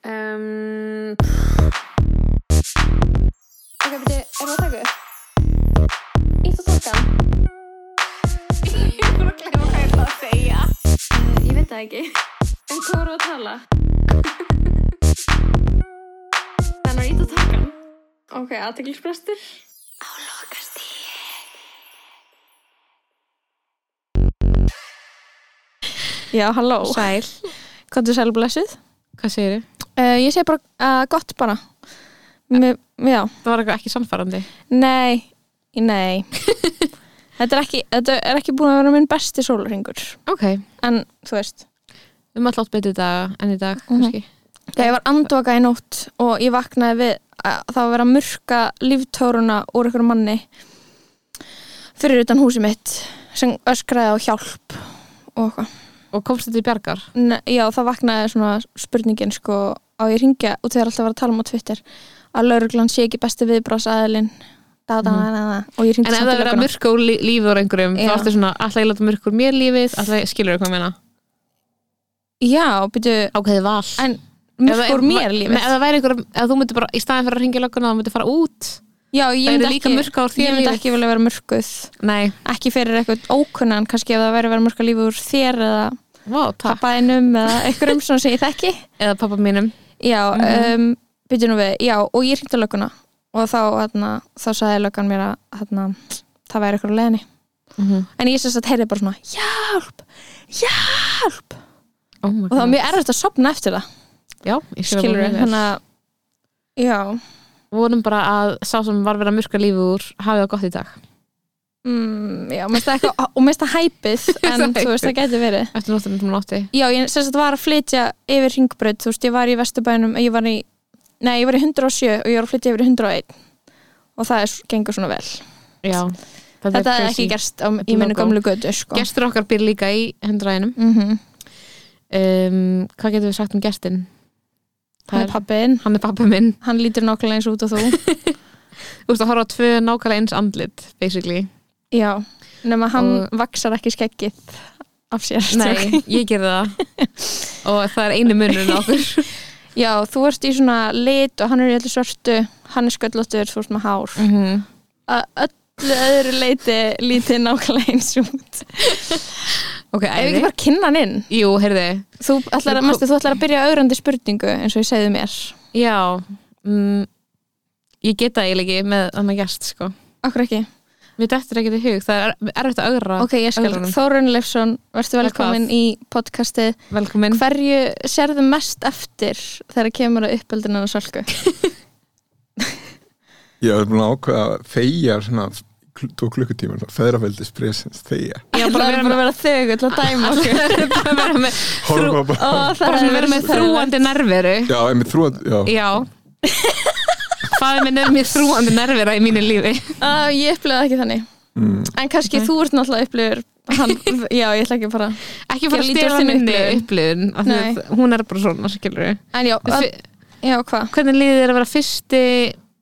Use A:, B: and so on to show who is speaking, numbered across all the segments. A: Um, ok, beti, er það að taka upp? Ítt og tólkan.
B: Ég er búin að glemma hvað ég ætla að segja.
A: Uh, ég veit það ekki. En hvað voru að tala?
B: Þannig að ít að taka.
A: Ok, aðteglisbrestur.
B: Á lokast í.
C: Já, halló.
B: Sæl.
C: Hvað er sælblessuð?
B: Hvað segir þið?
C: Uh, ég segi bara uh, gott bara. Mér, já,
B: Það var eitthvað ekki samfærandi.
C: nei, nei. þetta, er ekki, þetta er ekki búin að vera minn besti sólurringur.
B: Ok.
C: En þú veist,
B: Við erum alltaf betið dag en í dag,
C: Mhm.
B: kannski.
C: þegar ég var andvaka í nótt og ég vaknaði við að það var verið að murka líftóruna úr einhverjum manni fyrir utan húsi mitt sem öskraði á hjálp og eitthvað.
B: Og komst þetta í bjargar?
C: Ne, já, það vaknaði svona spurningin sko á ég ringja og þegar alltaf var að tala um á Twitter að lauruglan sé ekki besti viðbrásaðilinn da, da, da, da, da. og ég ringdi
B: Mhm. En ef það verið að murka úr lí- lífi úr einhverjum,
C: Já.
B: þá ertu svona, alltaf ég láta murka úr mér lífið, alltaf skilur eitthvað meina.
C: já, byrju,
B: Ákveðið val.
C: en
B: Ef það-
C: mörg úr mér
B: Nei, ef
C: lífið
B: það væri einhver, ef þú myndir bara, í staðin fyrir að ringja lögguna, þá myndir fara út.
C: já, ég
B: Það
C: myndi
B: eru líka
C: ekki-
B: murka úr
C: ég
B: þér
C: myndi
B: lífið.
C: ekki vilja vera mörguð
B: Nei,
C: ekki fyrir eitthvað ókunnan kannski ef það væri að vera mörga lífið úr þér eða
B: Vá, takk.
C: pappaðinum eða einhverjum svona sem ég þekki
B: Eða pappa mínum.
C: já, mm
B: Mhm.
C: um, byrju nú við já, og ég ringdi lögguna og þá, þarna, þá sagði löggan mér að þarna, það væri eitthvað leðinni
B: Mm
C: en ég sérst að heyrði bara svona hjálp, hjálp
B: oh my
C: og það var
B: god.
C: mjög erfitt að sopna eftir það
B: Já, ég skilur
C: skilur
B: mjög
C: við,
B: vel.
C: þannig að já,
B: vonum bara að sá sem var verið að murka lífið úr hafið það gott í dag
C: mm, já, mér finnst það eitthvað og mér finnst það hæpið, en
B: Það
C: þú veist það gæti verið
B: eftir nóttunum sem hún átti
C: já, ég sérst að var að flytja yfir ringbraut, þú veist, ég var í Vesturbænum ég var í, nei, ég var í 107 og ég var að flytja yfir í 101 og það er, gengur svona vel
B: já, þetta,
C: þetta
B: er
C: er
B: crazy.
C: ekki gerst á,
B: Þetta
C: í
B: er
C: minni
B: logo.
C: gamlu götu sko.
B: gestur okkar býr líka í hundraðinum
C: mm -hmm.
B: um, hvað getum við sagt um gestin
C: hann er pappin,
B: hann er pappi minn
C: hann lítur nokkulega eins út og þú
B: þú veist að horfa á tvö nákvæmlega eins andlit basically
C: já, nema hann
B: Og-
C: vaksar ekki skeggið af sér sko.
B: nei, ég gerði það og það er einu munurinn á okkur
C: já, þú ert í svona lit og hann er í öllu svörtu hann er sköllóttur, þú ert með hár
B: mm -hmm.
C: að öllu öðru leiti lítið nákvæmlega eins út
B: ok,
C: ef ekki
B: æði
C: bara kynna hann inn
B: jú, heyrði
C: Þú ætlar, að, manstu, þú ætlar að byrja á ögrandi spurningu eins og ég segði mér.
B: já mm, ég geta það eiginlega ekki með annar gest sko
C: Akkur ekki?
B: mér dettur ekki til hug, það er erfitt að ögra
C: Ok, ég skal.
B: ögrunum.
C: Þórun Leifsson, verður
B: Eða
C: velkomin
B: hvað?
C: í podcastið.
B: velkomin
C: Hverju sérðu mest eftir þegar kemur að uppeldinu og sölku?
D: Ég var búin að ákveða að þeia svona kl- tvo klukkutíma, feðraveldis presens, þeia
B: Já, bara vera
C: að vera þögull að dæma okkur.
B: bara vera með
D: Horfa
B: þrú,
D: bara,
C: Ó, það
B: bara svona
C: er
B: vera með
C: svo-
B: þrúandi nærveru
D: já, einmitt þrúan, já,
B: já faði minn er mér þrúandi nærvera í mínu lífi
C: Á, Ég upplifaði ekki þannig.
D: mm,
C: En kannski þú ert náttúrulega upplifur. Hann, já, ég ætla ekki bara.
B: ekki fara
C: Ég
B: að
C: lít á
B: stela
C: þína
B: minni upplifun af því
C: Nei.
B: að hún er bara svona skilur
C: En já, að, já hvað?
B: hvernig líði þér að vera fyrsti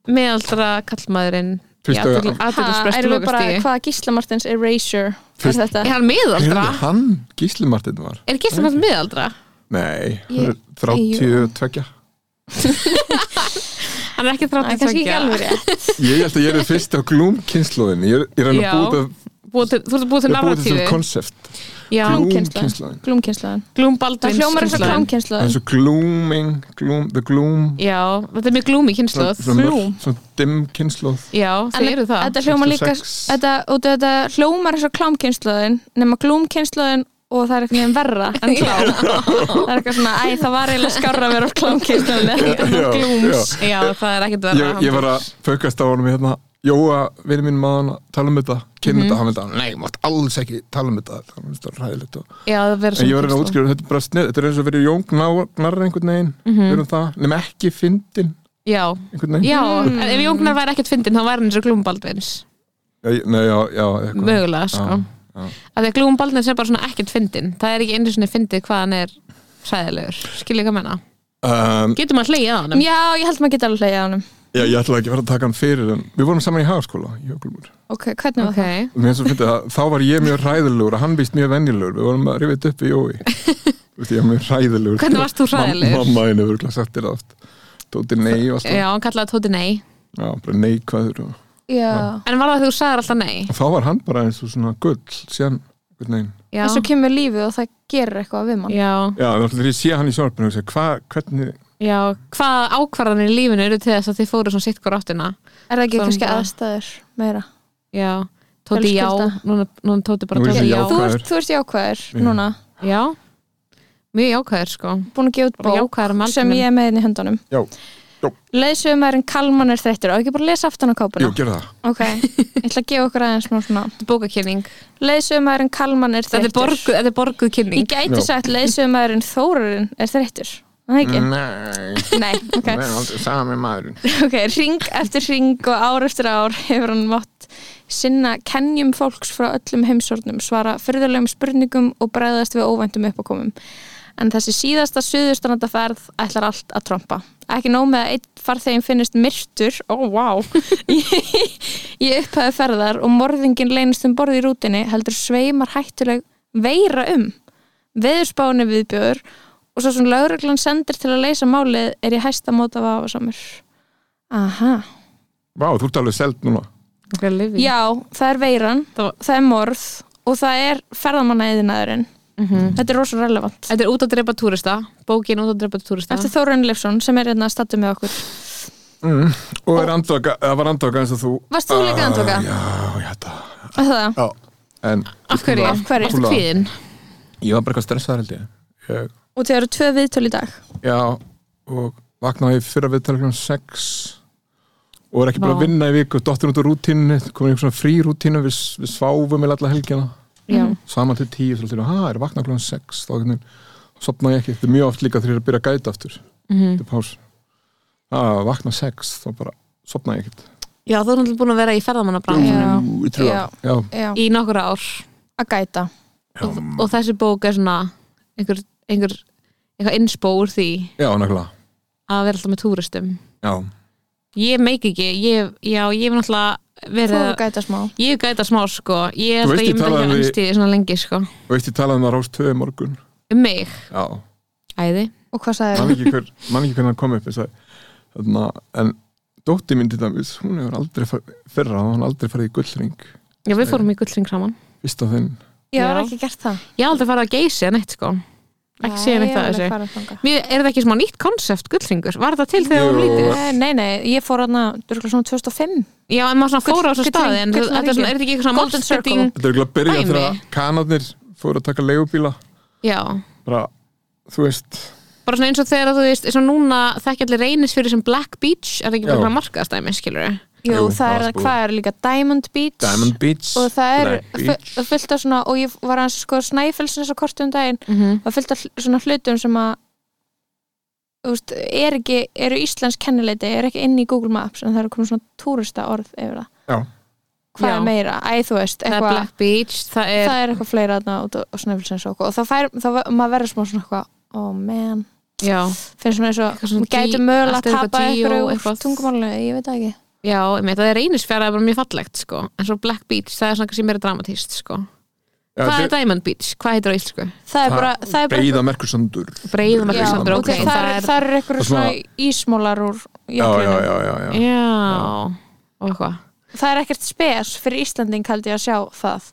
B: meðaldra kallmaðurinn
D: Fyrsta-
C: Ha,
B: aðdöðsprest
C: erum við bara,
B: lókastíði
C: hvað Gísla Martins Erasure er
D: Fyrst-
C: þetta?
B: er hann meðaldra?
D: Heyrðu, hann, Gísli Martin var
B: er Gísla Martin meðaldra?
D: nei, hann er
C: Ég-
D: 32
B: hann er ekki
C: Það er kannski
B: 32
C: ekki alveg rétt.
D: ég held að ég er fyrst á glúm kynnslóðin ég er, ég er hann
B: Já.
D: að búið að
B: Búið til- þú ert búið til
D: ég er búið til
B: narratífi
D: svona konsept
B: Já.
D: glúm
C: Glúmkynslóðin.
D: kynnslóðin
C: Glúmkynslaðan.
B: glúm
C: Það
B: baldvins
C: hljómar eins og
B: kynslóðin.
D: það er
C: klámkynslaðan.
D: svo glooming, gloom, the gloom
B: já, þetta er mjög glúmi kynnslóð
D: glúm svona dimm kynnslóð
B: já,
C: En
B: þið eru það
C: Þetta hljómar líka,
D: 66.
C: þetta, út af þetta hljómar eins og klámkynslaðin, nema glúmkynslaðin og það er eitthvað neginn verra en klám. það er eitthvað svona, æ, það var eiginlega skárra að vera á klámkynslaðin.
D: Já,
B: glúms Já, það er ekkert verið
D: ég, ég var að fökast á honum hérna Jóa, vinur minn maður, tala um þetta
B: Mhm.
D: kynna þetta, hann veit að, nei, mátt alls ekki tala um þetta, hann veit að ræðilegt og
B: Já, það sko. verið
D: En ég var að útskýra, þetta er bara snið, þetta er eins og verið jóngnar einhvern veginn,
B: Mhm.
D: mm -hmm. verðum það, nema ekki fyndin
B: Já,
D: einhvern veginn.
B: já en ef Jóngnar væri ekkert fyndin þá væri hann eins og Glúm Baldvins
D: Já, ég- nei, já, já, eitthvað.
B: mögulega, sko
D: Já, já.
B: að því að Glúm Baldvins er bara svona ekkert fyndin það er ekki einu sinni fyndið hvað hann er sæðilegur, skilja hvað menna
D: Um,
B: getur maður hlegið að hann?
C: Já, ég held maður geta alveg hlegið á honum.
D: já, ég ætlaði ekki að vera að taka hann fyrir, en við vorum saman í hagaskóla, ég og Glúmur.
C: Ok, hvernig var
B: ok,
C: það?
D: Og mér finnst svo fyndið að þá var ég mjög ræðilegur og hann víst mjög venjulegur, við vorum að rifið upp í Jói. veist, ég var mjög hræðilegur
B: Hvernig varst þú hræðilegur?
D: Mam- mamma einu verður sættir það oft Tóti nei og alltaf
B: Já, hann kallaði Tóti nei
D: Já, bara neikvæður og...
C: já.
B: En var það þegar þú sagðir alltaf nei?
D: og þá var hann bara eins og svona gull síðan, gull negin
B: Já,
C: en svo kemur lífið og það gerir eitthvað við mann
B: já,
D: Já, þá ætlir ég sé hann í sjónarpinu og segja, hvað, hvernig
B: já Hvaða ákvarðanir í lífinu eru til þess að þið fóru svona sitt hver áttina?
C: er það ekki
B: Svona
C: kannski
B: bara-
C: aðstæður meira
B: Já, Tóti já
C: Fjölskylda.
B: Núna, núna Tóti bara
D: Nú er
B: Tóti
D: þessi
B: já
C: þú
D: Jákvæður.
C: ert, þú ert jákvæður
D: Já.
C: núna
B: Já, mjög jákvæður sko
C: búin að gefa út
B: Bara
C: bók
B: jákvæður um allt
C: sem ég er með henni í höndunum
D: Já. Já.
C: leysumærin Kalman er þreyttur á ekki bara að lesa aftan á
D: Jú,
C: kápuna
D: gera það
C: ok, ég ætla að gefa okkur aðeins smá svona
B: Bókakynning
C: leysumærin Kalman er
B: Þetta er,
C: þreyttur
B: borguð, þetta er borguð
C: ég
B: kynning
C: gæti
D: Já.
C: sagt leysumærin Þórarinn er þreyttur Er það ekki?
D: Mm. Nei,
C: nei, ok,
D: er aldrei sami maðurinn
C: ok ring eftir ring og ár eftir ár hefur hann mátt sinna kenjum fólks frá öllum heimsornum svara fyrðulegum spurningum og bregðast við óvæntum uppakomum en þessi síðasta suðustanandaferð ætlar allt að trompa ekki nóg með að einn farþegin finnist myrtur ó, oh, wow ég upphæði ferðar og morðingin leynist um borði í rútinni heldur sveimar hættuleg veira um veðurspáni viðbjör og svo sem lögreglan sendir til að leysa málið er ég hæsta móta vafasamur aha,
D: Vá, þú ert alveg seld núna
B: Já,
C: já, það er veiran
B: Það-
C: það er morð og það er ferðamannaeyðinaðurinn
B: Mhm.
C: þetta er rosa relevant
B: Þetta er út að drepa túrista Bókin út að drepa túrista
C: eftir Þórun Leifsson sem er hérna að stattu með okkur
D: mm. Og er andvaka, það var andvaka eins og þú
C: Varst þú líka
D: Ah,
C: andvaka?
D: Já, ég hætti það
C: Er það,
D: Já, en
B: Af hverju?
C: Af hverju?
B: Ertu kvíðin?
D: ég var bara eitthvað stressaðar held ég Ég-
C: og þið eru tvö viðtöl í dag
D: Já, og vaknaði í fyrra viðtaleknum 6 og er ekki búin
B: Vá.
D: að vinna í viku dottin út á rútínu, komin í einhver svona frí rútínu við, við sváfum með alla helgina
B: Já,
D: saman til 10, þá til að, ha, er að vakna klokkan 6 þá hvernig, sopna ég ekki, þetta er mjög oft líka þegar ég er að byrja að gæta aftur
B: Mhm.
D: þetta er pás, að vakna 6 þá bara sopna ég ekkert
B: já þú er náttúrulega búin að vera í
D: Mm,
B: ferðamannabrann
C: Já.
D: Ú, í trú
C: Já.
D: ár. Já,
C: já,
B: í nokkur ár
C: að gæta
B: og, og þessi bók er svona einhver, einhver, einhver innspó úr því
D: já, nákvæmlega
B: að vera alltaf með túristum
D: Já,
B: Ég meik ekki, ég, já, ég hef náttúrulega
C: þú
B: verið
C: að
B: að
C: gæta smá
B: Ég hef gæta smá sko Ég held
D: Þú veist,
B: að
D: ég
B: ég myndi
D: talaði
B: ekki að
D: við-
B: ennst í því svona lengi sko
D: og eitt ég talaði með Rás 2 í morgun
B: Um mig,
D: Já,
B: æði
C: og hvað sagði
D: man ekki, hver, man ekki hvernig hann kom upp þess að, þarna, en dótti mín til dæmis, hún hefur aldrei far, fyrra, hún hefur aldrei farið í gullring
B: Já, við fórum í gullring saman
D: fyrst af þinn,
C: ég var
B: Já.
C: ekki gert það
B: Ég hef aldrei farið að geysi að neitt sko Ekki
C: Já,
B: séð neitt
C: ég
B: að
C: var
B: þessu
C: alveg farin þangað.
B: Mér, Er það ekki smá nýtt konsept gullringur? Var það til þegar við
D: Jú.
B: vorum lítið?
C: Nei, Eh, nei, nei, ég fór hana dörgla svona 2005
B: Já, en maður svona
C: Gull-
B: fór á þessu
C: gullring-
B: staði en
C: gullna
B: þetta er svona, er þetta ekki eitthvað svona
C: Golden circle.
B: marketing
D: þetta er ekki að byrja
B: Dæmi.
D: þegar að kanadnir fóru að taka leigubíla
B: Já,
D: bara, þú veist
B: bara svona eins og þegar þú veist, eins og núna þekkja allir reynis fyrir sem Black Beach er það ekki
D: Já.
B: bara svona markaðastæmi, skilur við
C: Jú,
D: Jú,
C: það er,
D: það var spúið.
C: hvað er líka Diamond Beach
D: Beach
C: og það er
D: Black Beach.
C: fu- fullt af svona og ég var aðeins að skoða snæfelsins á kortum um daginn
B: -hmm.
C: og fullt af hl- svona hlutum sem að þú veist, er ekki, eru íslensk kennileiti, er ekki inn í Google Maps en það eru komið svona túrista orð yfir það
D: Já.
C: hvað
B: Já.
C: er meira, æ þú veist
B: Það er
C: eitthvað,
B: Black Beach, það er,
C: það er eitthvað fleira þarna út á- á snæfelsins og, og þá fær, þá ver- maður verður smá svona eitthvað oh man,
B: já,
C: finnst svona eins og
B: Eitthvað svona
C: maður gæti
B: G-
C: mögulega
B: allt
C: að
B: er eitthvað
C: tapa
B: G og
C: eitthvað úr
B: eitthvað.
C: tungumálunni, ég veit það ekki
B: já, ég meint, það er reynisfjara er bara mjög fallegt, sko, en svo Black Beach það er svona kannski meira dramatíst, sko
D: Já,
B: Hvað
D: þetta
B: er Diamond Beach? Hvað heitir á íslensku?
C: það er bara, það er bara
D: Breiða Merkursandur
B: Breiðum
D: Já,
B: ekki
C: Já,
B: saman,
D: Alexander,
C: ok,
B: ok
D: Ókei,
C: það er, það er eitthvað
D: Og
C: svona
D: svona-
C: ísmólar úr
D: Já, já,
C: jöklinum
D: já, já, já.
B: Já, og hvað?
C: það er ekkert spes fyrir Íslanding haldi ég að sjá það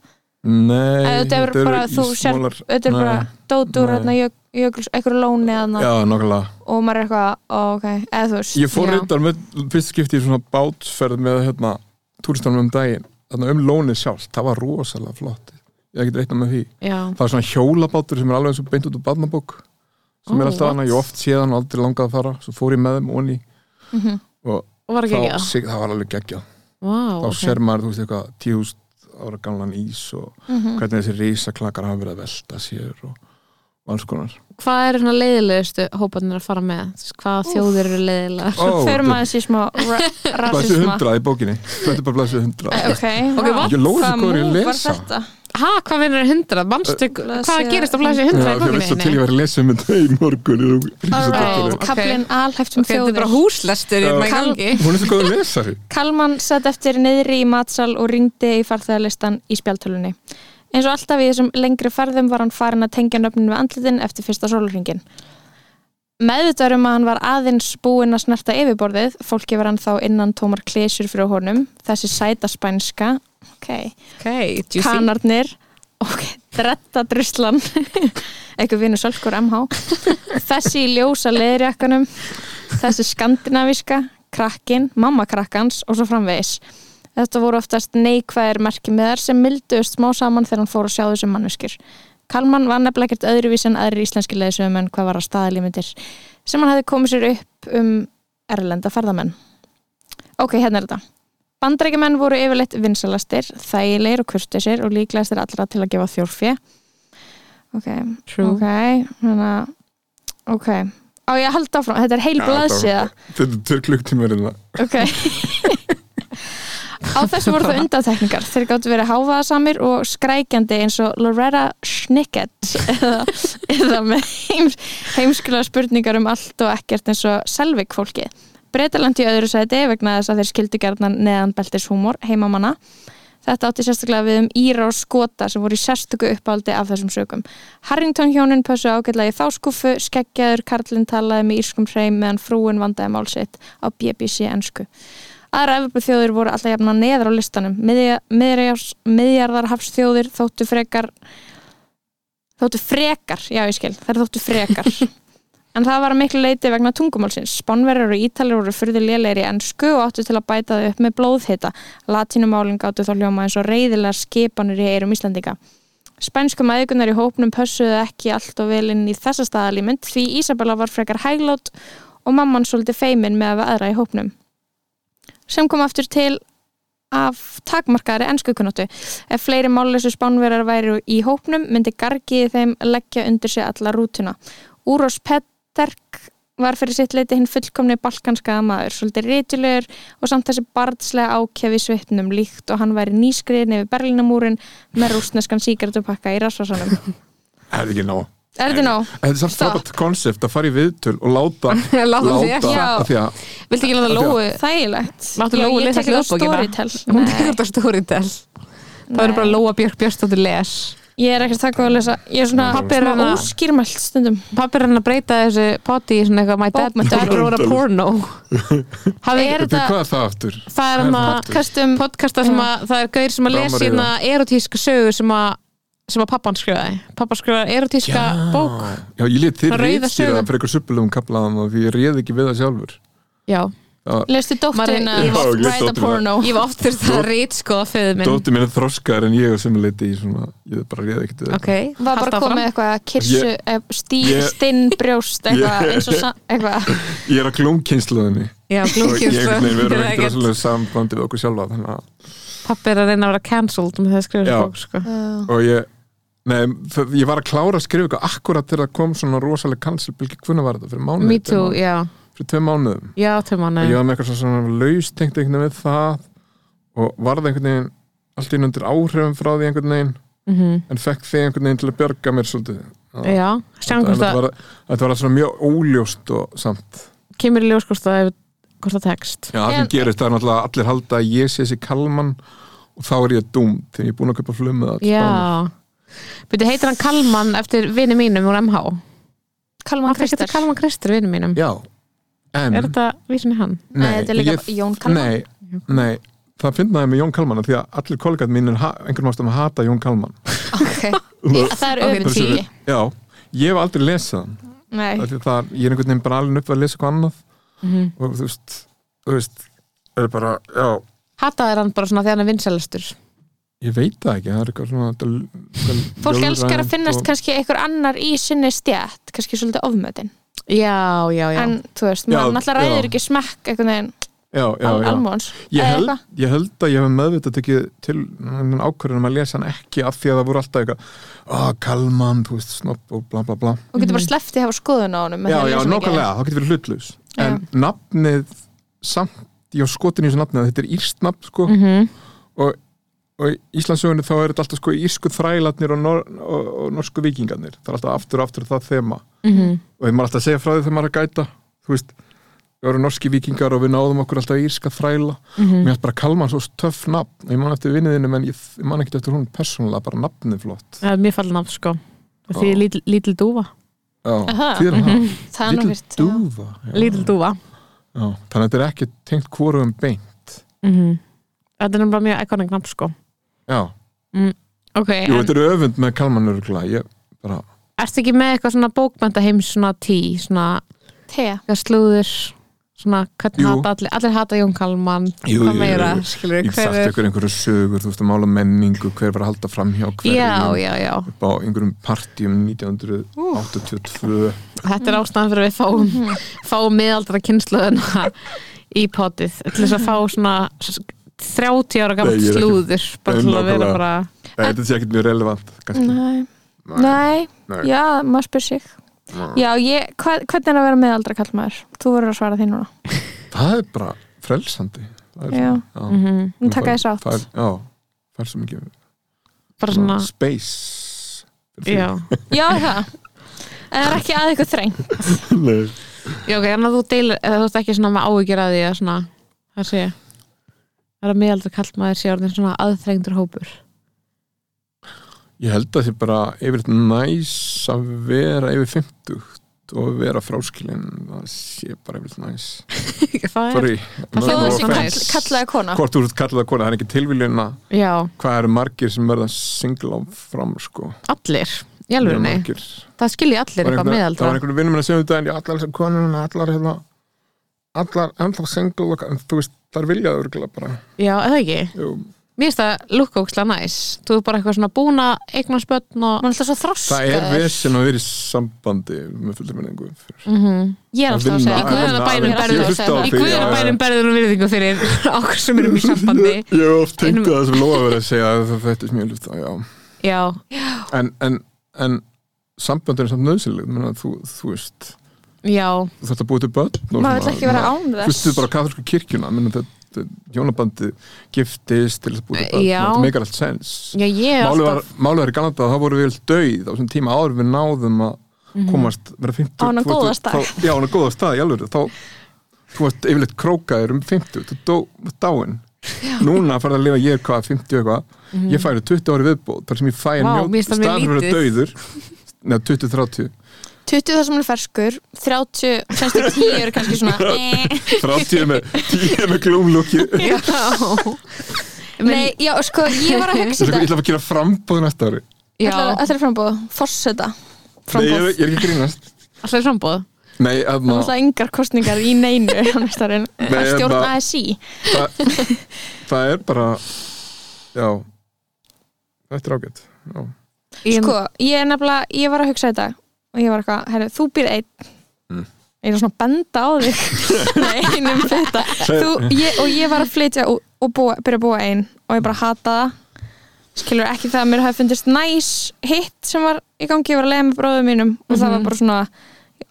D: Nei,
C: Æ, þetta er
D: eru
C: bara, þú sér
D: ísmolar.
C: þetta er bara
D: Nei.
C: dótur
D: nei.
C: hérna jökuls, einhverju lóni hérna
D: Já, nákvæmlega
C: og maður er eitthvað, ó, ok, eða þú veist
D: Ég fór
B: Já.
D: reyndar með fyrst skipti í svona bátferð með hérna túristanum um daginn þarna um lónið sjálf, það var rosalega flott ég get reikna með því
B: Já,
D: það er svona hjólabátur sem er alveg eins og beint út úr barnabók sem
B: Ó,
D: er alltaf
B: what?
D: hana, ég hef oft séðan og aldrei langað að fara svo fór ég með þeim onni
C: Mhm.
D: og
B: og var
D: þá,
B: ekki ekki það?
D: sig, það var alveg geggjað
B: Vá,
D: þá
B: ok.
D: sér maður, þú veist eitthvað, tíðust ára gamlan ís og
C: Mhm.
D: hvernig þessi risaklakkar hafa verið að velta sér og, og alls konar
B: Hvað eru svona leiðilegustu hóparnir að fara með? Hvaða þjóðir eru leiðilegar?
C: svo
D: Ó,
C: fyrir
D: þetta-
C: maður þessi smá ra-
D: Blæsið
C: rasisma
D: hundrað í bókinni, þetta er bara blæsið hundrað
C: Æ, ok,
B: Ok,
C: vá,
B: what?
D: Ég lóði
C: hvaða
D: hvað er ég að
C: múf var
D: lesa.
C: þetta
B: Ha, hvað vinnur hundrað? Manstu, hvað
C: Blaðsíða-
B: gerist á flæsið
D: Já,
B: hundrað í
D: ok, veistu til ég
B: bókinni?
D: var að lesa um þetta í morgun ég er svo
C: alright,
D: dóttileg.
B: ok.
C: kaplinn alhæft um
B: Ok, þetta er bara
C: þjóðir
B: húslestur í
D: Já.
B: maður
C: Kal-
B: gangi.
D: Hún er svo góð að lesa því
C: Kalman satt eftir niðri í matsal og ringdi í farþæðalistan í spjaltölunni Eins og alltaf í þessum lengri ferðum var hann farin að tengja nöfnin við andlitin eftir fyrsta sólurringin. Meðvitaður um að hann var aðeins búinn að snerta yfirborðið, fólki var hann þá innan tómar klesjur fyrir honum, þessi sæta spænska, ok,
B: Ok, juicy
C: kanarnir, ok, drettadruslan, eitthvað vinur sölkur MH, þessi í ljósa leðurjakkanum, þessi skandinavíska, krakkin, mamma krakkans og svo framvegis. Þetta voru oftast neikvæðir merkimiðar sem milduðust smá saman þegar hann fór að sjá þessum manneskjur. Kalman var nefnilega ekkert öðruvís en aðrir íslenski leðsöfum en hvað var að staðalímyndir sem hann hefði komið sér upp um erlenda ferðamenn. Ok, hérna er þetta. Bandrækjumenn voru yfirleitt vinsalastir, þægilegir og kurtisir og líklegastir allra til að gefa þjórfje. Ok,
B: True.
C: ok, hérna, ok. Á ég að halda áfram, þetta er heil
D: Já,
C: blaðsíða.
D: Þetta er tveir hérna. klukktíma verið
C: Ok Á þessu voru það undantekningar Þeir gáttu verið háfaðasamir og skrækjandi eins og Loretta Schnicket eða, eða með heims, heimskulega spurningar um allt og ekkert eins og Selvik fólki Bretaland í öðru sæti vegna þess að þeir skildu gerðnan neðan beltis húmor heimamanna Þetta átti sérstaklega við um Íra og Skota sem voru í sérstöku uppáldi af þessum sögum. Harrington hjónin pössu ágætlega í þáskúfu, skeggjaður Karlinn talaði með írskum hreim meðan frúin vandaði mál sitt á BBC ensku. Aðra Evropaþjóðir voru alltaf jafna neðar á listanum. Miðja- miðjarðars- Miðjarðarhafsþjóðir þóttu frekar þóttu frekar, já ég skil, þær þóttu frekar. En það var að miklu leiti vegna tungumálsins. Spánverjar og ítalir voru fyrði lélegir í ensku og áttu til að bæta þau upp með blóðhita. Latinumálin gáttu þá hljóma eins og reyðilega skipanur í eirum Íslandinga. Spænsku maðugunar í hópnum pössuðu ekki allt og vel inn í þessa staðalímynd því Ísabella var frekar hæglát og mamman svolítið feimin með að við aðra í hópnum. Sem kom aftur til af takmarkaðari enskukunnáttu. Ef fleiri málleysu spánverjar væri í hópnum myndi gargiði þeim leggja undir sig alla rútuna. Úros Petterk var fyrir sitt leiti hinn fullkomni balkanskaða maður, svolítið ritulegur og samt þessi barnslega ákjafi svipnum líkt og hann væri nýskriðin yfir Berlínamúrin með rústneskan síkertupakka í rasvarsanum.
D: Það er ekki ná
C: Er þetta nóg?
D: Þetta er samt
C: Stopp.
D: frábært konsept að fara í viðtöl og láta
B: Láta því ekki.
D: láta,
C: Já.
D: af því að
B: Viltu ekki láta
D: Já.
B: Lóu
C: Þægilegt.
B: Láttu Lóu
C: Já, ég
B: lesa
C: tek þetta á
B: hljóðbókina. Hún tekur
C: Storytel.
B: þetta stóriðtel Það verður bara Lóa Björk Björnsdóttir les
C: Nei, ég er ekkert það góð að lesa. Ég er svona
B: Pabbi er
C: smá
B: hérna-
C: óskýrmælt stundum.
B: Pappi er hann að breyta þessu poti í svona eitthvað My dad, my dad wrote a porno Hafði,
C: Er
D: Þetta
C: þetta
D: hvað er það aftur?
B: Það er hann að
C: podcastum?
B: podcasta sem að það er gaur sem að
D: Rámar
B: lesa
D: í
B: hérna erotíska sögu sem að sem að pappan skrifaði pappan skrifaði erotíska bók
D: Já, ég lét þér
B: Rauða
D: reyðstýra
B: sögum.
D: það fyrir eitthvað suppilegum kaplaðum og því ég reyð ekki við það sjálfur
B: já,
C: Lestu dótturina
B: Maður- ég
D: var oft- Já, ég
C: Write a
D: dótturina.
C: porno
B: ég var oft þurft að rít sko að föðu minn
D: Dóttir minn er þroskaðar en ég og sem leiti í svona ég bara reyð ekkert við
B: ok,
C: Var bara
B: haltu áfram.
C: komið eitthvað kirsu,
D: Ég-
C: yeah. stí,
D: ég-
C: stinn, brjóst eitthvað eins og sa- eitthvað
D: það Ég er að klómkynsluðinni
B: já,
D: og ég
B: glúkjur
D: einhvern veginn verður ekkert rosalega sambandi við okkur sjálfa þannig að
B: pappi sko. er að reyna að vera cancelled með það að skrifa
D: Já.
B: þessu bók sko
D: og ég Nei, það- ég var að klára að skrifa eitthvað akkurat til það kom svona rosalega kansilbylgi hvernig var þetta fyrir mánuð?
B: me too, já,
D: Fyrir tvei mánuðum
B: já, til manni
D: og ég var með eitthvað svona- svona laustengt einhvern veginn við það og varð einhvern veginn allt inn undir áhrifum frá því einhvern veginn
B: Mhm.
D: en fekk þig einhvern veginn til að bjarga mér svolítið
B: já,
D: En
B: sjáum hvort
D: þetta
B: það
D: var, þetta var allt svona mjög óljóst og samt
B: kemur í ljós hvort það er- hvort það tekst
D: Já, það sem
C: En-
D: gerist, það er náttúrulega að allir halda að ég sé þessi kalman og þá er ég dúm til ég er búin að kaupa flumið að
B: já, byrju heitir hann Kalman eftir vini mínum úr MH
C: Kalman
B: hann fyrst
C: Kristar
B: þetta Kalman Kristur vini mínum
D: Já, en
B: er þetta vísin í hann?
C: Nei, þetta er líka Jón Kalman.
D: Nei, nei það finnaði með Jón Kalman af því að allir kollegat mínir ha- einhvern vástum að hata Jón Kalman
C: Það er öfum
D: Þessi-
C: tíi
D: Já, ég hef aldrei lesað hann
C: Nei,
D: af því að það, ég er einhvern veginn bara alveg upp við að lesa eitthvað annað
C: Mhm.
D: og þú veist, þú veist er bara, já,
B: Hataði hann bara svona þegar hann er vinsælastur
D: ég veit það ekki það er eitthvað svona þetta- eitthvað
C: fólk elskar
D: ljóðrænt
C: að finnast
D: og-
C: kannski einhver annar í sinni stjætt kannski svolítið ofmötin
B: Já, já, já
C: en þú veist,
D: Já,
C: maður náttúrulega
D: já.
C: ræður ekki smekk einhvern veginn
D: já, já,
C: al
D: já.
C: almóns
D: Ég
C: eða
D: held,
C: eitthvað.
D: ég held að ég hef meðvitað tekið til ákvörðunum að lesa hann ekki af því að það voru alltaf eitthvað ah, Kalman, þú veist, snopp og bla bla bla
C: og getur bara
B: Mhm.
C: sleftið að hafa skoðun á honum með
D: Já,
C: því að
D: já,
C: lesa mikið.
D: nákvæmlega, það getur verið hlutlaus en nafnið samt, ég hef skotin í þessu nafnið að þetta er írskt nafn, sko
C: Mm.
B: Mhm.
D: og, og í Íslandsögunni þá er þetta alltaf sko írsku þrælarnir og, nor og, og norsku vikingarnir það er alltaf aftur og aftur það þema
B: Mhm.
D: og þeim er alltaf að segja frá því þegar maður er að gæta þú veist, við vorum norski vikingar og við náðum okkur alltaf írska þræla
C: Mm.
B: mhm.
D: og mér hætti bara að kalma hann svo töff nafn og ég man eftir vinniðinu, menn ég, ég man ekkert eftir hún persónulega, bara nafnið er flott
B: Já, mér falla nafn sko Því
D: Já.
B: ég lítil, lítil dúfa
D: Já,
B: Aha.
D: þýðir hann það?
C: Mhm. það er nú
D: Lítil
C: fyrst já.
D: dúfa já.
B: Lítil dúfa
D: Já, þannig að þetta er ekki tengt hvorum beint
B: Mhm. Þetta er bara mjög iconic nafn sko
D: Já,
B: Ok,
D: Jú,
B: en
D: þetta er öfund með kalman örgla ég bara,
B: ertu ekki með eitthvað svona bókmænta heims svona tí, svona
C: Te.
B: eitthvað slúður svona hvernig
D: Jú.
B: hata allir, allir hata Jón Kalman
D: Jú,
B: hvað
D: jú,
B: meira,
D: jú, jú.
B: skilur
D: ég
B: við
D: get sagt
B: hver er
D: ykkur einhverju sögur, þú veist að mála menningu hver var að halda fram hjá hverju
B: Já, já, já,
D: upp á einhverjum partjum 1982
B: þetta er ástæðan fyrir að við fáum, fáum miðaldra kynsluðuna í potið til þess að fá svona s- 30 ára
D: Nei,
B: gamalt
D: ég er ekki-
B: slúður bara
D: Nei,
B: til að vera
D: nákvæmlega.
B: bara
D: Nei, Þetta sé ekkert mjög relevant kannski.
C: Nei. Nei,
D: Nei.
C: já, maður spyr sig Já, ég, hva, hvernig er að vera meðaldra kallmaður? Þú verður að svara því núna
D: Það er bara frelsandi Það er
C: Já.
D: svona- já.
B: mm
C: Nú taka þess átt
D: Það er, já, það er svo mikið
B: bara svona,
D: space
B: já
C: Já, það En það er ekki að ykkur þreng
D: Nei.
B: Já, ok, þannig að þú deilir, eða þú ert ekki svona með áhyggjur að því að svona, það sé það er að miðaldra kallt maður sé orðin svona aðþrengdur hópur
D: Ég held að þið bara yfirleitt næs að vera yfir 50 og vera fráskilin það sé bara yfirleitt næs
B: Það er,
D: Sorry,
B: Það
D: no
C: Þó
B: er
C: þessi
D: offense.
C: kall, kallaði kona
D: Hvort þú ert kallað að kona, það er ekki tilvíljun að
B: já,
D: hvað eru margir sem verða single áfram sko,
B: allir í
D: Mjög
B: alvörunni,
D: margir
B: það skilji allir
D: var
B: eitthvað
D: einhver- það
B: miðaldra
D: var einhvern vinnum minn að segja um þetta en allar þessar konuna, allar hérna allar, allar single og, en þú veist, þar vilja það örgulega bara
B: Já, eða ekki,
D: Jú,
B: mér finnst það lukkóksla næs, þú er bara eitthvað svona búna eignar spötn og
C: Maður er alltaf svo þroska
D: það er vesen að vera í sambandi með fullur menningu fyrir.
B: mm
C: Ég er alltaf að segja
D: Að vinna-
C: það.
B: guðanna
D: að
B: bænum
D: vinna-
B: berðu-
D: Ég hlusta á
B: í
D: þig, já,
B: guðina
D: já.
B: bænum berðunum virðingu fyrir okkur sem erum í sambandi
D: Ég ég hef oft tengt
B: Einum-
D: við það sem lofa verið að segja að það fættist mjög hlusta, já
B: Já,
D: en, en, en sambandi er samt nöðsynleg menna, þú, þú veist,
B: já,
D: þú þarft að búið til börn
C: Maður vill ekki vera án
D: Þú veist,
C: þess
D: þið bara katholsku kirkjuna menna, þetta, þetta hjónabandi giftist til þess að búið til börn
B: Já.
D: þetta meikar allt sens
B: já, ég er
D: Málið var,
B: alltaf
D: málið var í Galanda að það voru við döið á þessum tíma áður en við náðum að
B: Mm.
D: komast vera 50
C: Á þennan
D: þú- þú-
C: góða stað.
D: þá, Já, á hann góða stað, í alveg þá, þú varst yfirleitt krókaður um 50 þú dó, dáin Núna farið að lifa ég hvað, 50 eitthvað Ég færi 20 ári viðbót þar sem ég færi
B: Mhm. Vá, mér finnst það mjög
D: staðan fyrir að
B: lítið.
D: döiður Neða, 20-30
C: 20 þar sem hann er ferskur 30, semstu 10 eru kannski svona eh.
D: 30 með, 10 með glúmlúki
B: Já
C: Nei, já, sko, ég var að hugsa
D: Ég
C: þetta
D: ætla að gera frambóð næsta ári
B: Já,
C: Ætlar- Þetta er frambóð, forseta
D: Nei, ég,
C: Frambóð
D: ég er ekki að grínast
B: alltaf í frambóð
D: Nei,
C: Það
D: hérna,
C: er
D: aðna,
C: alltaf engar kostningar í neinu á næsta árin. Það er
D: Nei, hérna-
C: stjórn
D: það-
C: ASI
D: það, það er bara já þetta er ágætt já.
B: Ég-
C: Sko, ég er nefnilega, ég var að hugsa þetta og ég var eitthvað, herru, þú býr einn
D: Mm.
C: ég er svona að benda á þig Nei, einum þetta þú, ég, og ég var að flytja og, og búa, byrja að búa einn og ég bara hata það skilur ekki það að mér hafi fundist næs hitt sem var í gangi, ég var að leiða með bróðum mínum og það var bara svona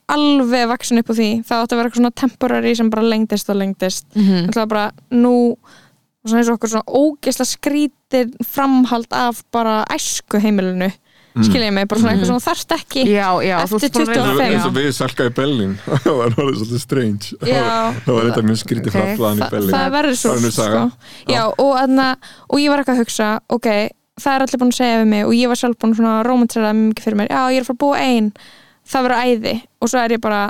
C: alveg vaksin upp á því, það átti að vera eitthvað svona temporary sem bara lengdist og lengdist
B: Mhm.
C: mm. það var bara nú svona eins og okkur svona ógesla skrítir framhald af bara æsku heimilinu
D: Mhm.
C: skilja ég mig, bara svona eitthvað svona þarft ekki
B: Já, já,
C: Eftir
B: þú ert búin að reyna-
C: 25.
B: Já.
D: eins og við salka í Berlín það var alveg svolítið strange
C: Já.
D: það var þetta mjög skrítið
B: Ok.
D: okay. framflaðan í
C: Þa,
D: Berlín
C: það verður svo sko.
D: Það er nú saga.
C: Já, og, aðna, og ég var eitthvað að hugsa ok, það er allir búin að segja við mig og ég var sjálf búin svona að rómantrera mjög mikið fyrir mér já, ég er að fara að búa ein, það verður æði og svo er ég bara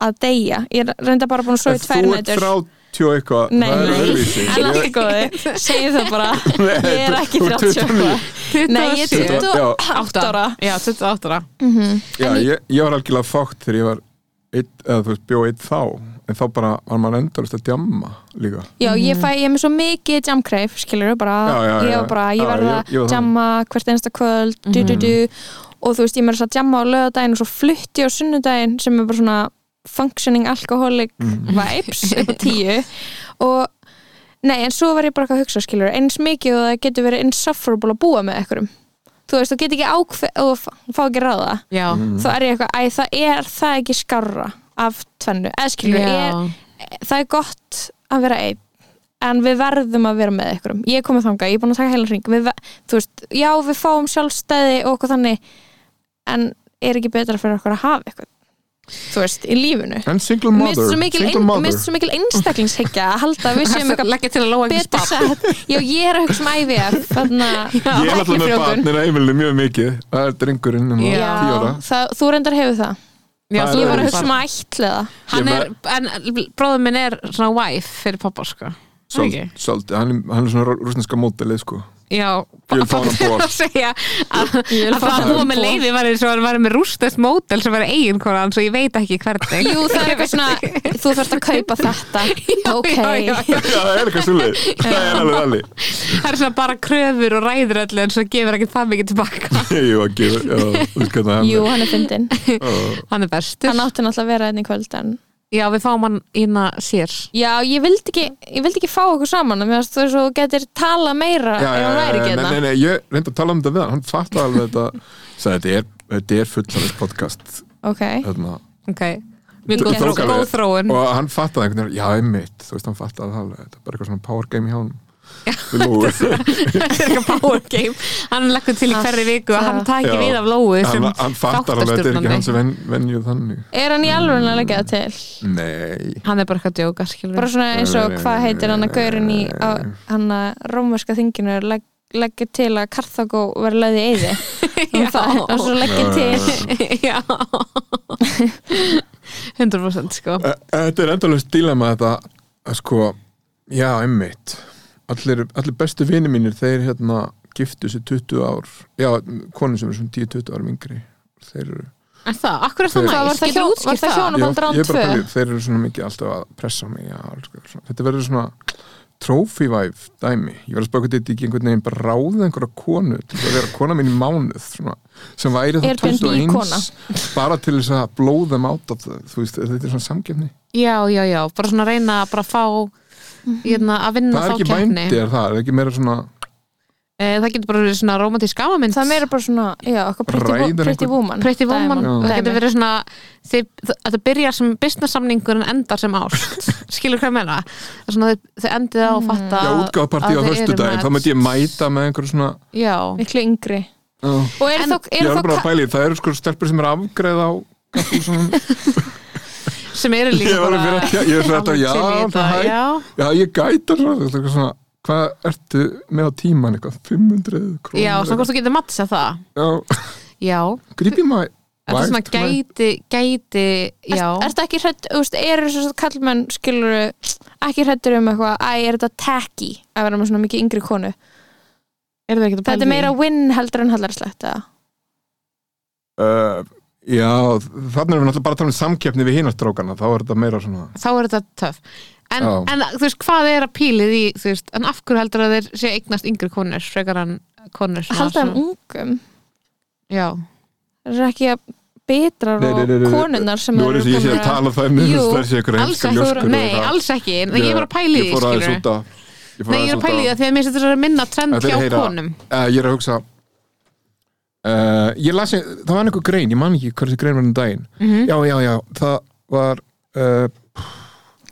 C: að deyja ég er reynda bara búin að
D: En
C: sofa í tvær
D: þú ert
C: nætur
D: frá tjó eitthvað
C: Nei,
D: það er
C: nei.
D: öðruvísi
C: en allir góði, segi það bara
D: Nei,
C: ég er ekki
D: þú ert
C: 30
D: 29.
C: eitthvað. Nei, ég er
B: 27.
C: 28 ára Mhm.
B: Já, 28 ára
D: Já, ég, ég var algjörlega fátt þegar ég var eitt, eða þú veist, bjó eitt þá en þá bara var maður endalist að djamma líka
C: Já, ég fæ, ég er með svo mikið jamkreif, skilur bara,
D: Já, já,
C: ég
D: já.
C: var bara,
D: Já,
C: ég verða
D: ég- ég
C: að
D: var þannig.
C: jamma hvert einasta kvöld, du, du, du, og þú veist, ég með þess að jamma á lögadaginn og svo flutti á sunnudaginn sem er bara svona functioning alcoholic
D: Mhm.
C: vibes upp á tíu og nei, en svo var ég bara eitthvað að hugsa, skilur eins mikið og það getur verið insufferable að búa með ekkurum, þú veist, þú getur ekki ákveð og fá, fá ekki ráða
B: Já,
C: þá er ég eitthvað, æ, það er það ekki skarra af tvennu, eða skilur er,
B: já,
C: það er gott að vera einn en við verðum að vera með ykkurum ég er komið þangað, ég er búin að taka heilan hring við, ve- þú veist, já við fáum sjálfstæði og okkur þannig en er ekki betra fyrir okkur að hafa eitthvað þú veist, í lífinu
D: en single
C: Mér finnst
D: mother,
C: svo mikil,
D: single
C: ein,
D: mother.
C: mist svo mikil einstaklingshyggja að halda að við séum eitthvað
B: leggja til að lóa ekki
C: betur
B: spapp
C: sett já, ég er að hugsa um IVF þannig
D: ég er alltaf með barnir að Emilinu mjög mikið það er drengurinn um
B: Já.
D: tíu ára
C: já, það, þú reyndar hefur það
B: Já,
D: Það
B: þú
D: er-
C: ég var
B: verður
C: að hugsa um
B: bara-
C: að ætla það
B: Hann
D: Ég
B: er, en bróður minn er svona wife fyrir pappa, sko
D: Svol-
B: Ekki?
D: svolítið, hann, er- hann er svona rúsneska mótilið sko
B: Já,
D: Ég vil fá hann um borð.
B: að segja að,
C: vil
B: að
C: fá
B: það
C: hann
B: að hún
C: um
B: með
C: borð.
B: leiði var eins og hann var með rústast mótel sem var eigin konan, svo ég veit ekki hvernig
C: Jú, það er eitthvað svona, þú þarfst að kaupa þetta Ok,
B: já, já, já.
D: já, það er eitthvað svolítið það er alveg alveg
B: Það er svona bara kröfur og ræður öllu en svo gefur ekkert það mikið tilbaka
D: jú, að gefa, já, þú veist hvernig hann
C: jú, hann er fyndin
D: er Já.
B: Hann er bestur
C: Hann átti náttúrulega að vera einn í kvöld en
B: Já, við fáum hann inn að sér
C: Já, ég vildi ekki, ég vildi ekki fá okkur saman Mér varst þú svo getur tala meira ef
D: já, já,
C: hann
D: já,
C: væri
D: já,
C: ekki hérna.
D: nei, nei,
C: þetta
D: nei, ég reyndi að tala um þetta við hann hann fattar alveg þetta sagði, þetta er, þetta er fulltalist podcast
C: Ok,
D: hérna.
B: Ok, mjög góð
C: Ég
B: þró-
C: tók
B: góð þróun
D: og hann fattaði einhvern veginn, já, einmitt þú veist, hann fattaði það alveg, þetta er bara eitthvað svona power game hjá hann við lóu
B: Þetta er eitthvað power game Hann leggur til í hverri viku að hann taki
D: Já.
B: við af lóu sem
D: hann, hann fattar alveg, þetta er ekki
B: þáttastjórnandi.
D: hans ven, venjuð þannig
C: er hann í alveg að leggja það til?
D: nei,
B: Hann er bara eitthvað að djóka, skilur
C: Bara svona eins og hvað heitir hann að gaurin í á- hann að rómverska þinginu er legg, leggja til að Karþagó verði leiði eiði og það og svo leggja til
B: Já 100% sko
D: Ö- Þetta er endalveg stíla með þetta að sko, já, einmitt allir, allir bestu vini mínir þeir hérna giftu sér 20 ár já, konur sem eru svona 10-20 árum yngri þeir eru
B: Er það? Akkur er það
D: Hvað,
B: næst?
C: var það
B: Getur
C: hjón-
B: útskýrt
C: var það hjón-
D: Já,
C: bandar án
D: ég er bara
C: tvö.
D: að pæla í- þeir eru svona mikið alltaf að pressa mig já, alls konar svona. þetta verður svona trophy wife dæmi, ég verður að spaka þetta ekki einhvern veginn bara ráða einhverja konu til að vera kona mín í mánuð svona, sem væri það
C: Airbnb
D: 21
C: kona.
D: bara til þess að blóða þeim át af það, þú veist, þetta er svona samgefni
B: Já, já, já, bara svona reyna að bara fá hérna, að vinna
D: það er
B: þá
D: ekki
B: kemni
D: vændi, er það, er ekki meira svona
B: Það getur bara verið svona romantísk gafamind
C: það er meira bara svona, já, okkur pretty, wo-
D: Ræður
C: pretty
D: einhvern-
C: woman
B: Pretty woman,
D: Dæmi.
B: það getur verið svona þið, að það byrja sem business samningur en endar sem ást, skilur hvað ég meina Það er svona þið, þið endið á að fatta
D: Já, útgáðpartí
B: að
D: á
B: þið eru
D: höstudaginn,
B: match.
D: þá myndi ég mæta með einhverju svona
B: Já,
C: miklu yngri
D: uh,
C: og eru
B: En-
C: þó,
D: Ég
C: er
D: er
C: þó
D: bara
C: ka-
D: að pæli, það eru sko stelpur sem er afgreð á svona,
B: sem eru líka
D: Ég var að vera að tjá- ég er svona þetta,
B: alveg
D: já,
B: til í þetta,
D: hæ.
B: já
D: Já, ég gæta svona, þú veist, eitthvað svona Hvað ertu með á tíman eitthvað? 500 krónur?
B: Já, svona hvort þú getur mattsað það
D: Já,
B: Já,
D: grípi maður
B: þetta er svona gæti, gæti Já,
C: Ert- ertu ekki hrætt, þú veist, eru þess að kallmenn skilur ekki hrættur um eitthvað æ, er þetta tacky að vera með svona mikið yngri konu
B: er það ekki að
C: þetta er meira win heldur en hallarslegt eða?
D: uh, Já, þannig erum við náttúrulega bara að tala um samkeppni við hinastrákana Þá er þetta meira svona
B: Þá er þetta töff en,
D: Já.
B: en þú veist, hvað er að pílið í þú veist, en af hverju heldur að þeir sé eignast yngri konur frekar en konur svona-
C: halda þeim
B: svona-
C: ungum
B: Já,
C: það er ekki að betrar
D: Nei, nei, nei, nei,
C: og
D: nei.
C: konunnar sem
D: Nú er
C: eru
D: þess að ég sé
C: komnar
D: að tala það um
C: Jú,
D: Það sé ykkur
B: alls
D: heimska
B: ekki,
D: ljóskur og
B: nei,
D: eitthvað.
B: alls ekki en ég var að pæli því,
D: Ég fór aðeins
B: skilur
D: út að fór
B: Nei, ég er
D: aðeins
B: að
D: út
B: pæli því að því að mér setur að minna trend
D: Þetta er
B: hjá
D: að heyra-
B: konum
D: Uh, ég er að hugsa uh, ég las, það var einhver grein ég man ekki hversu grein var um daginn
B: Mhm.
D: já, já, já, það var uh,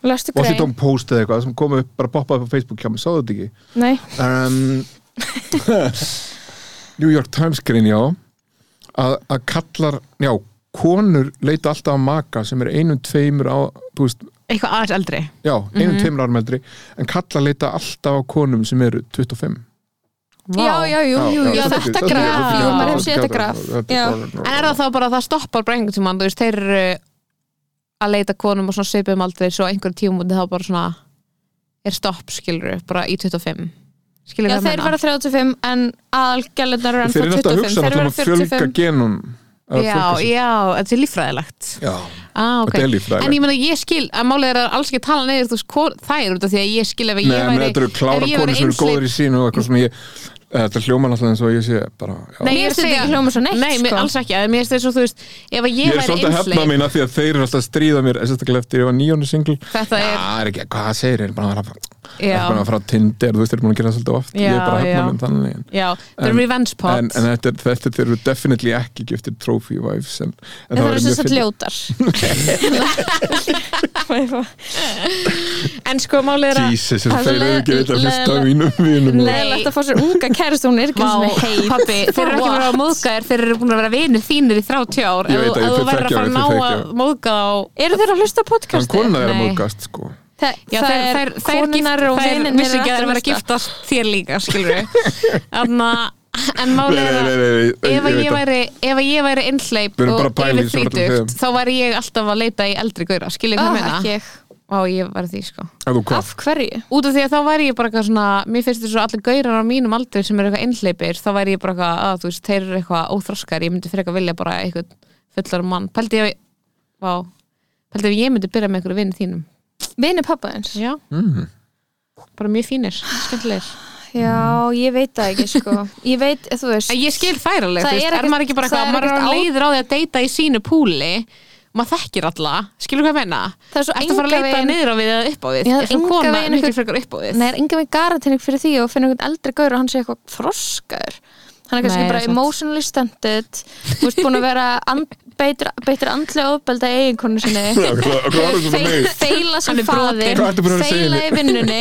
C: lestu grein,
D: Washington Post eða eitthvað sem kom upp, bara poppaði upp á Facebook hjá mig, sáðu þetta ekki
C: nei,
D: um, New York Times grein, já að, að kallar, já konur leita alltaf að maka sem er einum tveimur á, þú veist
B: Eitthvað aðeins eldri
D: já, einum
B: Mhm.
D: tveimur árum eldri en kallar leita alltaf að konum sem eru 25
C: já, já, jú, jú, jú,
B: já,
C: þetta,
B: þetta
C: þetta graf,
B: graf,
C: jú,
B: já.
C: maður hefur séð þetta graf já,
B: En er það þá bara að það stoppar bara einhvern tímann, þú veist, þeir eru að leita konum og svona svipum aldrei svo einhver tímúti þá bara svona er stopp, skilur bara í 25 skilur
C: já,
B: við að
C: þeir verða 35 en aðalgjörlunar eru
D: Þeir
C: ennþá
D: eru alltaf að
C: 25
D: hugsa
C: þeir
D: náttúrulega um
C: verða
D: að fjölga
C: 45
D: genum að
B: Já,
D: fjölga sér.
B: já, þetta er líffræðilegt
D: Já,
B: ah,
D: þetta er
B: okay. En
D: líffræðilegt
B: ég meina, ég skil að málið er að alls ekki tala neyður þú veist, hvor- þær út af því að ég skil ef
D: Nei,
B: ég
D: menn
B: væri
D: þetta eru
B: ef
D: klára
B: ég væri
D: konur sem eru
B: einhleyp-
D: góður í sínu og eitthvað sem ég Þetta hljóma náttúrulega eins og ég sé bara já.
B: Nei,
C: Mér
B: ég
C: finnst þetta
B: segi-
C: ekki hljóma svo neitt,
B: Nei, mér,
C: sko.
B: alls ekki, en mér finnst þetta svo, þú veist ef að ég,
D: Ég er
B: væri
D: svolítið að hefna
B: einsleip
D: mín af því að þeir eru alltaf að stríða mér en sérstaklega eftir ég var nýjónu singl
B: Þetta
D: Já,
B: er,
D: það er ekki, hvað segir þeir, bara að fara
B: já,
D: bara að fara að tindir, þú veist, þeir eru búin að gera það svolítið oft Ég er
B: Já,
D: bara að hefna
B: já.
D: mín þannig en,
B: já, the
D: En-
B: revenge pot
D: en, en þetta, er- þetta þeir eru definitely ekki giftir trophy wives en, en
C: en það
D: það væri
C: eru
D: mjög
C: sem sagt
D: fyndið.
C: ljótar
B: en sko málið er að
D: Jesus, þess
C: það er
D: að
C: svo
D: þeir eru ekki
C: leið-
D: þetta fyrst af
C: leiðilegt-
D: mínum vinum
B: Nei.
C: Leðilegt að fá sér unga kærist hún er ekki eins
B: Vá,
C: og heit
B: pabbi, þeir eru
C: For
B: ekki verið að
C: what?
B: móðga þér þeir eru búin að vera vinir þínir í 30 ár
D: Ég
B: Ef
D: veit
B: þú-
D: að ég
B: ef þú
D: fer
B: verður að
D: þekkja
B: fara að
D: þau,
B: ná
D: þau þekkja
B: að móðga þá
C: Eru þeir að hlusta á
D: Hann
C: podcasti?
D: konan er að
B: Nei.
D: móðgast sko
C: Þa,
B: Já,
C: það
B: þær, þær,
C: er
B: þær,
C: konunnar og
B: þær
C: vinir
B: vissi ekki að þær verið að giftast þér líka, skilur við en
D: Nei,
B: málið
D: nei,
B: er
D: nei,
B: að
D: nei, nei,
B: ef að
D: veit
B: ég
D: að-
B: væri, ef að ég væri innleip
D: Við erum bara að
B: og
D: pæla í
B: yfir
D: þessu öllum
B: þvítugt
D: þeim.
B: þá væri ég alltaf að leita í eldri gauðra skilur
C: Ah,
B: hvað meina?
C: ekki ég.
B: Vá, ég væri því sko
D: Að þú hvað?
C: Af hverju?
B: út af því að þá væri ég bara eitthvað svona mér finnst þess að allir gaurar á mínum aldrei sem eru eitthvað einhleipir þá væri ég bara eitthvað að þú veist þeir eru eitthvað óþroskar ég myndi fyrir eitthvað vilja bara eitthvað fullar mann pældi ég vá pældi ef ég myndi byrja með einhverju vinn þínum
C: Vinni pappa eins?
B: já
D: Mm.
B: bara mjög fínir skemmtilegir
C: Já, ég veit það ekki sko Ég veit, þú veist
B: en ég skil þær alveg
C: Það
B: þú veist
C: er
B: er,
C: ekkert-
B: maður ekki bara
C: það
B: eitthvað
C: er
B: maður er
C: ekkert
B: á
C: á-
B: leiður á því að deyta í sínu púli maður þekkir alla skilur hvað ég menna
C: Það er svo
B: ertu að fara að
C: engan
B: leita
C: veginn-
B: niður á við eða upp á við
C: Já,
B: er svona
C: engan
B: kona
C: veginn
B: mikil
C: einhver-
B: frekar upp á við
C: Nei, er enga með garantinning fyrir því og finnir einhvern eldri gaur og hann sé eitthvað froskar hann er kannski
B: Nei,
C: bara
B: það er satt.
C: emotionally stunted þú veist, búin að vera and, beitur, beitur andlega ofbelda eiginkonu sinni
D: Já, hvað- hvað var þetta með
C: Feil-
D: mig?
C: feila sem
B: Hann er brotinn.
C: faðir
D: Hvað ertu búin að vera að segja
C: feila í
D: henni?
C: vinnunni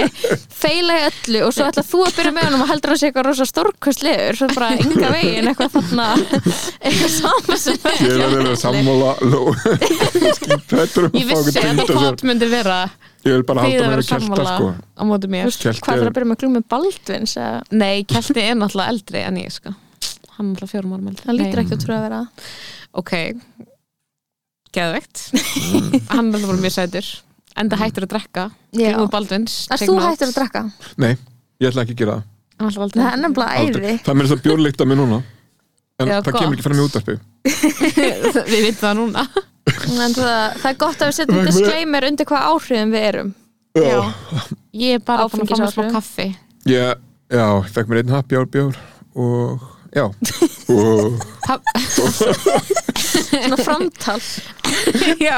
C: feila í öllu og svo ætla þú að byrja með honum og heldur að sé eitthvað rosa stórkustlegur svo bara enga veginn eitthvað þarna eitthvað saman sem
D: Ég er að vera að sammála Ló Skítrættur um
B: ég vissi að
D: þetta
B: þetta pot myndi vera
D: Ég vil bara
B: við
D: halda
B: að
D: mér
B: vera
D: að kjölda
B: sammála
D: sko
B: á móti mér
D: Kjölti
C: Hvað þarf
D: er-
C: að byrja með glúmi Baldvins? eða-
B: Nei, Kjelti er náttúrulega eldri en ég sko Hann er náttúrulega fjórum árum eldri
C: Hann lítur
B: Nei.
C: ekki að trúa að vera
B: Ok, geðveikt Hann er náttúrulega bara mjög sætur Enda hættur að drekka Glúmur Baldvins
C: Er Mm. þú hættur að drekka?
D: Nei, ég ætla ekki að gera það
B: drekka?
C: Það er nefnilega æði
D: Aldrei. Það er mér þess að bjórleikta mig núna En
B: Já,
D: það
B: gott.
D: kemur ekki fram í útarpi
B: Við vitum það núna
C: En það, það er gott að við setjum disclaimer undir hvað áhrifum við erum
B: Já. Ég er bara búin að fá mig
C: Áfengisáhrif.
B: smá kaffi
D: Ég, já, ég fekk mér einn happy hour bjór og, já og,
B: Pab
C: Svona framtal
B: Já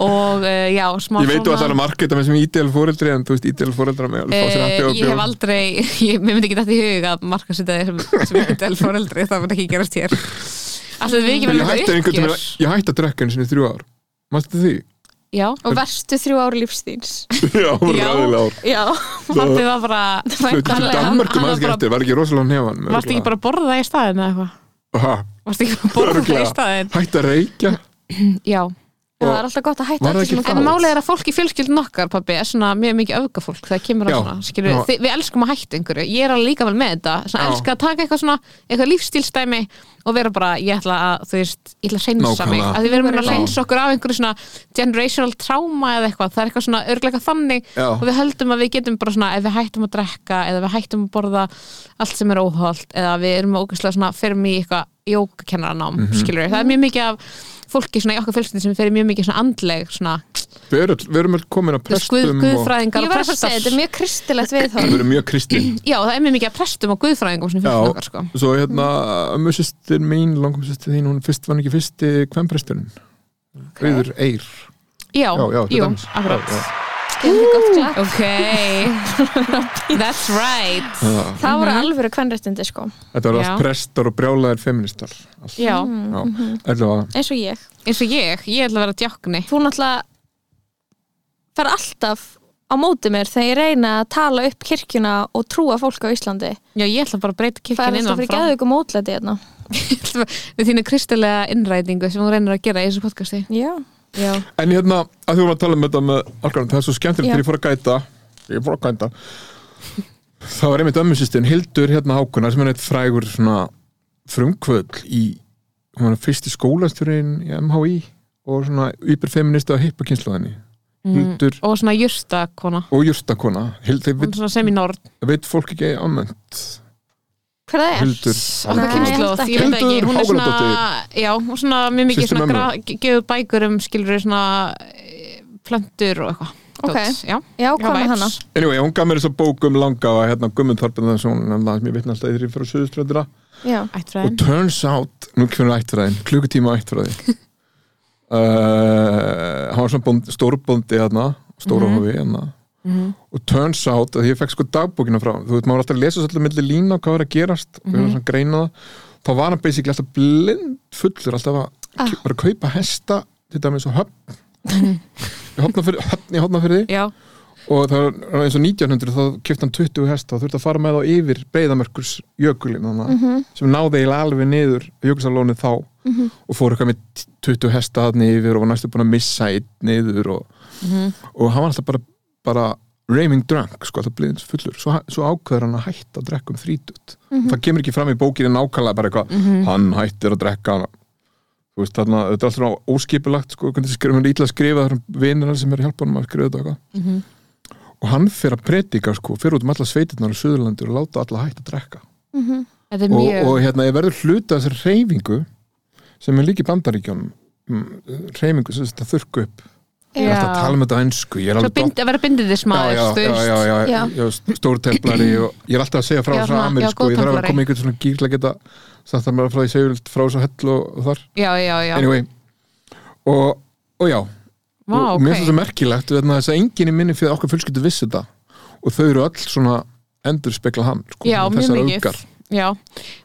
B: Og uh, já, smá
D: ég veit þú að það er að marketa með sem E ídel fóreldri en þú veist E ídel fóreldra með alveg fá sér happy
B: eh,
D: hour
B: ég hef
D: bjór
B: aldrei, ég, mér myndi ekki þetta í hug að marka sér þeir sem, sem ekki del foreldri, það myndi ekki gerast hér Alltaf við ekki
D: Ég
B: verðum
D: hætti einhvern
B: þetta
D: tímann
B: uppgjör
D: ég hætti að drekka einu sinni í þrjú ár Mastu því?
B: Já,
C: og verstu þrjú ári lífstíns
D: Já,
B: Já.
D: ræðilega ár
C: Já,
B: Pappi var bara
D: Fluttu til
B: Hann-
D: Danmarku
B: hann var
D: maður
B: bara-
D: skemmtir, var ekki rosalega nefan
B: Varst ekki bara að borða í staðin eða eitthvað?
D: bara
B: Varst ekki bara að borða
D: Örugglega.
B: í staðin?
D: Hætti að reykja
B: Já
C: það er alltaf gott að hætta
D: Var það
C: öllu sem
D: ekki
C: að
B: En
D: Fátt.
B: málið er að fólk í fjölskyldin okkar, pabbi, er svona mjög mikið öfgafólk Það kemur á
D: Já.
B: svona, skilur við
D: Já.
B: Þi- Við elskum að hætta einhverju Ég er alveg líka vel með þetta Svona
D: Já.
B: elska að taka eitthvað svona, eitthvað lífstílstæmi Og vera bara, ég ætla að, þú veist, ég ætla að reynsa mig
D: Nákvæmlega.
B: Að því við erum að
D: Já.
B: reynsa okkur af einhverju svona generational trauma eða eitthvað Það er eitthvað svona örgleika þannig
D: Já.
B: Og við höldum að við getum bara svona, ef við hættum að drekka Eða við hættum að borða allt sem er óholt Eða við erum ógæslega svona, fyrir mig í eitthvað jókakennaranám,
D: Mhm.
B: mm Það er mjög mikið af fólki svona í okkar fjölskyldin sem fyrir mjög mikið svona andleg svona
D: Við erum öll- við erum öll komin að
B: Þú veist, guð,
D: prestum og
B: guðfræðingar
C: Ég var að
B: og
C: fara að
B: prestar
C: segja, þetta er mjög kristilegt við
D: við erum mjög kristin
B: já, það er mjög mikið að prestum og guðfræðingum sem
D: Já,
B: fyrir okkar sko
D: svo hérna ömmu sýstir mín, langum sýstir þín hún fyrst vann ekki fyrsti kvempresturinn Rauður Eir
B: já,
D: Já, já, til
B: jú,
D: dæmis.
B: akkurat
D: Já,
C: það
B: ok, that's right
D: Já.
C: Það voru
B: Mhm.
C: alvöru kvennréttindi sko
D: Þetta var
B: Já.
D: allt prestar og brjálæðir feministar Allt.
B: já, mhm.
D: Já, allavega.
C: eins og ég
B: eins og ég, ég ætla að vera djákni
C: Þú náttúrulega fer alltaf á móti mér þegar ég reyna að tala upp kirkjuna og trúa fólk á Íslandi
B: já, ég ætla bara að breyta
C: Það er
B: kirkinn
C: alltaf
B: innan
C: fyrir geðu ykkur mótlæti hérna
B: frá við þínu kristilega innrætingu sem hún reynir að gera í þessu podcasti
C: Já,
B: já,
D: En hérna, að þú voru að tala um þetta með alkohol, það er svo skemmtilegt
C: Já.
D: þegar ég fór að gæta ég fór að gæta það var einmitt ömmusýstin, Hildur hérna Hákunar sem er eitt frægur svona frumkvöld í hún var fyrsti skólasturinn í MHI og svona yperfeminista og hippakynsluðinni
B: Mm.
D: Hildur
B: og svona júrstakona
D: og júrstakona Hildur,
B: hún er svona semi-nord
D: veit fólk ekki almennt
C: hver það er?
D: Hildur
B: okkar
C: Nei, ég held
B: kynnslóð,
C: ekki.
B: ég veit ekki
D: Hildur
B: hún er svona,
D: Hákonardóttir.
B: já, hún er svona mjög mikið
D: Systir
B: svona
D: mömmu.
B: gra- ge- gefur bækur um skilur svona eh, plöntur og eitthvað
C: Ok.
B: Dót,
C: Já,
B: já, já,
C: hvað með
B: vibes.
C: hana?
D: anyway, hún gaf mér þess að bók um langa að hérna Gummund Þorbendan sem hún nefndi aðeins, mér vitna alltaf í því frá Suðuströndina
C: Já,
B: Ættfræðin.
D: og turns out, nú kemur ættfræðin klukkutíma ættfræði uh, hann var svona bónd, stórbóndi hérna, stórahofi hérna og turns out að ég fekk sko dagbókina frá honum. þú veit, maður var alltaf að lesa svolítið milli lína og hvað var að gerast og hérna svona greina það þá var hann basically alltaf blind fullur alltaf að
C: Ah.
D: ah. bara að kaupa hesta til dæmis og höfn í hopna fyrir, höfn í hopna fyrir
B: Já,
D: og það er eins og 1900 þá kefti hann 20 hest og þurfti að fara með þá yfir breyðamörkurs jökulin þannig
C: mm -hmm.
D: sem náði eiginlega alveg niður jökulsalónið þá og fór eitthvað með 20 hesta þannig yfir og var næstu búin að missa einn niður og,
B: Mhm.
D: og hann var alltaf bara, bara raving drunk, sko, alltaf bliðins fullur svo, svo ákveður hann að hætta að drekka um þrítut það kemur ekki fram í bókinni nákvæmlega bara eitthvað, hann hættir að drekka hann þú veist, þarna, þetta er alltaf svona óskipulagt sko, hvernig þessi skrifum hann ítla að skrifa þar um vinir hann sem er að hjálpa hann að skrifa þetta og eitthvað
B: Mhm.
D: og hann fer að predika sko, fer út um alla sveitirnar á Suðurlandur og láta alla hætt að drekka
B: Þetta er
D: og,
B: mjög
D: og hérna, ég verður hluta þessar reyfingu sem er líka í bandaríkjónum reyfingu sem þetta þurrku upp ég er alltaf að tala með þetta á ensku ég er
B: Svo
D: alveg
B: bind, að vera bindið þess
D: já,
B: maður
D: já,
B: þú
D: já,
B: veist.
D: já, já, já, já, stórtemplari og ég er alltaf að segja
B: Já,
D: frá þess að
B: svona-
D: Amir
B: já,
D: sko, ég þarf að
B: góðtemplari.
D: koma í einhvern svona gýr til að geta sagt það mér frá því segjult frá þess að hellu og, og þar,
B: já, já, já.
D: anyway og, og já,
B: Vá,
D: og, og
B: ok.
D: mér finnst það svo merkilegt vegna þess að enginn í minni fyrir okkar fullskyldu vissi þetta og þau eru öll svona endur spekla hann sko,
B: já, mjög
D: þessar
B: mikið
D: augar.
B: já,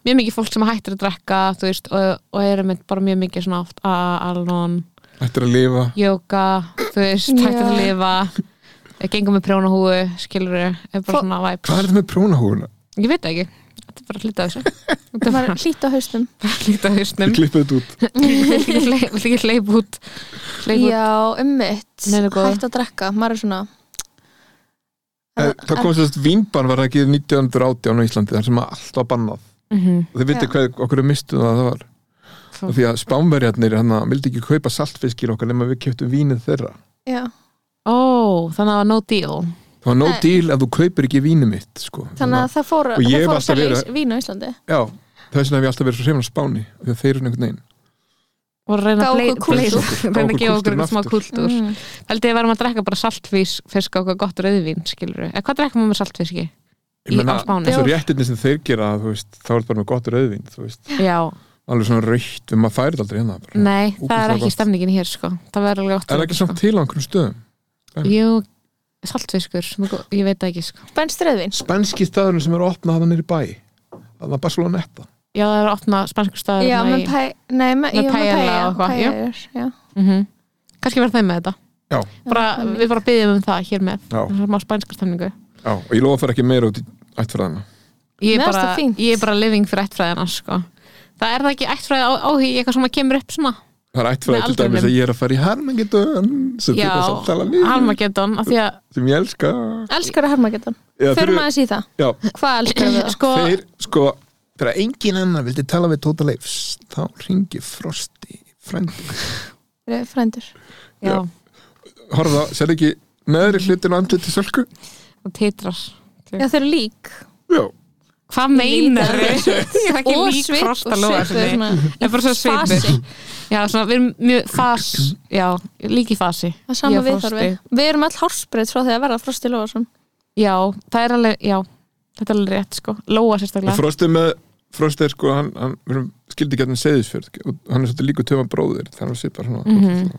B: mjög mikið fólk sem hættir að drekka þú veist, og, og eru með bara mjög mikið svona oft a- alnón,
D: Ættir að lifa
B: jóka þú veist, hættir að
C: Já.
B: lifa gengum með prjónahúu, skilur er bara
C: Fó-
B: svona væps,
D: Hvað er þetta með prjónahúfuna?
B: ég veit það ekki þetta er bara að hlita þessu þetta er
C: var
B: bara
C: hlýtt á haustum
B: að hlita þessu
D: Ég klippið þetta út
B: vill ekki hleyp út hleyp út,
C: já, ummitt,
B: Nei, það er góð.
C: hægt að drekka maður er svona
D: Eh, Það komst þess að vínbann var ekki 1918 á Íslandi þar sem allt var bannað
B: Mhm.
D: og þið vitið
C: Já.
D: hvað okkur er mistuð að það var
B: Fó-
D: og því að spánverjarnir hann vildi ekki kaupa saltfiskir okkar nema við keftum vínið þeirra
C: já,
B: ó, þannig að það var no deal
D: það var no
C: Nei.
D: deal ef þú kaupir ekki vínið mitt sko.
C: þannig að það fór,
D: Og
C: það
D: ég hef
C: fór að
D: alltaf
C: selja
D: verið-
C: vera... vín á Íslandi
D: já, þess vegna hef ég alltaf verið svo hreifan á spáni því að þeir eru einhvern veginn
B: voru að reyna
C: Gá
B: að blei-
C: okkur kúltúr.
B: blei- reyna að gefa
D: Gá okkur
B: okkur
D: kúltúrinn
B: einhvern smá
D: aftur.
B: kultúr
C: Mm.
B: held ég að verðum að drekka bara saltfisk fisk og eitthvað gott rauðvín, skilur við hvað drekkum við með saltfiski? Í-
D: ég
B: á Spáni.
D: þessu réttinni sem þeir gera þú veist, þá er þetta bara með gott rauðvín þú veist,
B: Já,
D: alveg svona raukt, við maður færið aldrei hérna bara.
B: nei, það er
D: ógeðslega
B: ekki
D: gott.
B: stemningin hér sko það verður alveg gott
D: er
B: rauðvín,
D: ekki samt til á einhverjum stöðum
B: sko. Jú, saltfiskur, nú go- ég veit það ekki sko
C: spænst reyðvin
D: spænski staðurinn sem eru opnað hann er í bæ það var Barceloneta
B: Já, það er að opna spanskur staður
C: já, með pæ, nei, með,
B: Með
C: með
B: paella
C: pæja
B: og eitthvað, já.
C: já.
B: mm -hmm. Kannski verður þeim með þetta
D: Já.
B: bara,
C: Já, það er
B: Við bara byggjum um það hér með
D: Já.
B: Það er má spænskar stemningu
D: já, og ég lofa að fara ekki meira út í ættfræðina
B: ég er,
C: Mér finnst
B: bara,
C: það fínt.
B: ég er bara living fyrir ættfræðina sko Það er það ekki ættfræði á- áhugi eitthvað sem að kemur upp svona
D: Það er ættfræði
B: Með
D: til dæmis
B: aldrinum.
D: að ég er að fara í Harmageddon sem
B: Já,
D: þið þess að tala líf
B: Armageddon af því að,
D: sem ég elska
C: elskar að harmagetan,
D: Já, þeir,
C: förum aðeins í það
D: já,
C: hvað elskar við það?
B: sko,
D: þeir sko þegar engin annar vildi tala við Tóta Leifs þá ringi Frosti frændi
C: frændur
B: já,
D: já. Horfða, sér ekki neðri hlutin og andliti sölku?
B: og titrar
C: já, þeir eru lík
D: Já,
B: Hvað meinar þau? Ég er ekki lík frosta lóa Það er bara svo svipur
C: fasi.
B: Já, svona, við erum mjög fas Já, líki fasi
C: það er sama
B: Ég
C: við
B: frosti.
C: þarf við við erum all hársbreyt frá því að verða frosti Lóðarsson
B: Já, það er alveg, já Þetta er alveg rétt, sko, lóa sérstaklega
D: Frosti með Frosti er sko, hann, hann við erum skildi gætni seðisfjörð og hann er svolítið líku töma bróðir þannig að svipa svona
B: Mhm.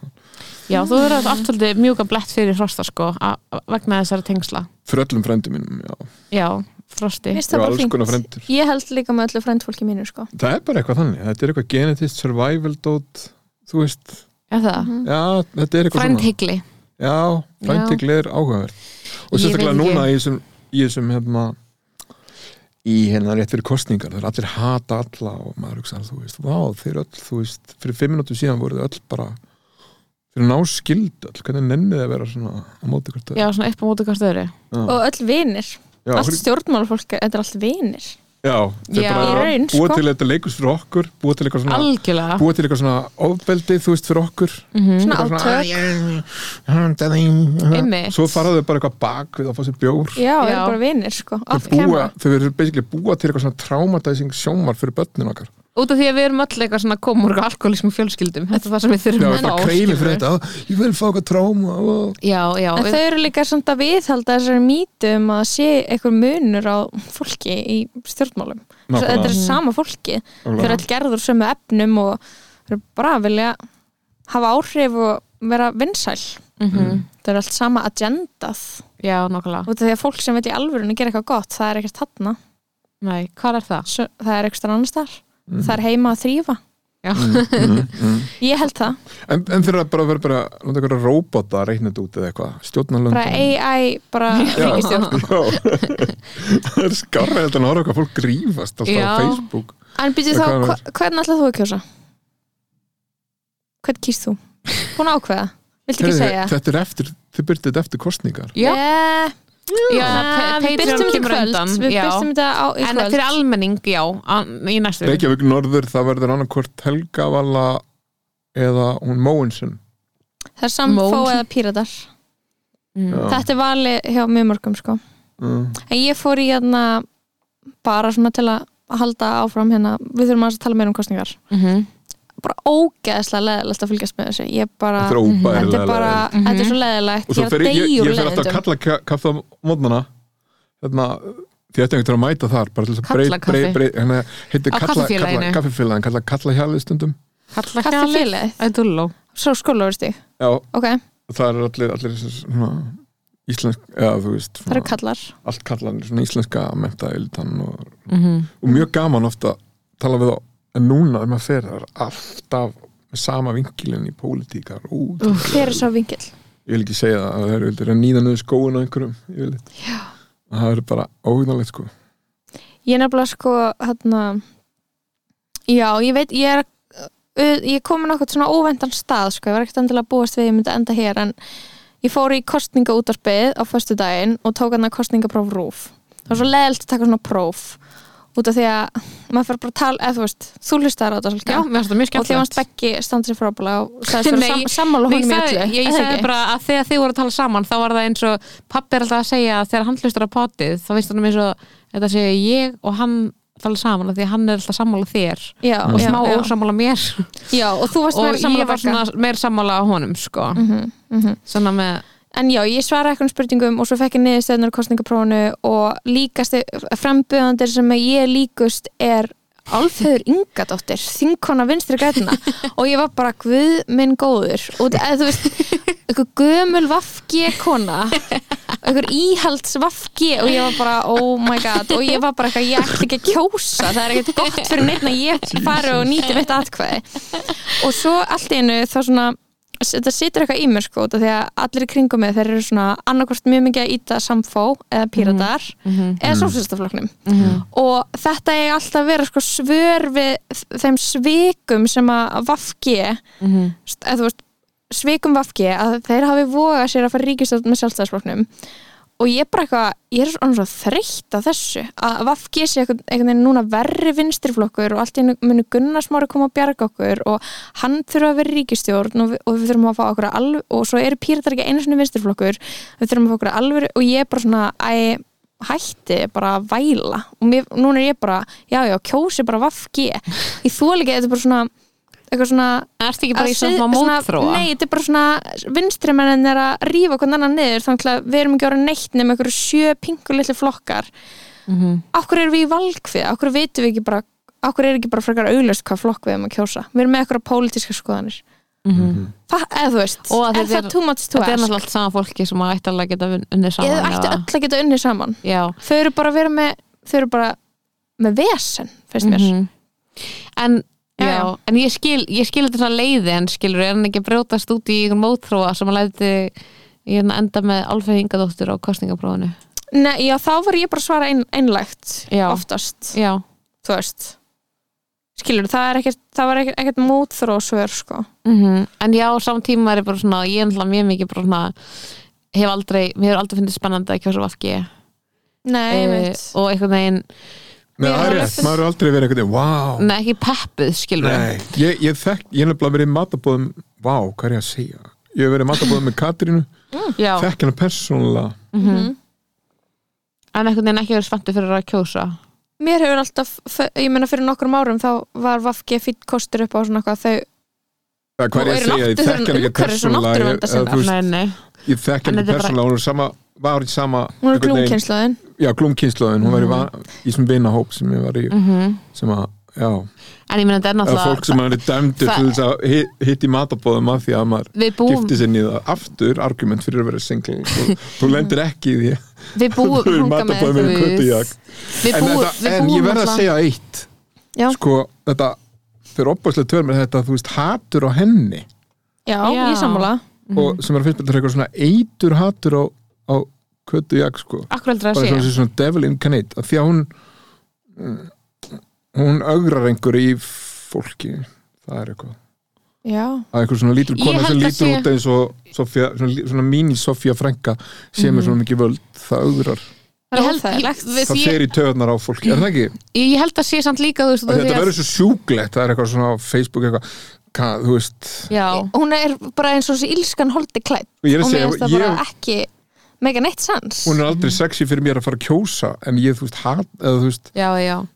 B: Já, þú verður allt svolítið mjúka blett fyrir frosta, sko a- vegna þessara tengsla
D: fyrir öllum frændum mínum, já,
B: Já, frosti
C: Mér finnst
D: já
C: það bara
D: alls konar
C: fínt
D: frændur
C: ég held líka með öllu frændfólki mínu sko.
D: Það er bara eitthvað þannig, þetta er eitthvað genetist survival dót, þú veist
B: Er það?
C: Mhm.
D: Já, þetta er eitthvað svona
B: Frændhyggli
D: Já, frændhygli er áhugaverð Og
B: Ég
D: sérstaklega
B: veit ekki.
D: núna í þessum, í þessum hérna í hérna rétt fyrir kostningar það er allir hata alla og maður hugsa þú veist, vá, þeir öll, þú veist fyrir fimm minútu síðan voru þau öll bara fyrir ná skild öll, hvernig nennið þið að vera svona á móti hvert öðru?
B: Já, svona upp á móti hvort öðru
D: Já,
C: og öll vinir,
D: já,
C: allt
D: hvernig-
C: stjórnmálafólk þetta er allt vinir
D: já, þeir
B: Já.
D: bara
B: Í
D: eru
C: raun,
D: að búa
C: sko.
D: til þetta leikus fyrir okkur búa til eitthvað svona,
B: Algjörlega
D: búa til eitthvað svona ofbeldi, þú veist, fyrir okkur
B: Mhm.
C: svona
D: Bara svona,
C: átök
D: "Æ, æ, æ, æ, æ, æ, æ."
B: Einmitt.
D: Svo faraðu þau bara eitthvað bak við að fá sér bjór
C: já, það
B: Já.
C: eru bara vinir sko.
D: þau
C: Off
D: búa,
C: camera.
D: þau verður basically búa til eitthvað svona traumatizing sjómar fyrir börnin okkar
C: Mhm.
B: Út af því að við erum öll eitthvað svona komur og alkoholismu fjölskyldum, þetta er það sem við þurfum að
D: já, það
B: fá,
D: kreifir
B: skilurðu.
D: fyrir þetta, "Ah, ég vil fá eitthvað trauma og...
B: Já, já,
C: en þau eru líka samt að viðhalda þessari mítum að sé eitthvað munur á fólki í stjórnmálum Svo
D: Nákvæmlega.
C: þetta er sama fólki þau eru all gerður sömu efnum og þau eru bara að vilja hafa áhrif og vera vinsæl
B: mm
C: það eru allt sama agendað
B: já, nokkulega
C: og því að fólk sem vil í alvörunni gera eitthvað gott það er ekkert þarna,
B: Nei, hvað er það?
C: Svo- það er eitthvað annars þar það er heima að þrýfa
B: Já.
D: mm, mm.
C: Ég held það.
D: En, en þeirra bara verður bara láta einhverja róbota að reikna þetta út eða eitthvað, stjórnarlönd
C: Bara AI, bara ríkistjórn.
D: Já, það er skarra heldur en að horfa hvað fólk grífast alltaf
B: Já.
D: á Facebook
C: En byrju
D: Hvað
C: þá,
D: er það?
C: hva- hvern ætlað þú að kjósa? Hvern kýrst þú? Búin að ákveða? Viltu ekki
D: Heyrðu,
C: segja?
D: Þetta er eftir, þið byrtið þetta eftir kostningar
B: Já.
C: Yeah.
B: Já, pa-
C: eh, við
B: Patreon
C: byrstum þetta í
B: kemur
C: kvöld
B: undan,
C: Við
B: já.
C: byrstum þetta á í
B: En
C: kvöld
B: fyrir almenning, já, an- í næstu viku.
D: Reykjavík norður, það verður annarkvort Helgavala eða hún Móinsson
C: Það er samt
B: Mól.
C: fó eða píratar
B: Mm.
D: Já.
C: Þetta er valið hjá mjög mörgum sko
D: mm.
C: En ég fór í hérna bara svona til að halda áfram hérna Við þurfum aðeins að tala meira um kostningar
B: Mhm.
C: Bara ógeðslega leðilegt að fylgjast með þessu Ég bara,
D: Þetta er
C: Mm. þetta
D: óbærilega
C: er bara
D: leiðilegt.
B: Mhm.
C: Þetta er svo leðilegt
D: Og svo
C: Ég er
D: fer
C: að
D: ég, ég,
C: deyjur
D: ég fer alltaf að
C: leðilendum
D: kalla ka- kaffi á mótnana Þarna, því ætti einhvern veginn að mæta þar bara til þess að breyta
B: Kallakaffi.
D: brey, brey, hérna, heitir
B: Á
D: kalla, kalla,
B: kaffifélaginu.
D: kaffifélagin kalla kalla hjalið stundum
B: Kalla
C: Kaffi
B: hjalið.
C: félagið
B: Æ, dulló.
C: Svo skólaversti
D: já,
C: Ok,
D: það er allir, allir þessi svona íslensk, já þú veist
C: það eru
D: svona,
C: kallar
D: allt kallanir, svona íslenska mentaðildan og,
B: Mhm.
D: og mjög gaman ofta tala við þá en núna er maður fer þar alltaf með sama vinkilin í pólitíkar út,
C: Hver er svo vingill?
D: ég vil ekki segja það það er vildur að nýða niður skóun á einhverjum yfirleitt. það er bara óhugnalegt sko
C: Ég nefnilega sko hérna, já, ég veit ég er uh, ég komin okkur svona óvendan stað sko, ég var ekkert endilega að búast við að ég myndi enda hér en ég fór í kostningaútarpið á föstu daginn og tók hann að kostningapróf rúf það var svo leðilt að taka svona próf út af því að maður fyrir bara að tala eða þú veist, þú hlustar á þetta
B: Já,
C: svolítið
B: mér finnst það
C: og
B: mjög
C: því
B: skemmtilegt.
C: varst Beggi standið sér frábæla og sagðist
B: Nei,
C: vera sam, sammála honum
B: Nei, ég
C: í
B: sagði,
C: öllu
B: ég,
C: Er
B: ég
C: það
B: sagði
C: ekki?
B: bara að þegar þið voru að tala saman þá var það eins og pappi er alltaf að segja að þegar hann hlustar á potið þá veist hann eins og þetta segja ég og hann tala saman af því að hann er alltaf sammála þér
C: já,
B: og
C: já,
B: smá
C: já.
B: ósammála mér
C: já, og þú varst
B: og
C: meira
B: ég
C: sammála
B: var svona meir sammála á honum sko.
C: mm
B: svona með
C: en já, ég svara eitthvað spurningum og svo fekk ég niðurstöðunar kostningaprófunu og líkast frambjöðandir sem að ég er líkust er Alfeður Ingadóttir, þinkona vinstri gætina og ég var bara guð minn góður og eða, þú veist einhver gömul vafgje kona einhver íhalds vafgje og ég var bara oh my god og ég var bara eitthvað, ég ætla ekki að kjósa það er ekkert gott fyrir neitt að ég fari og nýti mitt atkvæði og svo allt í einu þá svona þetta situr eitthvað í mér sko út af því að allir í kringum mig þeir eru svona annarkvort mjög mikið að íta samfó eða píratar eða sósistafloknum og þetta er alltaf að vera sko svör við þeim svikum sem að vafki eða þú veist svikum vafki að þeir hafi vogað sér að fara ríkistöld með sjálfstæðisfloknum og ég er bara eitthvað, ég er svona svo þreytt á þessu að vafki sé einhvern einhvern veginn núna verri vinstirflokkur og allt í einu munu Gunnarsmári koma að bjarga okkur og hann þurfa að vera ríkistjórn og við, og við þurfum að fá okkur alveg og svo eru pýratar ekki einu sinni vinstirflokkur við þurfum að fá okkur alveg og ég er bara svona æ, hætti bara að væla og mér, núna er ég bara, já já, kjósi bara vafki ég þóla ekki, þetta er bara svona eitthvað svona
B: ertu ekki bara í
C: að sið-
B: svona mótþróa
C: Nei, þetta er bara svona vinstrimennin er að rífa hvern annan niður þannig að við erum ekki ára neitt nema einhverju sjö pingu litli flokkar
B: Mhm.
C: Akkur erum við í valgfið, akkur veitum við ekki bara Akkur er ekki bara frekar auðlöst hvað flokk við erum að kjósa Við erum með eitthvað pólitíska skoðanir Fa, Eða þú veist,
B: Mhm. Og að
C: er
B: þetta
C: það
B: er-
C: too much to
B: þetta er
C: ask?
B: náttúrulega allt sama fólki sem að ætti alveg að geta vun- unnið saman
C: Eða ættu
B: eða-
C: öll að geta unnið saman
B: já
C: Þau eru bara að vera með, þau eru bara með vesen, finnst mér
B: Mhm. en
C: Já,
B: Já,
C: já.
B: en ég skil, ég skil þetta svona leiði en skilur er hann ekki að brjótast út í einhvern mótróa sem að læti ég hérna, enda með Alfreð Ingadóttur á kostningaprófinu
C: Nei, já, þá var ég bara að svara ein, einlægt
B: Já.
C: oftast
B: Já,
C: þú veist skilur, það, er ekkert, það var ekkert, ekkert mótþrósvör sko.
B: mm en já, samtíma er ég bara svona ég er náttúrulega mjög mikið bara svona hef aldrei, mér hefur aldrei fundið spennandi að kjósa um vafki
C: nei,
B: e, og einhvern veginn,
D: Nei, það er rétt, maður er aldrei verið einhvern veginn, wow
B: neða ekki peppuð skilur
D: Nei, ég, ég þekk, ég hef nefnilega verið í matabóðum Vá, hvað er ég að segja? Ég hef verið í matabóðum með Katrínu
B: já,
D: Þekk hennar persónulega
C: Mhm.
B: Mhm. en einhvern veginn ekki verið spenntu fyrir að kjósa
C: mér hefur alltaf, f- ég meina fyrir nokkrum árum þá var Vafki fýtt kostur upp á svona eitthvað þau,
D: Eða hvað er
C: Og
D: ég að
C: eru
D: segja? Ég
C: náttúru-
D: þekk hennar ekki
C: umhverfis- og
D: persónulega ég-
C: náttúruverndarsinnar.
D: eða þú veist,
B: nei, nei,
D: Ég þekk
B: En
D: hennar
B: þetta er bara-
D: persónulega, hún er sama var í sama
C: hún er
D: einhvern veginn-
C: glúmkynnslóðin
D: Já, glúmkynnslóðin, hún var í, va- í sem vinahóp sem ég var í
B: mm
D: sem að, já,
B: en ég meina þetta er
D: eða
B: náttúrulega
D: fólk sem hann er dæmdur
B: það-
D: til þess að hi- hitta í matabóðum af því að maður
B: við búum,
D: gifti sinni það aftur argument fyrir að vera single þú, þú lendir ekki í því
B: við búum
D: Þú er
B: hanga með
D: matabóðum með
B: Guð.
D: köttujak.
B: við
D: en,
B: búum,
D: þetta,
B: við
D: en
B: búum
D: ég verð að
B: náttúrulega-
D: segja eitt
C: Já.
D: sko, þetta fyrir opbáslega tör með þetta, þú veist, hatur á henni
C: já,
B: Já.
C: ég sammála
B: Mhm.
D: og sem er að fyrst betur eitthvað svona eitur hatur á, á köttu jakk sko
B: Akkur heldur
D: bara
B: það
D: svona,
B: að sé
D: svona devil incarnate af því að hún mm, hún ögrar einhver í fólki það er eitthvað
C: já,
D: að einhver svona lítur
B: Ég
D: kona
B: held
D: sem
B: að
D: lítur
B: sé-
D: út eins og Sofía, svona, svona mini Sofía Franka sem er svona mikið völd, það ögrar
C: það
B: Ég
C: er
B: held-
C: óþægilegt
B: ég- Mhm. við-
D: það
B: ég-
D: fer í töðnar á fólki, er það ekki?
B: Ég ég held að sé samt líka þú veist,
D: Af því
B: þú
D: að þetta
B: veist-
D: verður svo sjúklegt, það er eitthvað svona á Facebook eitthvað, hvað, þú veist
B: Já,
C: hún er bara eins og þessi ílskan holdi klætt
D: og ég er
C: og
D: að
C: mér
D: segja,
C: finnst það
D: ég,
C: bara ekki mega neitt sans
D: hún er aldrei sexy fyrir mér að fara að kjósa, en ég, þú veist, hat eða þú veist,
B: já, já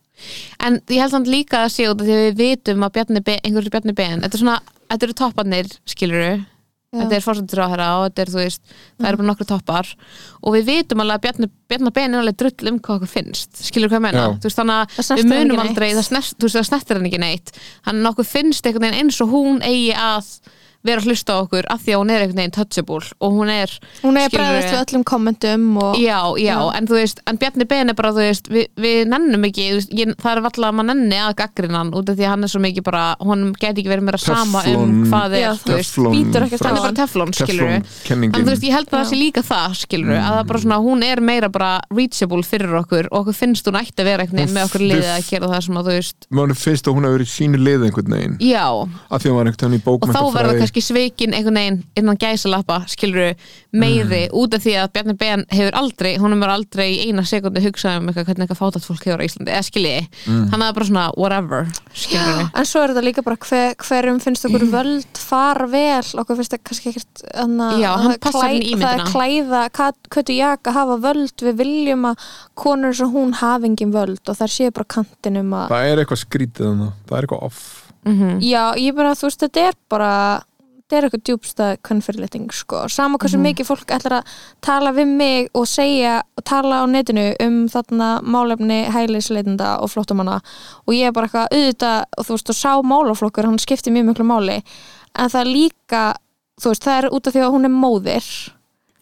B: En ég held samt líka að sé út af því að við vitum að Bjarni Ben, einhverjir Bjarni Ben Þetta er svona, þetta eru topparnir, skilurðu Þetta er fórsættisráðherra og þetta er, þú veist, það
C: Mm.
B: eru bara nokkru toppar og við vitum alveg að Bjarni, Bjarni Ben er alveg drull um hvað okkur finnst skilur hvað ég meina,
D: Já.
B: þú veist, þannig
C: Það
B: að
C: snertir
B: við
C: hann
B: munum
C: ekki neitt.
B: aldrei, það snert, þú veist, það snertir hann ekki neitt hann okkur finnst einhvern veginn eins og hún eigi að vera að hlusta á okkur af því að hún er einhvern veginn touchable og hún er,
C: hún er
B: skilurðu,
C: bræðast við öllum kommentum og
B: já, já,
C: sko. Já.
B: en þú veist en Bjarni Ben er bara, þú veist, við, við nennum ekki þú veist, ég, það er valla að maður nenni að gaggrinan út af því að hann er svo mikið bara, hún gæti ekki verið meira sama um
D: Teflon-
B: hvað er
C: Já,
B: þú veist,
D: Teflon
C: bítur ekkert
D: frá-
B: hann er bara teflon, skilur
D: teflon
B: en þú
D: kenningin
B: veist, ég held að það sé líka það, skilur að það er bara svona, hún er meira bara reachable fyrir okkur og okkur finnst hún ætti að vera einhvern veginn
D: Hún
B: með okkur
D: f-
B: liðið að gera það sem að þú veist
D: maður finnst að hún hafi verið í sínu lið einhvern veginn,
B: já,
D: af því að maður er einhvern veginn í
B: og þá verður
D: bókmæntafræði
B: kannski sveikin einhvern veginn innan gæsalappa, skilur meiri, út af því að Bjarni Ben hefur aldrei, hún er aldrei í eina sekundi hugsað um eitthvað hvernig eitthvað fátat fólk hefur á Íslandi, eða skilji, mm. hann er bara svona whatever, skilur
C: en svo er þetta líka bara hver, hverjum finnst okkur
B: Mm.
C: völd far vel, okkur finnst það kannski ekkert anna,
B: Já, hann passar inn
C: það
B: í ímyndina.
C: er klæða, köttu jak að hafa völd við viljum að konur sem hún hafi engin völd og þær séu bara á kantinum að
D: það er eitthvað skrítið þannig, það er eitthvað off
C: já, ég bara þú veist, þetta er bara þetta er eitthvað djúbsta konfirliting sko. sama hversu
B: Mhm.
C: mikið fólk ætlar að tala við mig og segja og tala á netinu um þarna málefni hælisleitinda og flóttamanna og ég er bara eitthvað auðvitað og þú veist, og sá málaflokkur, hann skiptir mjög miklu máli en það er líka þú veist, það er út af því að hún er móðir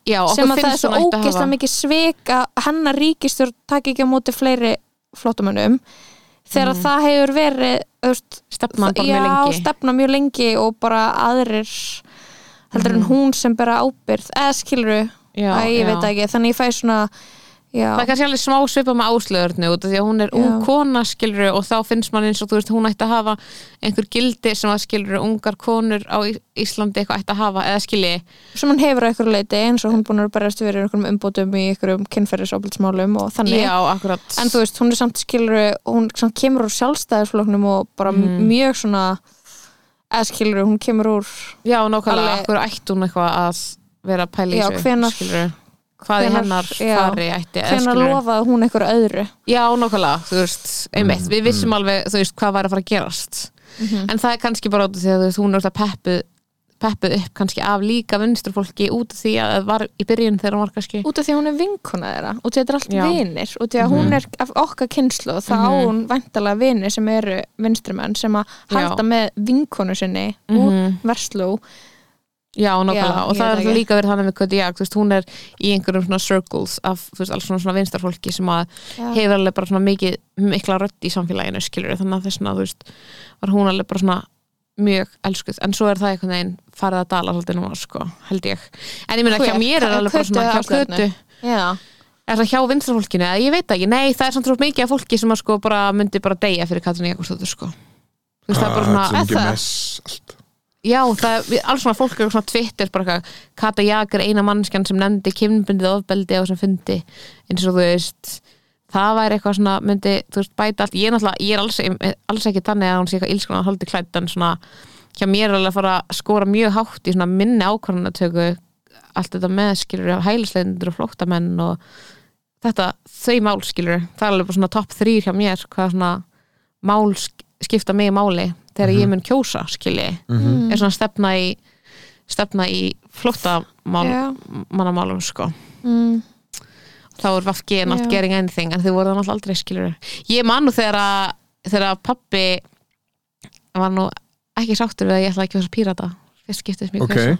B: já, okkur
C: sem að það er
B: finnst
C: svo
B: hún ætti að
C: ógeðslega
B: hafa-
C: mikið svik að hennar ríkistjórn takk ekki á móti fleiri flottamönnum þegar
B: Mhm.
C: mm. það hefur verið þú veist,
B: Stefnan bara
C: já,
B: mjög lengi.
C: stefna mjög lengi og bara aðrir heldur en hún sem bera ábyrð eða skiluru,
B: Mm. Já,
C: ég
B: já.
C: veit það ekki þannig ég fæ svona já,
B: það er kannski alveg smá svipa með áslöðurnu út af því að hún er ung
C: Já.
B: kona skilur og þá finnst mann eins og þú veist hún ætti að hafa einhver gildi sem að skilur ungar konur á Í- Íslandi eitthvað ætti að hafa eða skilji,
C: sem hún hefur á ykkur leiti eins og hún búin að berjast fyrir ykkur umbótum í ykkur kynferðisábyrðsmálum og þannig
B: já, akkurat
C: en þú veist, hún er samt skiluru hún samt kemur úr sjálfstæðisfloknum og bara
B: Mm.
C: mjög svona eða skiluru, hún kemur úr
B: Já, nákvæmlega,
C: Alveg-
B: akkur ætti hún eitthvað að vera að pæla í
C: Já,
B: þessu,
C: hvenar-
B: skilurðu? hvað í
C: hvenar-
B: hennar
C: já.
B: fari ætti eða
C: hvenær
B: skilurðu?
C: lofaði hún einhverju öðru
B: Já, nákvæmlega, þú veist, einmitt við vissum alveg, þú veist, hvað var að fara að gerast
C: Mhm.
B: en það er kannski bara út af því að þú veist, hún er alltaf peppuð peppuð upp kannski af líka vinstrufólki út af því að það var í byrjun þegar hún var kannski
C: út af því að hún er vinkona þeirra út af því að þetta er allt
B: Já. Mhm.
C: vinir út af því að hún er af okkar kynslu og þá á hún væntalega vinir sem eru vinstrimenn sem að halda með vinkonu sinni úr
B: Mhm.
C: versló
B: Já, nákvæmlega,
C: Já,
B: og
C: ég
B: það
C: veit
B: er
C: ekki.
B: líka verið þannig með Kötu Jag, þú veist, hún er í einhverjum svona circles af, þú veist, alls svona, svona vinstarfólki sem að
C: Já.
B: hefur alveg bara svona mikið, mikla rödd í samfélaginu, skilur þannig að þess vegna, þú veist, var hún alveg bara svona mjög elskuð, en svo er það einhvern veginn farið að dala svolítið núna, sko, held ég en ég meina, hjá
C: Hver?
B: mér er
C: Hva-
B: alveg bara
C: Kötu
B: svona
C: eða
B: hjá
C: Áslaugarnu?
B: Kötu,
C: já,
B: er það hjá vinstarfólkinu eða ég veit það ekki, nei, það er samt svo mikið af fólki sem að sko bara myndi bara deyja fyrir Katrin Jakobsdóttur, sko. Þú veist, það er bara svona-
D: sem Ah, ekki
C: það?
D: mess allt
B: Já, það, við, alls svona fólk er svona Twitter bara eitthvað, Kata Jag er eina mannskjan sem nefndi kynbundið ofbeldi á þessum fundi eins og þú veist það væri eitthvað svona, myndi, þú veist, bæta allt ég er náttúrulega, ég er alls, alls ekki þannig að hún sé eitthvað ílskona að holdi klætt en svona hjá mér er alveg að fara að skora mjög hátt í svona minni ákvarðanatöku allt þetta með skilur af hælisleitindur og flóttamenn og þetta, þau mál skilur það er alveg bara svona topp þrýr hjá mér hvað svona mál sk- skipta mig máli þegar ég mun kjósa skilji er svona stefna í stefna í
C: Já.
B: flóttamannamálum sko
C: mm.
B: þá er Vafki not
C: Já.
B: getting anything en þau voru þannig aldrei skilur ég man nú þegar að þegar að pappi var nú ekki sáttur við að ég ætlaði að kjósa pírata fyrst skiptið sem ég
D: ok,
B: kjósa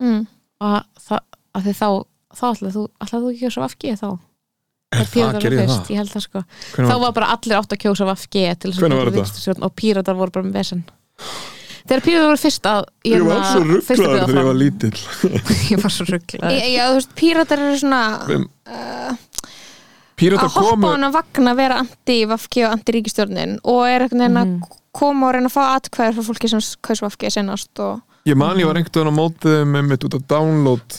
C: Mm.
B: og það, að þið þá, þá ætlaði þú, ætlaði þú ekki að svo afgið þá það
D: það
B: píratar
D: Eh, gerði
B: voru
D: það?
B: fyrst, ég held það sko
D: Hvernig
B: þá var bara allir átt að kjósa VFG til þess að
D: Hvenær var
B: geta
D: þetta?
B: ríkisstjórn og píratar voru bara með vesen þegar píratar voru fyrst að
D: Ég var svo
B: fyrst að
D: rugglaður
B: bjóða
D: þegar ég var
B: fram.
D: lítill
B: ég var svo rugglaður
C: Já, þú veist, píratar eru svona
D: Við-
C: uh, að
D: Píratar
C: hoppa á
D: komu
C: hann að vagna að vera anti-Vafki og anti-ríkistjórnin og er einhvern veginn að
B: Mhm.
C: koma og reyna að fá atkvæður frá fólki sem kaus Vafki senast og
D: Ég man ég var einhvern veginn á mótið með mitt út að download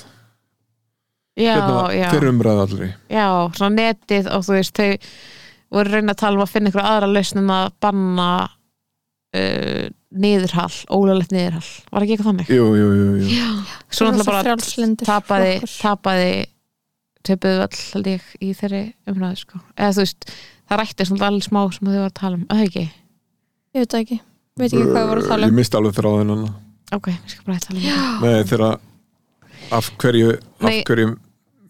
B: já, já,
D: hérna fyrir umræða allri
B: já, svona netið og þú veist, þau voru reyna að tala um að finna ykkur aðra lausn en að banna uh, niðurhall, ólulegt niðurhall var ekki eitthvað þannig?
D: Jú, jú, jú, jú.
B: svo náttúrulega bara
C: frjálslyndir
B: tapaði,
C: flokkur.
B: tapaði töpuðu all held ég í þeirri umræðu sko. eða þú veist, það rætti svona allir smá sem þau var að tala um, að það ekki
C: Ég veit það ekki, veit ekki hvað við vorum að tala
D: Ég
C: um
D: misti alveg þráðin hana
B: ok, ég skal bara hætta að tala um það.
D: Nei, þegar af hverju, af
B: Nei.
D: hverju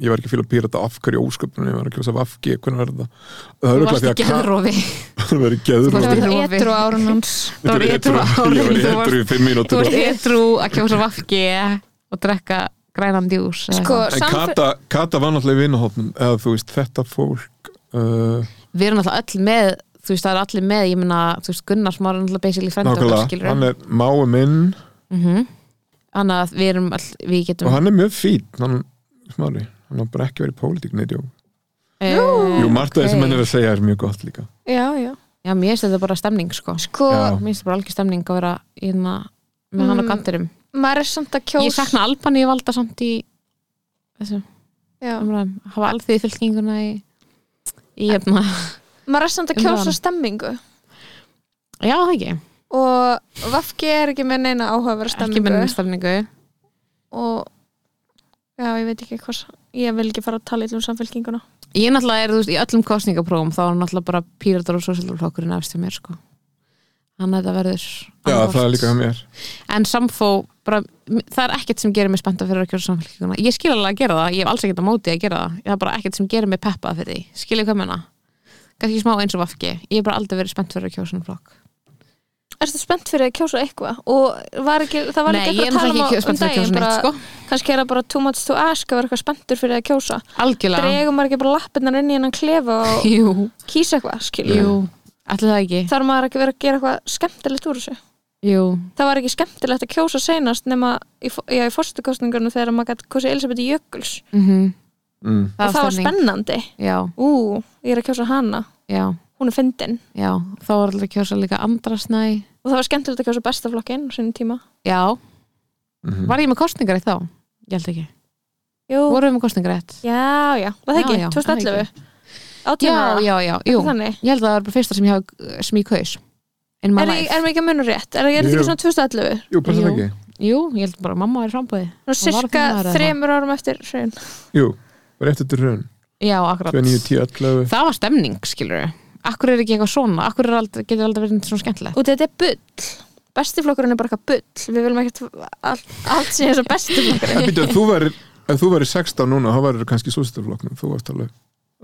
D: ég var ekki að fíla pírata af hverju ósköpunum ég var að kjósa vafki, hvernig var þetta það er
B: þú
D: örugglega
B: varst
D: því
B: ekki
D: að
B: geðrófi
D: það verið
B: Þú
C: Það
D: geður
B: varst-
C: var það
B: Rofi.
C: etru árun hans
B: þú var edrú
D: ég var
B: árin þú
D: eitthru
B: varst-
D: í fimm
B: þú
D: mínútur
B: varst edrú að kjósa vafki og drekka grænan djús eða
C: Sko,
B: eitthvað.
D: en
C: samfél...
D: Kata, Kata var náttúrulega í vinahófnum eða þú veist, þetta fólk uh,
B: við erum alltaf öll með þú veist, það er allir með, ég meina, þú veist, Gunnar sem var alltaf basically frendur
D: nákvæmlega, hann er máu minn
B: þannig að Mhm. við erum all, við
D: og
B: getum
D: hann er mjög fít hann, smári, hann har bara ekki verið í pólitík neitt, jú,
B: Eh,
D: jú margt af
B: ok.
D: það sem hann er að segja er mjög gott líka
C: Já, já
B: já, mér finnst þetta bara stemning, sko
C: Sko,
D: Já.
B: mér finnst bara algjör stemning að vera hérna, með hann á
C: Mm,
B: kantirum
C: maður er samt að kjós
B: ég sakna Albaníu valda samt í þessum
C: Já.
B: umræðum hafa alþýði fylkinguna í, í hérna
C: Maður er samt að kjósa
B: Umræðan.
C: stemmingu
B: já, það ekki,
C: og Vafki er ekki með neina áhugaverð
B: ekki
C: stemmingu
B: með stemningu
C: og já, ég veit ekki hvað ég vil ekki fara að tala illa um samfélkinguna
B: ég náttúrulega er, þú veist, í öllum kostningaprófum þá er náttúrulega bara píratar og sosialflokkurinn efst hjá mér, sko hann þetta verður
D: já,
B: annaðhvort.
D: það er líka hann mér
B: en samfó, bara, m- það er ekkert sem gerir mig spennta fyrir að kjósa samfélkinguna ég skil alveg að gera það, ég hef alls ekkert á móti að gera það það er bara ekkert sem gerir mig peppa fyrir því skil ég hvað menna, kannski smá eins og vafki ég hef bara aldrei verið spennt fyrir að kjósa um samfélk
C: Erstu spennt fyrir að kjósa eitthvað og var ekki, það var
B: Nei,
C: ekki
B: ég
C: eitthvað
B: er
C: að
B: náttúrulega
C: tala um, um
B: ekki spennt fyrir
C: daginn
B: að kjósa
C: bara,
B: neitt, sko
C: kannski er það bara too much to ask að vera eitthvað spenntur fyrir að kjósa
B: algjörlega,
C: dregum maður ekki bara lappirnar inn í hennan klefa og
B: jú,
C: kýsa eitthvað, skilur
B: jú allir það ekki,
C: þarf maður ekki verið að gera eitthvað skemmtilegt úr þessu
B: jú
C: það var ekki skemmtilegt að kjósa seinast nema í, fo- já, í fórstukostningunum þegar maður gæti kjósa Elisabeth Jökuls
B: mm
D: mm.
C: og það var spennandi
B: já,
C: ú, ég er að kjósa hana,
B: já,
C: hún er fyndin
B: já, þá var allir að kjósa líka andrasnæ,
C: og það var skemmtilegt að kjósa bestaflokkin á sinni tíma
B: já
D: mhm.
B: var ég með kostningar í þá, ég held ekki
C: Jú,
B: voru við með kostningar rétt
C: já, já, var það
B: Já, já,
C: ekki,
B: það
C: 2011
B: já,
C: 18 ára,
B: já, já, jú,
C: þannig
B: ég held að það var bara fyrsta sem ég hafa sem ég kaus in my
C: er, ég-
B: life,
C: er mér ekki að munur rétt, er, er þetta
D: Jú.
C: ekki svona 2011
D: jú, passar
B: Jú.
D: það ekki
B: jú, ég held bara að mamma er frambúði
C: svona
B: Hún var
C: cirka
B: fimm ára eða
C: þremur árum eftir hrein
D: jú, rétt eftir hrun
B: já, akkurat,
D: 29, 10, 11
B: það var stemning, skilur akkur er ekki eitthvað svona, akkur er aldrei, getur aldrei verið svona skemmtilegt,
C: og þetta er bull bestiflokkurinn er bara eitthvað bull við viljum ekkert allt, allt sem er svo bestiflokkurinn
D: En býttu, ef þú væri, ef þú væri 16 núna, þá væri kannski sósistaflokknum, þú varst alveg,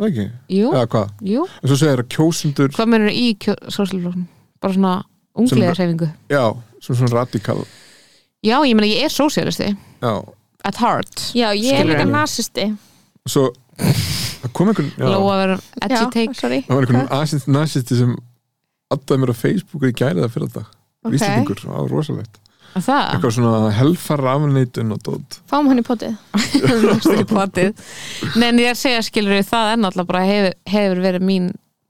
D: það ekki?
B: jú,
D: Eða hvað?
B: jú
D: En svo segir það kjósundur,
B: hvað mennur í sósíalflokkum bara svona ungliðarhefingu
D: já, svona svona radikal,
B: já, ég meina ég er sósíalisti
D: já,
B: at heart,
C: já, ég er
B: Skilur
C: líka
D: við.
C: nasisti
D: svo, það kom einhvern, já,
B: lóa að vera
C: já,
B: edgy take
C: sorry
D: það var einhvern asins nazisti sem addaði mér á Facebooku í gæriða fyrir dag,
C: Ok.
D: okay. Íslandingur, það var rosalegt.
B: Að það,
D: Eitthvað svona helfar afneitun og dót.
C: fáum hann í potið
B: lagst ekki platið Nei, en ég er að segja skilur það er náttúrulega bara hefur, hefur verið mín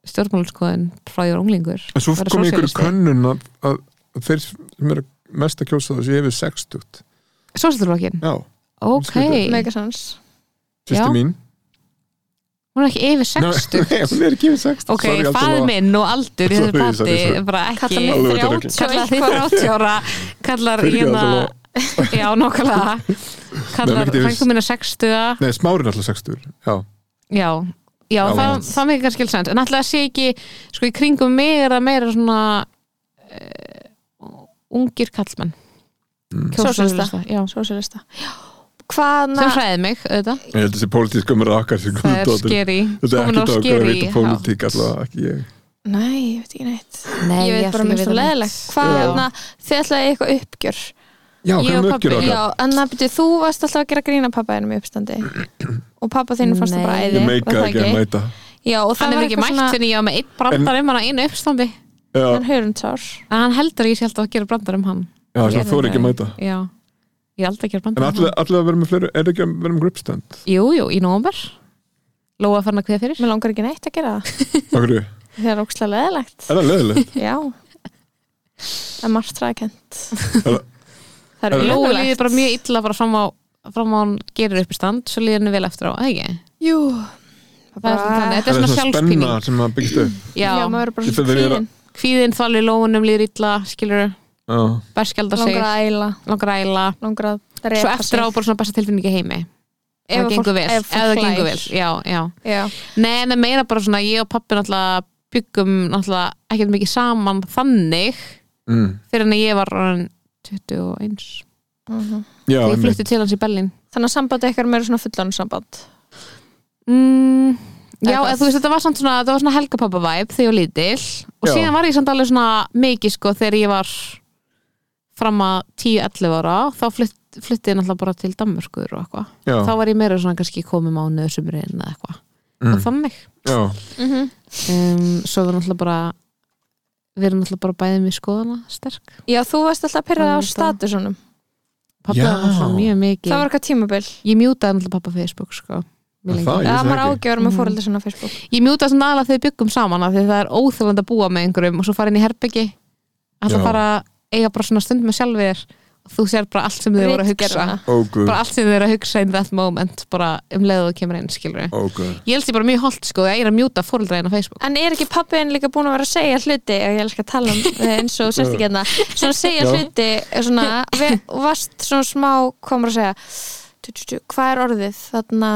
B: stjórnmálinskoðin frá ég var unglingur
D: En svo
B: Vera
D: kom í einhverju
B: sósíalisti.
D: könnun að, að, að þeir sem eru mest að kjósa þessu yfir 60,
B: Sósíalflokkin,
D: já,
B: ok
D: Skrítið.
B: Hún
C: megasans
B: Já.
D: sýsti mín.
B: er ekki yfir 60
D: Nei, hún er ekki yfir 60.
B: Ok,
D: Sorry, alltaf
B: fæð
D: að-
B: minn og aldur í
D: Sorry,
B: þessu pati
D: sorry, sorry.
B: er bara
C: kalla
B: ekki
D: Alveg
C: mig
D: út af rugli.
C: 30
B: kallar þig
C: eitthvað.
B: 30 ára kallar
D: Fyrirgefðu
B: hérna já, nokkulega
D: Nei,
B: kallar
D: mikið yfir-
B: frængum minna 60
D: Nei, smárin alltaf 60 Já,
B: Já, já,
D: Já,
B: það,
D: mitt.
B: það mikið kannski skilsend en alltaf sé ekki, sko í kringum mig er það meira svona uh, ungir kallmenn
D: Mm.
B: Kjósa
C: Sósíalista.
B: sósíalista, já.
C: sósíalista
B: sem
C: hvaðna
B: hræði mig, auðvitað
D: ég held þessi pólitísk umur okkar sem
B: það er
D: komið dóttir
B: skeri,
D: Þetta
B: komin á
D: er ekki okkur að
B: skeri
D: vita pólitík allavega ekki ég
C: nei, ég veit ekki neitt
B: Nei,
C: ég veit
B: ætla
C: bara
B: ekki að
C: mér svo
B: vita neitt.
C: leðileg hvaðna þið ætlaði í eitthvað uppgjör
D: Já,
B: Ég
D: hvernig
B: og
D: möggjur
B: pabbi,
D: okkar?
C: já, en það byrju, þú varst alltaf að gera grína pappa þínum í uppstandi og pappa þínu fannst það
B: Nei.
C: bara æði
D: Ég
C: var það
D: meikaði ekki að mæta
C: Já, og
B: hann
C: það
B: er
C: var
B: ekki mætt svona... ég var með einn brandar um hann að einu uppstambi
D: Já,
C: hann hörundtár
B: en hann heldur að ég sé alltaf að gera brandar um hann
D: já sem þú er ekki að mæta
B: já, ég er aldrei að gera
D: En
B: brandar um
D: allir allir að vera með fleiri, er ekki að vera með gripstand?
B: hann jú, jú, í nómber Lóa fann að hviða fyrir
C: Mér langar ekki neitt að gera það
D: Akkur, er
C: Það er ókslega leðilegt
D: það leðilegt?
C: Já Það er margt ræðkent
D: Er-
C: Það er
B: Lóa
C: leðilegt.
B: líði bara mjög illa bara fram á fram á hann gerir uppistand svo líði henni vel eftir á, eða ekki?
C: Jú
B: Það er svona þannig, þetta er
D: Það er
B: svona
D: svona
B: sjálfspíning
D: spenna sem að byggst upp
B: Já,
C: Já, maður er bara
D: Ég
C: svona
D: þarf að vera-
C: kvíðin
B: kvíðin þvalur lóunum líður illa, skilur
D: Já,
B: berskjaldar sig,
C: Langar að æla
B: langar að æla
C: Langar að
B: svo
C: repa
B: eftir á bara svona besta tilfinningi heimi ef það
C: að
B: gengur vel, ef það gengur vel já, já.
C: Já
B: Nei, en það er meira bara svona ég og pappi náttúrulega byggum náttúrulega ekkert mikið saman þannig
D: mm.
B: fyrir en að ég var orðin 21
C: Mhm.
B: þegar
D: já
B: ég
D: einmitt.
B: flutti til hans í Berlín
C: Þannig að sambandi ykkar meira svona fullan samband
B: mm, Já,
C: Eitthvað.
B: eða þú veist þetta var samt svona, þetta var svona helgapappa væp þegar ég var lítil og
D: Já.
B: síðan var ég samt alveg svona mikið sko þegar ég var fram að 10-11 ára þá flutt, flutti ég náttúrulega bara til Danmörkur og eitthvað,
D: Já,
B: þá var ég meira svona kannski komið mánuðu sumurinn eða eitthvað
D: mm.
B: og þannig
D: já,
B: um, svo við náttúrulega bara við erum náttúrulega bara bæðið með skoðana sterk
C: Já, þú varst alltaf að pyrra á
B: Það var það.
C: statusunum
B: pappa
D: Já.
B: var náttúrulega mjög mikið
C: Það var eitthvað tímabil
B: ég mjútaði náttúrulega pappa Facebook sko mjög
D: Er
B: lengi.
D: það?
C: Það
D: Ég vissi
C: maður
D: það ekki.
C: ágjöður með
B: Mhm.
C: fóreldra sinna á Facebook
B: ég mjútaði svona aðalega þegar við byggum saman af því að það er óþjóðland að búa með einhverjum og svo fara inn í herbyggi alltaf
D: Já.
B: fara að eiga bara svona stund með sjálfið þér og þú sér bara allt sem þið voru að hugsa
C: Ritgerðina.
D: óguð,
B: bara allt sem þið voru að hugsa in that moment bara um leiðu þú kemur inn skilur
D: óguð
B: ég held ég bara mjög holdt sko að ég er að mjúta fóreldræðin á Facebook
C: En er ekki pappiðin líka búin að vera að segja hluti og ég elskar að tala um eh, eins og sérst ekki hérna svona segja
D: Já.
C: hluti eh, svona, við, og varst svona smá komur að segja tjú, tjú, tjú, hvað er orðið þarna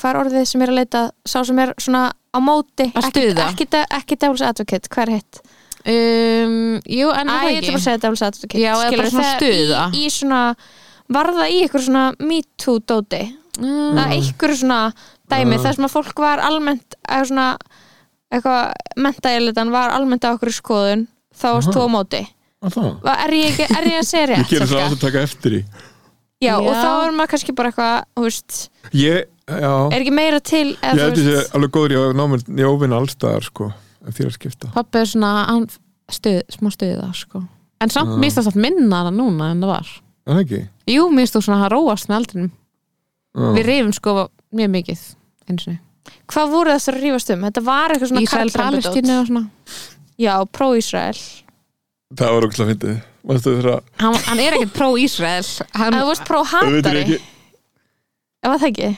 C: hvað er orðið sem er að leita sá sem er svona á móti
B: Að
C: ekki,
B: stuða.
C: ekki, de- ekki devils advocate, hvað er hitt?
B: um, jú
C: Æ,
B: en er það
C: ég ætla bara að
B: ekki
C: segja devils advocate
B: Já, eða bara
C: skilurðu,
B: svona
C: þegar
B: stuða.
C: í, í svona, varða í ykkur svona me too dóti
B: Mm.
C: það er einhverju svona dæmi
D: Mm.
C: þar sem að fólk var almennt eða svona eitthvað mentaðilitan var almennt á okkur skoðun þá varst þú á móti
D: Að það?
C: Va- er ég, ekki- er ég að segja
D: Ég
C: rétt
D: gerir það
C: Salka?
D: að taka eftir í
C: já, og
B: Já.
C: þá er maður kannski bara eitthvað þú veist,
D: Ég, já,
C: er ekki meira til eða,
D: ég
C: þú
D: hefði sé
C: veist,
D: alveg góður í að ná mér í óvinna allstaðar sko, ef því er að skipta
B: pappi er svona hann stuð, smá stuða sko. en samt
D: Já.
B: mér finnst það samt minna það núna en það var
D: Er það ekki?
B: jú, mér finnst þú svona að róast með aldrinum
D: Já.
B: við reyfum sko mjög mikið eins og
C: hvað voru þessar að rífast um þetta var eitthvað svona
B: Ísrael,
C: karlrembudót.
B: Palestínu og svona
C: já, pró-Ísrael
D: Það var ógæslega fyndið Manstu þegar að-
B: hann, hann er ekkert pró-Ísrael hann,
C: eða þú varst
D: Ef þetta er
C: pró-hatari
D: ekki Mm.
C: eða það ekki,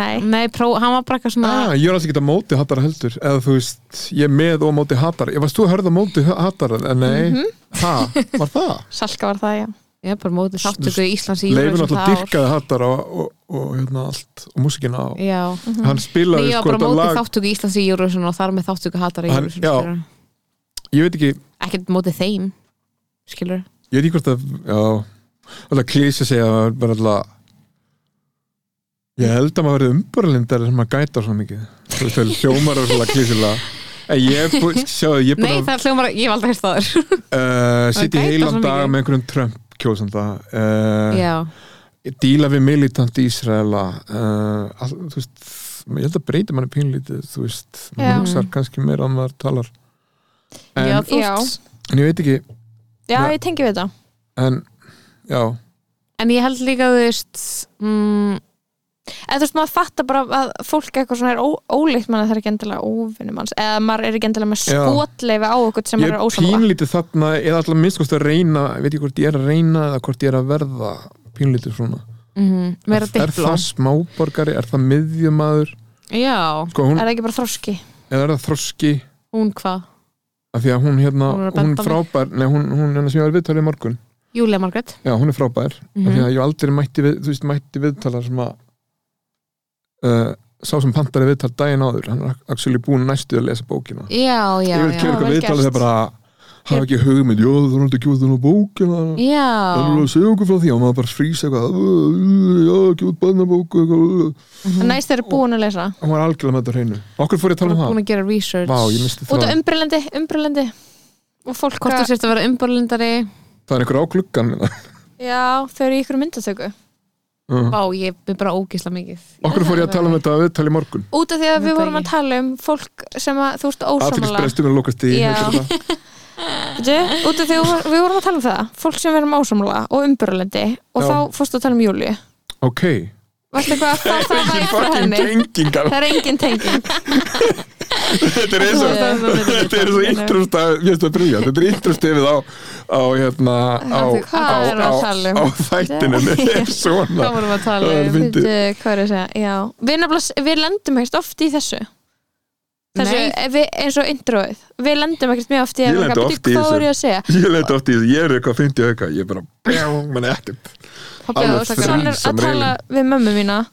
C: nei
B: nei, pró, hann var bara eitthvað svona
D: Ah, ég var alls ekki að móti hatara heldur eða þú veist, ég er með og á móti hatara ég varst þú að hörða móti hatara en nei,
B: Mhm.
D: ha, var það?
C: Salka var það, já
B: ég er bara mótið þáttöku í Íslands í
D: Leifur
B: Eurovision
D: náttúrulega
B: það ár.
D: dyrkaði hatara og, og, og hérna allt og músikina á
B: já
D: hann
B: Nei,
D: spilaði
B: ég Mhm. var
D: sko
B: bara
D: þetta
B: mótið
D: lag
B: þáttöku í Íslands í Eurovision og þar með þáttöku hattar í
D: Hann-
B: Eurovision
D: já.
B: skilurðu.
D: ég veit ekki,
B: ekkert mótið þeim skilur
D: ég veit ekki hvort að já, alltaf klísi segja að það var alltaf ég held að maður verið umburlindar sem maður gætar svo mikið þú veist það hljómar og svona klísilega en ég, er bú- sjáðu, ég er
B: nei,
D: búin
B: það er hljómar, ég hef aldrei hérst það þér
D: að uh,
B: gætar
D: sitja í
B: svo
D: heilan dag
B: mikið.
D: með einhverjum Trump kjósanda uh,
B: já,
D: díla við militant Ísraela uh, all, þú veist ég held að breyti manni pínlítið þú veist,
C: Já.
D: maður hugsaðar kannski meira að maður talar en,
B: já, þú
C: Já.
B: veist
D: en ég veit ekki
C: já,
D: Nei.
C: ég tengi við það
D: en, já,
B: en ég held líka, þú veist mm,
C: eða þú veist maður fattar bara að fólk eitthvað svona er ó, ólíkt mann að það er ekki endilega óvinnum hans eða maður er ekki endilega með
D: Já.
C: skotleifi á okkur sem
D: ég
C: maður er
D: er
C: ósamlega
D: pínlítið þarna eða alltaf minnst hvort að reyna ég veit ekki hvort ég er að reyna eða hvort ég er að verða pínlítið svona
B: mm, meira
D: er
B: dipló
D: það smáborgari, er það miðjumadur
B: já,
D: sko, hún,
C: er það ekki bara þroski
D: eða er það þroski
B: hún hvað?
D: af því að hún hérna,
B: Hún er að
D: hún
B: benda
D: er frábær nei, hún, hún hérna sem ég var viðtalið í morgun
B: Júlia Margrét
D: Já, hún er frábær mm
B: Mhm.
D: því að ég hef aldrei mætti, við, þú veist, mætti viðtala sem að uh, sá sem pantar er viðtal daginn áður hann er actually búin næstu að lesa bókina
B: já, já,
D: ég vil
B: já
D: kemur eitthvað
C: vel
D: viðtala
C: gert.
D: þegar bara hafa ekki hugmynd, jú þú erum ekki út þannig bókina
B: já,
D: það er að segja okkur frá því og maður bara frýsa eitthvað "Ú, ú, já, ekki út bannabóku
C: en næst þeir eru búin að lesa
D: hún var algjörlega með þetta á hreinu okkur fór ég að tala
B: bara
D: um
B: búin
D: það
B: að gera research
D: Vá, ég misti
C: út af
D: það,
C: umbrillandi, umbrillandi og fólk
B: hvort þú
C: að,
B: sért að vera umborlindari
D: það er einhver á klukkan
C: já, þau eru í ykkur myndatöku
D: hérna. uh.
B: Vá, ég er bara ógisla mikið
D: okkur fór ég að tala um þetta að viðtali í morgun
C: Út af því að
B: Veit
C: við vorum
B: það
C: að
B: ekki.
C: tala um fólk sem að þú veist ósámála
D: aðtilsbresturinn lókast í
C: Já.
D: heitir það.
C: Út af því að við við vorum að tala um það Fólk sem verðum ósámála og umbyrlendi Og
D: Já.
C: þá fórstu að tala um Júlíu
D: ok,
C: Varstu eitthvað að það það væri frá
D: fucking
C: henni
D: tengingar
C: Það er engin tenging
D: þetta er eins og þetta er svo ítrúst að, ég veist það brilja þetta er ítrúst yfir á á, hérna, á, á,
C: Hvað er
D: á,
C: að tala
D: á
C: um?
D: þættinu þetta er svona
B: Hvað vorum við að tala
D: Það er
B: um?
D: fyndið.
C: Veitu, Hvað er að segja? Já Við, nefnilega- við lendum ekkert oft í þessu Þessu, eh,
B: Nei.
C: við, eins og introið Við lendum ekkert mjög oft í
D: Ég
C: að-
D: lendi
C: Bíddu,
D: oft í
C: Hvað
D: þessu.
C: voru ég að segja?
D: ég leita oft í þessu, ég er eitthvað 50 auka ég er bara, bjá, menn ekkert
B: Pabbi
D: alveg
B: og
C: Svo
D: Fyrir
B: Óskar.
C: hann er
D: sem
C: að tala við mömmu mína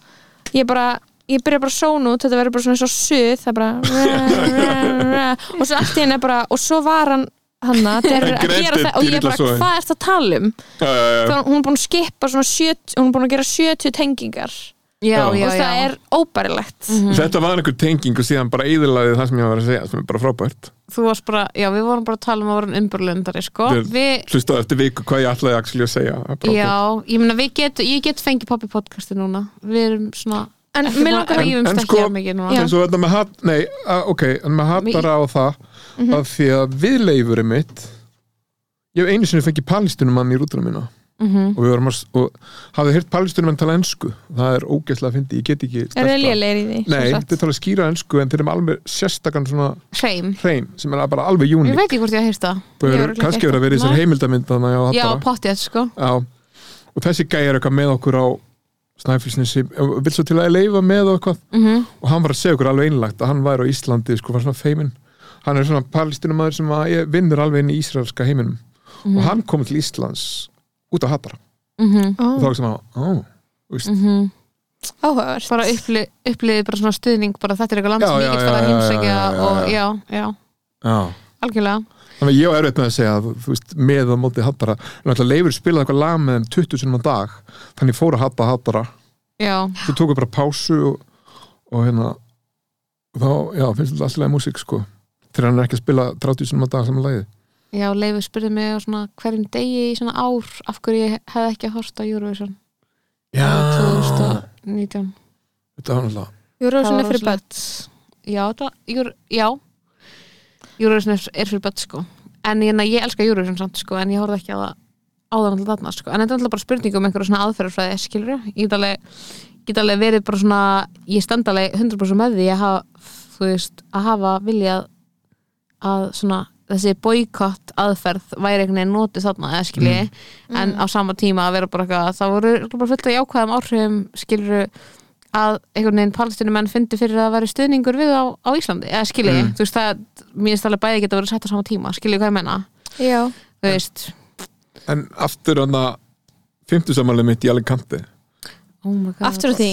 C: ég bara ég byrja bara að sóna út, þetta verður bara svona eins og suð það bara og svo allt í henni er bara, og svo var hann hanna, þeir eru að
D: Grettir
C: gera það og ég bara,
D: dýrllasogin.
C: hvað ert að tala um
D: uh,
C: þá hún er búin að skipa svona 70 hún er búin að gera 70 tengingar
B: Já,
D: Já.
B: já,
C: og það
B: já Mhm.
C: er óbærilegt
D: þetta var einhver tenging og síðan bara eðilaði það sem ég var að segja sem er bara frábært
B: Þú varst bara, já, við vorum bara að tala um að vorum umbörlundari, sko
D: Þeir-
B: Við
D: hlustaði eftir viku hvað ég ætlaði actually að segja Það er bara frábært.
B: Já, ég meina við get, ég get fengið pappi podcasti núna Við erum svona
C: en
B: ekki
C: mér
B: búin-
C: langar
B: rífumst
D: en
B: ekki
D: sko-
B: jafn mikið núna
C: Já.
D: eins og þetta með hat, nei, að, ok en maður hattar á það að því að viðleifurinn mitt ég hef einu sinni fengið palestinum mann í rútuna mína
B: mm
D: og við varum að, s- og hafði heyrt palestinum mann tala ensku, það er ógæslega að fyndi ég get ekki
C: er það
D: stelpa.
C: lélegir í því sem
D: nei,
C: sagt?
D: þeir tala skýra ensku en þeir eru með alveg sérstakann svona
B: Hreim,
D: hreim sem er bara alveg júni
B: ég veit ekki hvort ég að heyrta
C: ég
D: Bör,
C: örugglega
D: kannski
C: ekki
D: verið að vera í þessar
B: Nei.
D: heimildamynd þannig
B: Já,
D: að já,
B: pottið, sko
D: já. og þessi gæja er eitthvað með okkur á Snæfellsnesi, vil svo til að leifa með og eitthvað
B: mm
D: og hann var að segja okkur alveg einlagt að hann væri á Íslandi sko, var svona feiminn hann er svona palestinumæður sem að ég vinnur alveg inn í ísraelska heiminum
C: Mhm.
D: og hann kom til Íslands út á hattara
B: -hmm.
C: Ó,
D: og þá sem hann, ó,
C: Mhm.
B: mhm.
C: áhugavert
B: Bara uppli, upplið bara svona stuðning bara þetta er eitthvað land
D: Já,
B: sem
D: já,
B: ég get
D: já,
B: fara að
D: já,
B: heimsækja
D: já, já,
B: og
D: já.
B: já, já,
D: já
B: algjörlega
D: þannig að ég á erfitt með að segja, þú veist, með á móti hattara, en alltaf leifur spilaði eitthvað lag með þeim 20 sinum á dag, þannig ég fór að hatta hattara,
B: Já,
D: svo tók ég bara pásu og, og hérna og þá, já, finnst þetta alltaf músík sko, þegar hann er ekki að spila 30 sinum á dag saman lagið,
B: já, Leifur spurði mig á svona hverjum degi í svona ár af hverju ég hefði ekki að horta Eurovision
D: já,
B: 2019
D: þetta var alltaf
C: Eurovision
B: Það
C: er
B: var
C: fyrir börn
B: Já, það, júr, já Eurovision er, er fyrir börn sko en ég, ég elska Eurovision samt sko en ég horfði ekki á það áðan alltaf þarna sko en þetta er alltaf bara spurning um einhverja svona aðferðarfræði skilur ég get alveg, get alveg verið bara svona ég stend alveg 100% með því að hafa, þú veist, að hafa viljað að svona þessi boykott aðferð væri einhvern veginn notið þarna eða skilji
C: Mm.
B: en á sama tíma að vera bara eitthvað það voru örugglega bara fullt af jákvæðum áhrifum skiluru að einhvern veginn palestinumenn fyndi fyrir að vera stuðningur við á, á Íslandi eða skilji,
D: Mm.
B: þú veist það mér finnst alveg bæði geta verið sett á sama tíma skilji hvað ég menna,
C: já,
B: þú veist
D: En aftur hann að fymtusamalið mitt í Alicante
B: oh my God,
C: aftur á því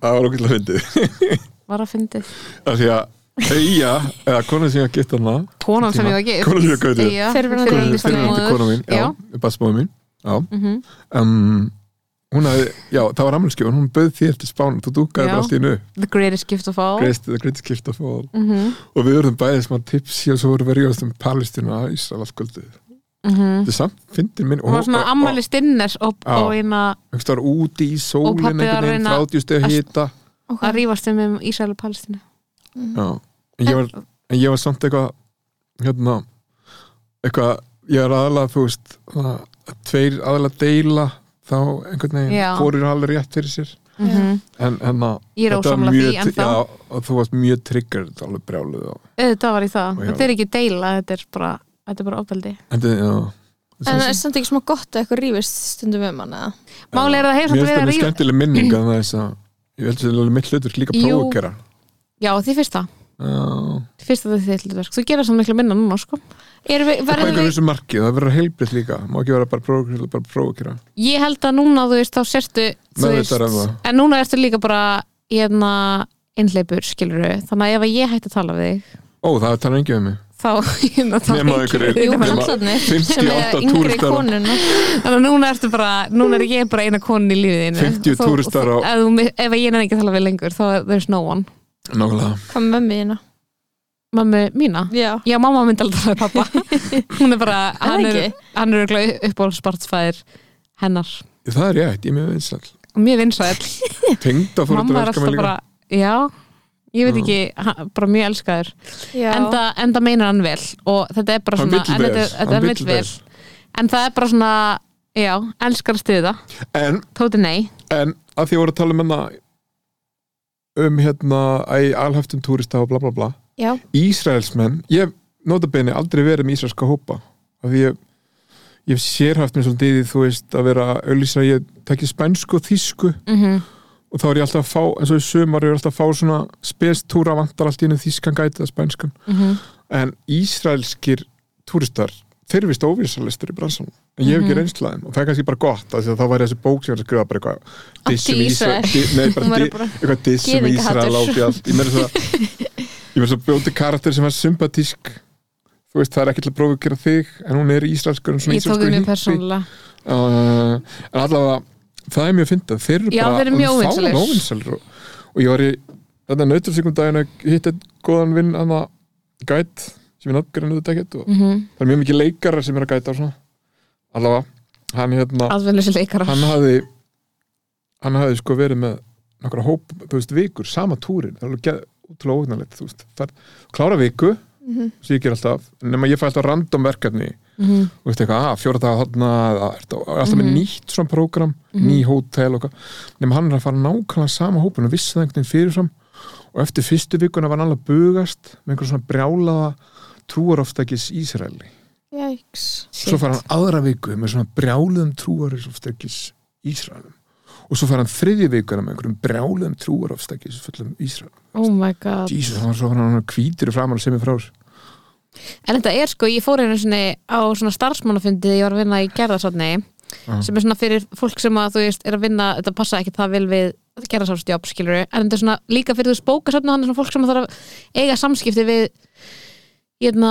D: Það var okkur að fyndið
B: var að fyndið
D: Af því að Eyja, eða konan sem ég að geta hana
B: konan sem ég var gift
D: Konan sem ég var gift.
B: Eyja,
C: Fyrrverandi- Fyrrverandi
B: fyrrverandi stefnumóður.
D: konan mín, já,
B: já,
D: bassmóðu mín Já,
B: mhm.
D: um, hún hafði, já, það var ammælskjöfun Hún bauð þér til spánum, þú dúkaði
B: Já.
D: bara allt í nu
B: the greatest gift of all
D: Greist, the greatest gift of all
B: Mhm,
D: Og við vorum bæðið smá tipsi og svo vorum við að ríðast um Palestínu að Ísrael skuldið
B: mhm.
D: Þetta er samt, fyndin minn
B: og var svona ammæli stinners og,
D: Já.
B: og eina
D: Það var úti í
B: Og pabbi
D: sólin
B: var
D: einhvern veginn,
B: að reyna-
D: frátjústi að
B: að-
D: hýta
C: okay.
B: að rífast um um Ísrael og Palestínu
D: Já, en ég var, en ég var samt eitthvað hérna eitthvað, ég er aðalega þú veist, það, að tveir aðalega deila þá einhvern
B: Já.
D: veginn hvorir alveg rétt fyrir sér
B: Mhm.
D: en hérna,
B: ég er ósamla því en
D: já,
B: þá
D: og þú varst mjög trigger alveg brjáluð á
B: auðvitað var ég það,
D: Já.
B: þetta er ekki deila þetta er bara, þetta er bara ofbeldi
D: en það, já
C: en það er samt ekki smá gott að eitthvað rífist stundum um hana
B: Máli er að það hefur
D: mér
B: samt
D: finnst
B: verið
D: það
B: að
D: mjög
B: rífa
D: skemmtileg minning að það er þess að ég held að það er alveg mitt hlutur líka
B: Jú.
D: að prófa að gera
B: Já, því fyrst það,
D: já,
B: því fyrst það þið hlutverk Þú gerir svo miklu minna núna, sko
C: erum við,
D: það er
C: verðum
D: einhverjum
C: við
D: þessu marki það verður að heilbrið líka, má ekki vera bara prófa bara prófa að gera
B: Ég held að núna, þú veist, þá sérstu þú veist,
D: Meðvitaður um það.
B: En núna ertu líka bara hérna, innleipur, skilur Þannig að ef að ég hætti að tala við þig
D: ó, það talar engið um mig
B: þá hérna tala
D: Nema
B: ekki
D: einhverjir-
B: við
C: jú,
B: þig.
D: nema-
C: kallarnir sem er
D: 58
C: yngri
D: túristar á-
C: konun
B: Þannig að núna ertu bara, núna er ég bara eina konu í lífiðinu
D: 50 túristar á-
B: ef, þú- ef ég nefn ekki að tala við lengur, þá er there's no one
D: nákvæmlega
C: hvað með mömmu hérna
B: Mamma mína
C: já
B: Já, mamma myndi aldrei tala við pappa Hún er bara,
C: það
B: hann er,
C: ekki?
B: hann er upp á spartsfæðir hennar
D: Það er rétt, ég er mjög vinsall
B: mjög vinsæll
D: tengda
B: mamma er
D: fóröldur
B: alltaf bara, já ég veit
D: Já.
B: ekki, ha- bara mjög elskaður
C: Já.
B: enda, enda meinar hann vel og þetta er bara
D: hann
B: svona
D: vill
B: en,
D: vel,
B: þetta, þetta
D: hann
B: er vill vel. en það er bara svona, já, elskar að stuða
D: en,
B: Tóti nei,
D: en að því að voru að tala um hérna um hérna æ, alhaftum túrista og bla bla bla
C: Já.
D: Ísraelsmenn, ég hef notabene aldrei verið með ísraelska hópa af því ég, ég hef sérhaft mér svolítið í, þú veist að vera auðlýsa að ég tekki spænsku og þýsku
B: mm
D: og þá er ég alltaf að fá, eins og í sumar ég er alltaf að fá svona spestúra vantar allt í einu þýskan gætið að spænskan
B: mhm.
D: en ísraelskir túristar þeir vist óvísalistur í bransanum en ég hef ekki reynslaðin og það er kannski bara gott af því að þá væri þessi bók sem ég var að skrifa bara eitthvað dissum
C: í
D: Ísrael
C: Ísrael.
D: di- nei, bara
C: Hún væri
D: di-
C: bara
D: eitthvað dissum
C: Gyðingahatur.
D: Ísrael ábjall ég meira svo ég meira svo bjóti karakter sem er sympatísk þú veist það er ekki til að prófa að gera þig en hún er ísraelskur en svona sko
B: ég tók
D: ísraelskur
B: því mjög
D: hippi.
B: persónulega
D: uh, en allavega það er mjög fyndað, þeir eru
B: Já,
D: bara
B: þeir eru mjög
D: alveg fána
B: óvinsælir.
D: óvinsælir og, og ég var í þetta nautilsíkum daginn að hitta einn góðan vinn hann að gæt sem ég náttúrulega þetta ekkert og
B: mm -hmm.
D: það er mjög mikið leikarar sem er að gæta og svona allavega, hann hérna
B: aðvennlösi leikara
D: hann hafði hann hafði sko verið með nokkra hóp, þú veist, vikur, sama túrin það er alveg geð- ótrúlega óvignalegt, þú veist Fer, klára viku,
C: Mhm.
D: sem ég ger alltaf nema ég fæ alltaf random verkefni
B: mm -hmm.
D: og veist eitthvað, að fjóra daga þarna eða ertu á- alltaf með
B: Mhm.
D: nýtt svona prógram ný hótel og hvað nema hann er að fara nákvæmlega sama hópin og vissi það einhvern veginn fyrirfram og eftir fyrstu vikuna var hann alveg að bugast með einhver svona brjálaða trúarofstækis Ísraeli
C: Jæks.
D: svo fær hann aðra viku með svona brjáluðum trúarofstækis Ísraelum og svo fær hann þriðju vikuna með einhverjum brjáluðum trúarofstækis fullum Ísraelum
B: oh my god
D: Jesus, hann var svo hann hvítur í framar sem er frá þessu
B: En þetta er sko, ég fór einu sinni á svona starfsmannafundi þegar ég var að vinna í gerðarsátni
D: Mhm.
B: sem er svona fyrir fólk sem að þú veist er að vinna, þetta passa ekki það vel við gerðarsátsdjóp, skilur en þetta er svona líka fyrir þú veist bókasátni þannig svona fólk sem þarf að eiga samskipti við hérna,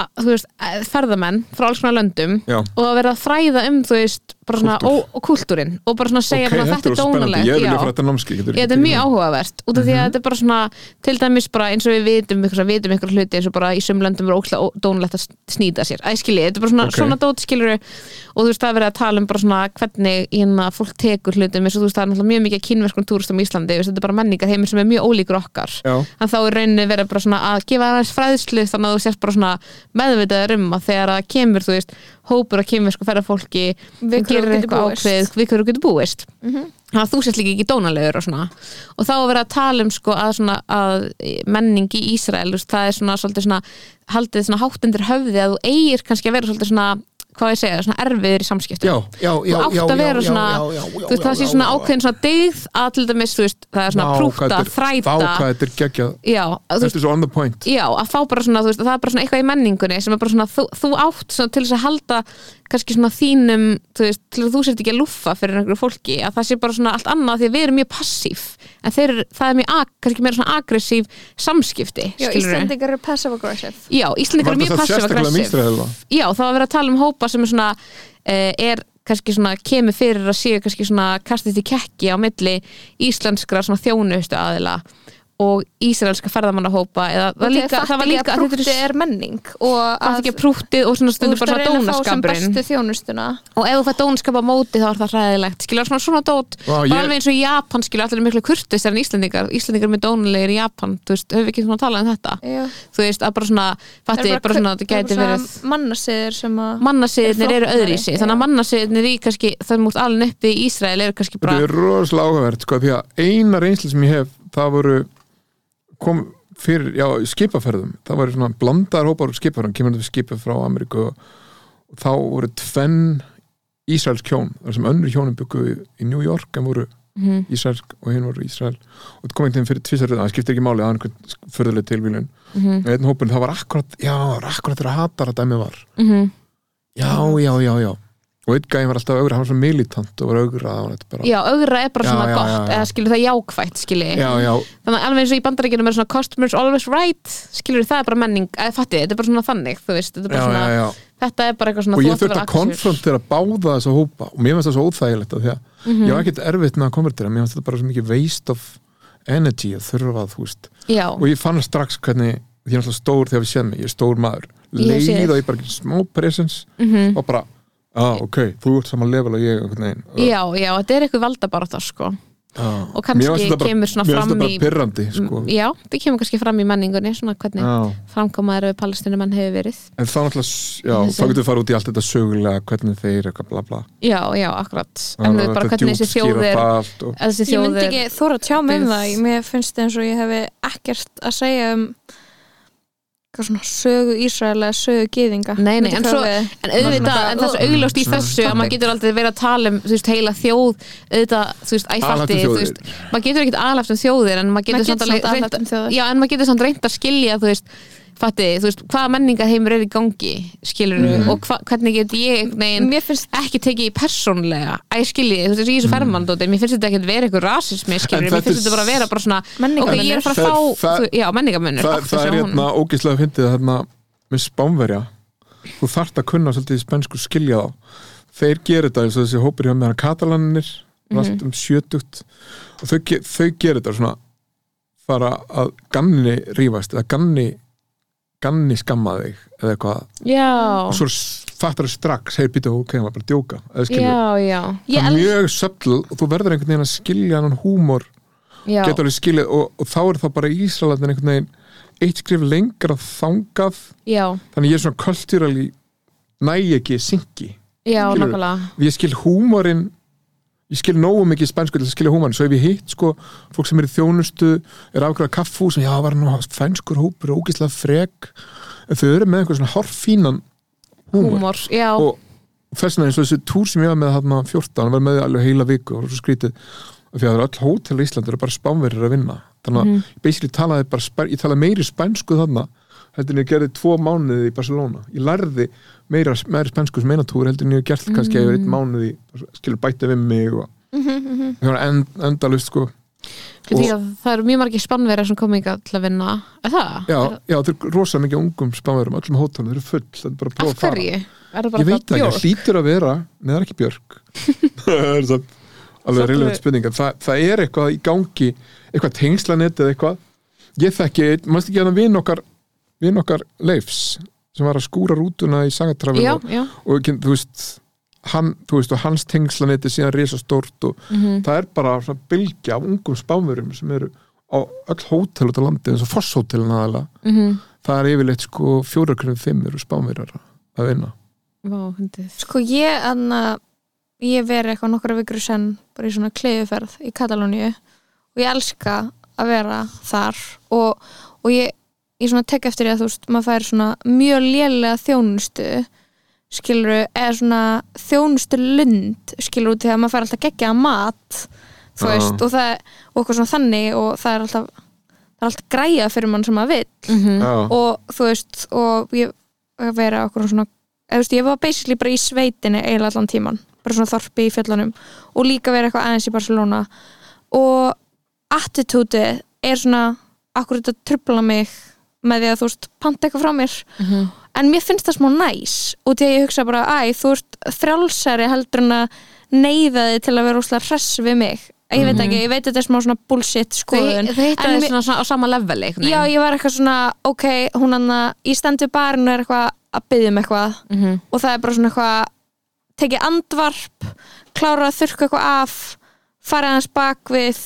B: að, þú veist, að- ferðamenn frá alls konar löndum
D: Já.
B: og að vera að þræða um, þú veist, bara svona
D: Kúltúr.
B: ó, og kultúrin og bara svona segja
D: Ok,
B: bara, þetta er
D: rosa spennandi.
B: dónalegt
D: ég vil
B: já.
D: ég fara um þetta námski
B: Ég, þetta er mjög áhugavert út af
D: Mhm.
B: því að þetta er bara svona til dæmis bara eins og við vitum ykkur, vitum ykkur hluti eins og bara í sumlöndum er ókslega ó- dónlegt að snýta sér æskili, þetta er bara svona,
D: Ok.
B: svona dótskilur og þú veist það er verið að tala um bara svona hvernig hérna fólk tekur hlutum eins og þú veist það er náttúrulega mjög mikið kynverkum túristum í Íslandi þú veist, þetta er bara menningar heimur sem er mjög ólíkur okkar
D: Já.
B: en þá er rauninni verið bara svona að gefa aðeins fræðslu þannig að þú sérst bara svona meðvitaður um að þegar það kemur, þú veist, hópur að kemur sko
C: Við
B: ferðarfólki sem
C: hverju
B: gerir
C: þú getur búist.
B: eitthvað
C: Mhm.
B: ákveðið við hverju þú getur búist þannig að þú sést líka ekki dónalegur og svona og þá að vera að tala um sko að, svona, að menning í Ísrael þú veist, það er svona svolítið svona haldið svona hátt undir höfði að þú eigir kannski að vera svolítið svona hvað ég segja, svona erfiður í samskiptum
D: já, já, já,
B: þú átt
D: já,
B: að
D: já,
B: vera
D: já,
B: svona
D: já, já, já,
B: þú veist
D: já,
B: það sé
D: já,
B: svona
D: já, já.
B: ákveðin svona dyggð að til dæmis, þú veist, það er svona prúta, þræta
D: Vá, hvað þetta er geggjað
B: já, að þú veist,
D: Þetta er svo on the point
B: já, að fá bara svona, þú veist, að það er bara svona eitthvað í menningunni sem er bara svona, þú, þú átt svona til þess að halda kannski svona þínum, þú veist, til að þú sért ekki að lúffa fyrir einhverju fólki, að það sé bara svona allt annað því að við erum mjög passíf en þeir, eru- það er mjög, ag- kannski meira svona aggressív samskipti,
C: Já,
B: skilurðu.
C: Íslandingar eru passive aggressive.
B: Já, Íslandingar er mjög passiv
D: sérstaklega um
B: aggressív
D: Ísrael
B: já, það var verið að tala um hópa sem er svona eh, er kannski svona, kemur fyrir að séu kannski svona kastið til kekki á milli íslenskra svona þjónustu aðila og ísraelska ferðamannahópa eða það, var líka, það var líka
C: að
B: þetta
C: prútti
B: er
C: er menning og
B: að
C: að
B: ekki prúttið og svona
C: þú
B: stundur bara svona
C: reyna að fá sem
B: dónaskapurinn
C: bestu þjónustuna.
B: og ef þú fætt dónaskap á móti þá er það hræðilegt skilja svona svona dót
D: Vá,
B: bara
D: ég-
B: alveg eins og í Japan skilja allir eru miklu kurtis en Íslandingar Íslandingar eru með dónulegir í Japan þú veist, höfum við ekki svona talað um þetta
C: Já.
B: þú veist, að bara svona, fattið bara svona það gæti verið
C: mannasiðir sem að
B: mannasiðirnir
C: Eru
B: eru
C: flóknari,
B: öðri í sig þannig að
C: já.
B: mannasiðirnir í kannski, það múst alveg uppi í Ísrael eru kannski
D: Þetta
B: bara
D: er rosalega áhugavert sko, því að eina reynsli sem ég hef það voru kom fyrir, já, í skipaferðum það voru svona blandaðar hópar úr skipaferðum kemur þetta skipið frá Ameríku og þá voru tvenn Ísraelsk hjón, þar sem önnur hjónum byggu í, í New York en voru
B: Mhm.
D: Ísraelsk og hinn voru Ísrael og þetta kom einhvern veginn fyrir tvisaröðan, það skiptir ekki máli það er einhvern förðuleg tilvílun
B: Mhm.
D: og einn hópurinn, það var akkurat, já, það var akkurat þegar hatar að dæmið var
B: Mhm.
D: já, já, já, já og einn gæði var alltaf augra, hann var svona militant og var augra og þetta bara
B: já, augra er bara
D: Já,
B: svona
D: já, já,
B: gott
D: já.
B: eða skilur það jákvætt, skilur
D: já, já,
B: þannig að alveg eins og í bandarækjunum er svona customers always right, skilur það er bara menning eða fattið, þetta er bara svona þannig, þú veist þetta er
D: já,
B: bara, svona,
D: já, já.
B: Þetta er bara eitthvað svona þú
D: og ég
B: átt að
D: þurfti
B: vera
D: að
B: aggressive.
D: konfrontera báða þessa hópa og mér finnst það svo óþægilegt af því að
B: Mhm.
D: ég var ekkert erfitt með að konvertera mér finnst þetta bara svo mikið waste of energy að þurfa að þú veist
B: já,
D: og ég fann strax hvernig ég er alltaf stór þegar við séð mig, ég er stór maður
B: Ég sé þig.
D: leið og ég bara ekki smá presence
B: Mhm.
D: og bara ah, ok, þú ert saman level og ég einhvern veginn
B: já, já, þetta er eitthvað valdabarata sko
D: ah.
B: og kannski
D: Mér fannst þetta
B: kemur svona
D: mér
B: fram
D: fannst þetta
B: í-
D: bara pirrandi sko.
B: já, það kemur kannski fram í menningunni svona hvernig
D: Já.
B: framkomaður við palestinumenn hefur verið
D: en þá náttúrulega s- já,
B: Þessi-
D: þá getur við farið út í allt þetta sögulega hvernig þeir eitthvað bla bla
B: já, já, akkurat en þú veit bara hvernig þessi þjóð er
D: þjóðir
B: að þessi
C: Ég
B: þjóð
C: myndi
B: er
C: ekki þóra tjá með
B: byggð.
C: það Ég- Mér finnst eins og ég hefi ekkert að segja um eitthvað svona sögu Ísrael eða sögu gyðinga
B: Nei, nei,
C: Myndi
B: en
C: hvað
B: svo-
C: við-
B: en auðvitað, en það er svo augljóst í þessu að maður getur aldrei verið að tala um, þú veist, heila þjóð auðvitað, þú veist, æfaldi,
D: Alhættu
B: þú
D: þjóðir.
B: veist maður getur ekkert aðlæft um þjóðir en maður
C: Maður
B: getur samt
C: getur
B: alveg
C: samt
B: reynt
C: aðlæft um þjóðir.
B: já, en maður getur samt reynt að skilja, þú veist fatti, þú veist, hvaða menningarheimur er í gangi skilur
D: Mhm.
B: og hva, hvernig get ég einhvern veginn
C: Mér finnst
B: ekki tekið í persónlega að ég skilji, þið, þú veist, þessi í þessu fermandóti mér finnst þetta ekki vera eitthvað rasismi, skilur
D: Mhm. En
B: mér
D: þetta
B: finnst
D: er
B: þetta bara að vera bara svona ok,
C: Menningarmunur.
B: ég er að fara að
D: Það-
B: fá,
D: það-
B: þú, já, menningamönnur
D: það, það er hérna ógeðslega fyndið að hérna, með spánverja þú þart að kunna svolítið í spænsku skilja þá þeir gerir þetta eins og þessi hópur hjá meðan katalanir
C: Mhm.
D: mm -hmm. allt um sjötugt og þau, ge- þau gerir þetta svona fara að ganni rífast eða ganni ganni skamma þig eða eitthvað og
B: já,
D: svo fattar þau strax hei býta ok, maður bara að djóka eða skilur
B: já, já,
C: Ég
D: það er
C: elska
D: mjög söfl og þú verður einhvern veginn að skilja hann húmor
B: já
D: geta alveg skilið og, og þá er það bara Ísraelandin einhvern veginn eitt skrif lengra þangað
B: Já,
D: þannig ég er svona kultúrali næ ekki syngi
B: já,
D: Skilurðu?
B: nokkulega
D: ég skil húmorinn ég skil nógu mikið spænsku til að skilja húmorinn svo ef ég hitt sko fólk sem er í þjónustu er afgræða kaffu sem já var nú fænskur hópur og ógislega frek en þau eru með einhver svona horfínan húmor
B: Húmor, já,
D: og þess vegna eins og þessi túr sem ég var með þarna 14 var með því alveg heila viku og svo skrítið af því að það eru öll hótel í Íslandi eru bara spánverðir að vinna þannig að
B: Mhm.
D: mm. basically talaði bara spæ, ég talaði meiri spænsku þarna heldur en ég gerði tvo mánuði í Barcelona ég lærði meira, meira spænsku sem eina túr heldur en ég hef gert kannski að ég
B: Mhm.
D: verið mánuði skilur bæta við mig og það var end, endalust sko
B: Fyrir því að það eru mjög margir spannverðar sem komið ekki til að vinna Er það?
D: já, já það eru rosa mikið af ungum spánverðum öllum hótelum, þeir eru full það er bara að
B: Af
D: prófa að fara
B: hverju? Er það bara
D: ég veit
B: það
D: það ekki, það hlýtur að vera nei það er ekki Björk það er samt alveg
B: Samt
D: relevant
B: alveg-
D: spurning en það, það er eitthvað í gangi eitthvað tengslanet eða eitthvað ég þekki, einn- mannstu ekki að vinn okkar vinn okkar Leifs sem var að skúra rútuna í Sagatrafið
B: Já,
D: og,
B: já,
D: og ekki- þú veist hann, þú veist, og hans tengslanet er síðan risa stort og
B: Mhm, Mm.
D: það er bara svona bylgja af ungum spámurum sem eru á öll hótel út á landi eins og fosshótelin aðalega
B: mhm
D: það er yfirleitt sko fjórakröfum fimm eru spámurar að vinna
B: Vá, hundið
C: Sko ég anna, ég verið eitthvað nokkra vikur senn bara í svona kleiðuferð í Katalóníu og ég elska að vera þar og, og ég, ég svona tek eftir því að þú veist maður fær svona mjög lélega þjónustu skilur eða svona þjónustu lund skilur út því að maður fær alltaf geggjaða mat þú
D: Já.
C: veist og það og eitthvað svona þannig og það er alltaf það er alltaf græja fyrir mann sem maður vill
B: Mhm.
D: Já.
C: og þú veist og ég að vera okkur svona eða, þú veist, ég var basically bara í sveitinni eiginlega allan tíman, bara svona þorpi í fjöllunum og líka vera eitthvað aðeins í Barcelona og attitúti er svona akkur þetta trubla mig með því að þú veist panta eitthvað frá mér
B: Mhm.
C: en mér finnst það smá næs og því að ég hugsa bara æ, þú ert frjálsari heldur en að neyða þig til að vera úslega hress við mig ég veit ekki, ég veit þetta er smá svona bullshit skoðun
B: Þau hitta
C: En
B: það
C: mér-
B: svona svona á sama level einhvern
C: Já,
B: veginn.
C: ég var eitthvað svona, ok, hún hann að ég stend við barinn og er eitthvað að byggja um eitthvað
D: Mm.
B: Mhm.
C: og það er bara svona eitthvað tekið andvarp, klára að þurrka eitthvað af, farið hans bak við,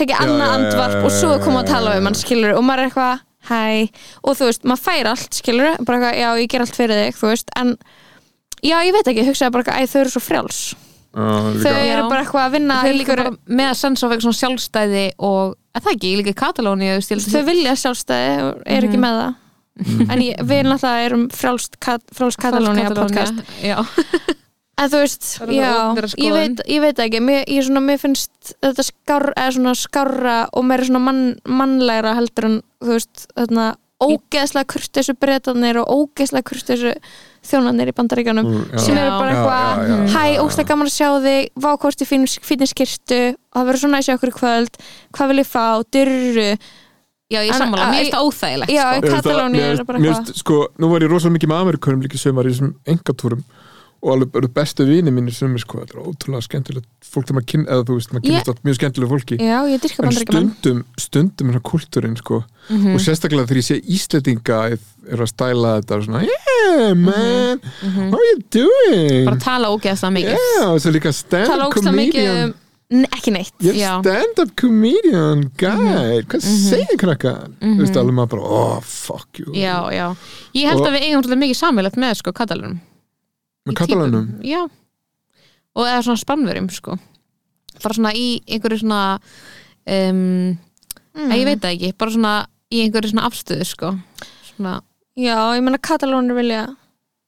C: tekið annað
D: já, já,
C: andvarp
D: já,
C: og svo
D: já,
C: er komið að
D: já,
C: tala
D: já,
C: við
D: já.
C: mann, skilur og maður er eitthvað, hæ, og þú veist maður fær allt, skilur, bara eitthvað, já, ég ger allt fyrir þig, þú veist, en já, ég veit ekki, hugsaði bara eitthvað, æ, þau eru svo frjáls
D: Þau
C: þau
B: Já.
C: eru bara eitthvað að vinna
B: Þau
C: í
B: líka
C: einhverju-
B: bara með að sensa á eitthvað svona sjálfstæði og, að það ekki, líka í Katalóni
C: þau vilja sjálfstæði og er
B: Mhm.
C: ekki með það en ég, við náttúrulega erum frálst, kat, frálst Katalónia podcast
B: Já,
C: en þú veist,
B: Það er
C: já,
B: það opinbera
C: ég
B: skoðun.
C: veit, ég veit ekki mér, ég svona, mér finnst þetta skár, eða svona skárra og meira svona mann, mannlegra heldur en þú veist, þarna ógeðslega kurtessu bretanir og ógeðslega kurtessu þjónanir í bandaríkjanum
D: Mm, já.
C: sem eru bara
D: Já,
C: eitthvað
D: já, já, já,
C: hæ,
D: já, já.
C: ógeðslega gaman að sjá þig vákosti fínir skirtu og það verður svona að sjá okkur í kvöld hvað vil ég fá, dyrru
B: já, ég
C: En-
B: sammála, mér
C: að-
B: finnst það óþægilegt
C: já,
B: sko.
C: Katalóníu er bara
D: sko, nú var ég rosalega mikið með Amerikunum líka sem var í þessum engatúrum og alveg eru bestu vini mínir sem er sko, þetta er ótrúlega skemmtilegt fólk þegar maður kynna, eða þú veist, maður
C: Ég-
D: kynast yeah. mjög skemmtilegu fólki,
C: Já, ég dyrka
D: en
C: bandaríkjumann
D: stundum stundum er það kultúrin sko
C: Mhm.
D: og sérstaklega þegar ég sé Íslendinga er að stæla þetta og svona yeah
C: Mhm.
D: man, how are you doing
B: bara tala ógeðslega mikið
D: yeah, og svo líka
C: Tala
D: stand-up
C: ógstlega mikið
D: comedian
C: um N- Ekki neitt
D: ég
B: Já. Mhm.
D: er stand-up comedian guy, hvað segir krakkar þú veist alveg maður bara, oh fuck you
B: já, já, ég held
D: Mm. Og-
B: að við eigum svolítið mikið samilegt með sko katalunum
D: með
B: Í
D: katalanum
B: típum, já, og eða svona spannverjum sko, bara svona í einhverju svona um, mm. ég veit það ekki, bara svona í einhverju svona afstöðu sko svona,
C: Já, ég menna katalónur vilja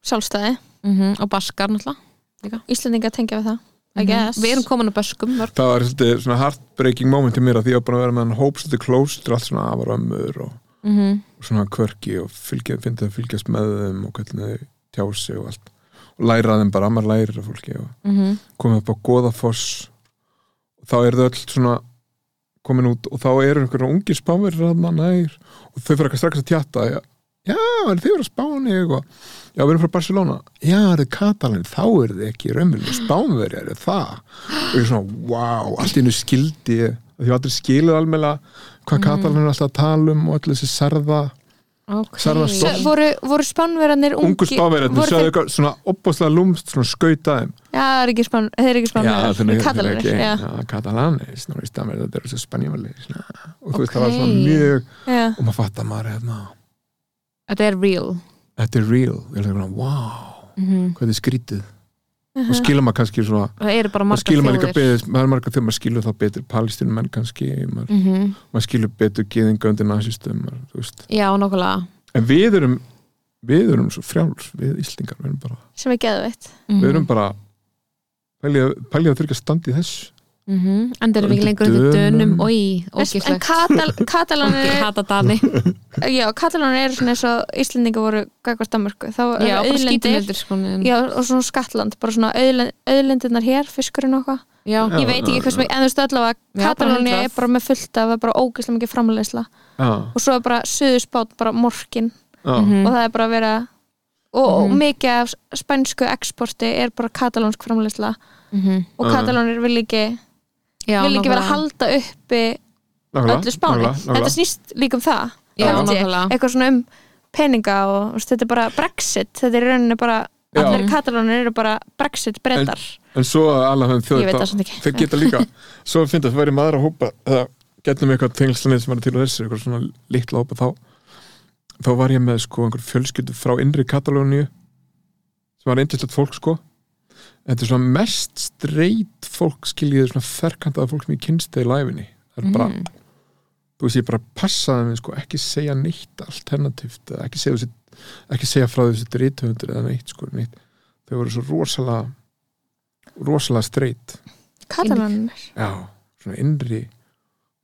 C: sjálfstæði
B: mm og baskar náttúrulega
C: Íslendinga tengja við það
D: Mhm.
C: I guess
B: við erum komin að böskum mörg
D: það var svolítið svona heartbreaking moment í mér að því ég var bara að vera með hann hóp svolítið close allt svona afar og ömmur og
B: mm
D: og svona kvörki og fylgja, finna að fylgjast með þeim og hvernig þau tjá sig og allt og læra þeim bara, maður lærir af fólki og
B: -hmm.
D: komið upp á Goðafoss og þá eru þau öll svona komin út og þá eru einhverja ungir spánverið þarna nær og þau fyrir eitthvað strax að tjata já, já er þið verið að spáni og, já, við erum frá Barcelona já, er þið Katalin, þá er þið ekki raunmjölu spánverið, er þið það og ég er svona, wow, allt í hennu skildi ég, því ég hef aldrei skilið alveg hvað Katalin er alltaf að tala um og allir þessi sarða
B: ok
D: Sarfa stolt.
C: S- Voru, voru spánverðanir
D: ungu
C: ungi
D: spáverðarnir
C: voru
D: sjáðu
C: þeir-
D: eitthvað svona opbóðslega lúmst svona skautaði
C: Já, það er ekki spán- þeir eru ekki spánverðar Katalanir, já,
D: já, katalanir svona í stamir, þetta eru svo spanjóli svona, og þú veist, það var
B: Ok.
D: svona mjög
C: já
D: og maður fattar maður hérna
B: þetta er real
D: þetta er real, ég er svona, wow
B: mm
D: hvað þið skrítið,
C: Uh-huh.
D: og skilur maður kannski svona
B: það eru bara
D: maður
B: margar
D: skilur maður líka
B: þjóðir.
D: betur, maður er margar þjóð maður skilur þá betur palestinum menn kannski maður,
B: Mhm.
C: Mm.
D: maður skilur betur geðinga undir nasistum maður, þú veist.
B: já, nokkulega
D: en við erum við erum svo frjáls, við Íslingar við erum bara,
C: sem er geðveitt
D: við
C: Mm.
D: erum bara pælja, pælja að þurfa að standa í þessu
B: mm en þeir eru
D: Undir
B: ekki lengur undir dönum
D: Dönum.
B: og í
C: En
B: ógislegt
C: katal, katalanir
B: Ég
C: eru-
B: hata Dani
C: Já, katalanir eru svona eins og Íslendinga voru gagvart Danmarku þá eru
B: Já, bara
C: auðlindir
B: skítumeldur sko en-
C: Já, og svona skattland, bara svona auðlind, auðlindirnar hér, fiskurinn og eitthvað
B: Já,
D: Já.
C: Ég veit ekki hvers mikið, en þú veist allavega
B: Já, bara
C: Katalónia er
B: hundrað.
C: bara með fullt af bara ógeðslega mikið framleiðsla
D: já,
C: og svo er bara suðuspát bara morkin
D: já,
B: Mhm.
C: og það er bara að vera og, og
D: Mm-hmm.
B: Mhm.
C: mikið af spænsku exporti er bara katalónsk framleiðsla
B: Mhm.
C: og
D: Já.
C: katalónir vil ekki
B: Já,
C: vil ekki vera að
B: nákvæmlega.
C: halda uppi
D: nákvæmlega,
C: öllu spáni,
D: nákvæmlega, nákvæmlega.
C: þetta snýst líka um það
B: Já,
C: held ég.
B: nákvæmlega.
C: eitthvað svona um peninga og þú veist, þetta er bara Brexit, þetta er í rauninni bara
D: Já.
C: allir katalónir eru bara Brexit breytar
D: en svo að alveg
C: Ég veit það
D: þjóðir
C: samt ekki.
D: þeir geta líka svo að finna að það væri maður að hópa eða getum eitthvað tengslanir sem er til og þessu eitthvað svona litla hópa þá þá var ég með sko einhver fjölskyldu frá innri Katalóníu sem var eindislegt fólk sko en þetta er svona mest streit fólk skiljiði svona ferkantaða fólk sem ég kynst þegar í læfinni það er bara,
B: Mhm.
D: þú veist ég bara passaði mig sko ekki segja neitt alternativt eða ekki segja, þessi, ekki segja frá þessi drítöfundur eða neitt sko neitt. þau voru svo rosalega rosalega streit
C: katalónir
D: já, svona innri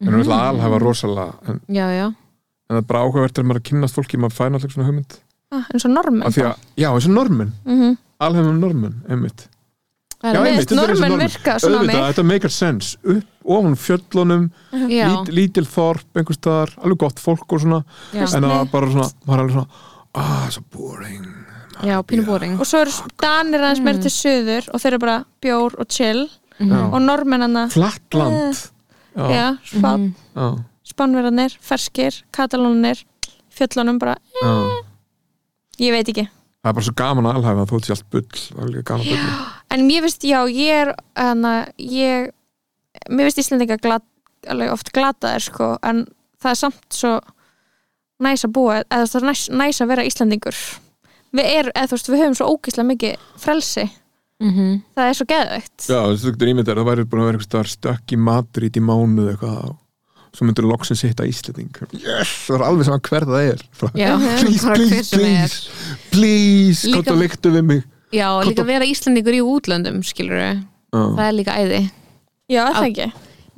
D: en hún vil alhafa rosalega en,
B: Já, já
D: en það er bara áhugavert þegar maður er að kynnast fólki maður fær náttúrulega svona hugmynd
C: ah, eins og Mhm. normen
D: af því að, já, eins og normin, alhefum normin einmitt,
B: Það
D: Já,
B: er-
D: einmitt,
C: Mér finnst
D: þetta er eins og
C: normen
D: normen.
C: virka svona á
D: auðvitað,
C: mig
D: þetta make sense upp ofan fjöllunum,
B: Já,
D: lít, lítil þorp einhvers staðar, alveg gott fólk og svona
B: já,
D: en það var
C: Nei.
D: bara svona, maður er alveg svona ah, so boring
B: já pínubóring
C: og svo eru danir aðeins meira
D: Mm.
C: til söður og þeir eru bara bjór og chill
B: Mhm.
D: Já.
C: og normennanna
D: flatt land já, já, Mhm.
C: ja, spá,
D: já,
C: spánverðanir, ferskir katalónir, fjöllunum bara ég veit ekki
D: það er bara svo gaman að alhafa þú veist ég allt bull, það er líka gaman að bull
C: en mér finnst, já, ég er hana, ég, mér finnst Íslendinga glat, alveg oft glataðir sko, en það er samt svo næs að búa, eða það er næs, næs að vera Íslendingur við er, eða þú veist, við höfum svo ógíslega mikið frelsi,
B: Mhm.
C: það er svo geðveikt
D: Já, þú getur ímyndar, það væri búin að vera einhvers staðar stökk í Madrid í mánuð eitthvað svo myndur loksins hitta Íslanding Yes, það er alveg saman hver það er Bara,
B: Já,
D: Please,
B: bara hver
D: please,
B: sem er.
D: please Please,
B: Líka-
D: hvað það líktu við mig
B: Já, og líka vera Íslendingur í útlöndum skilur
D: Já,
B: það er líka æði
C: Já, er það ekki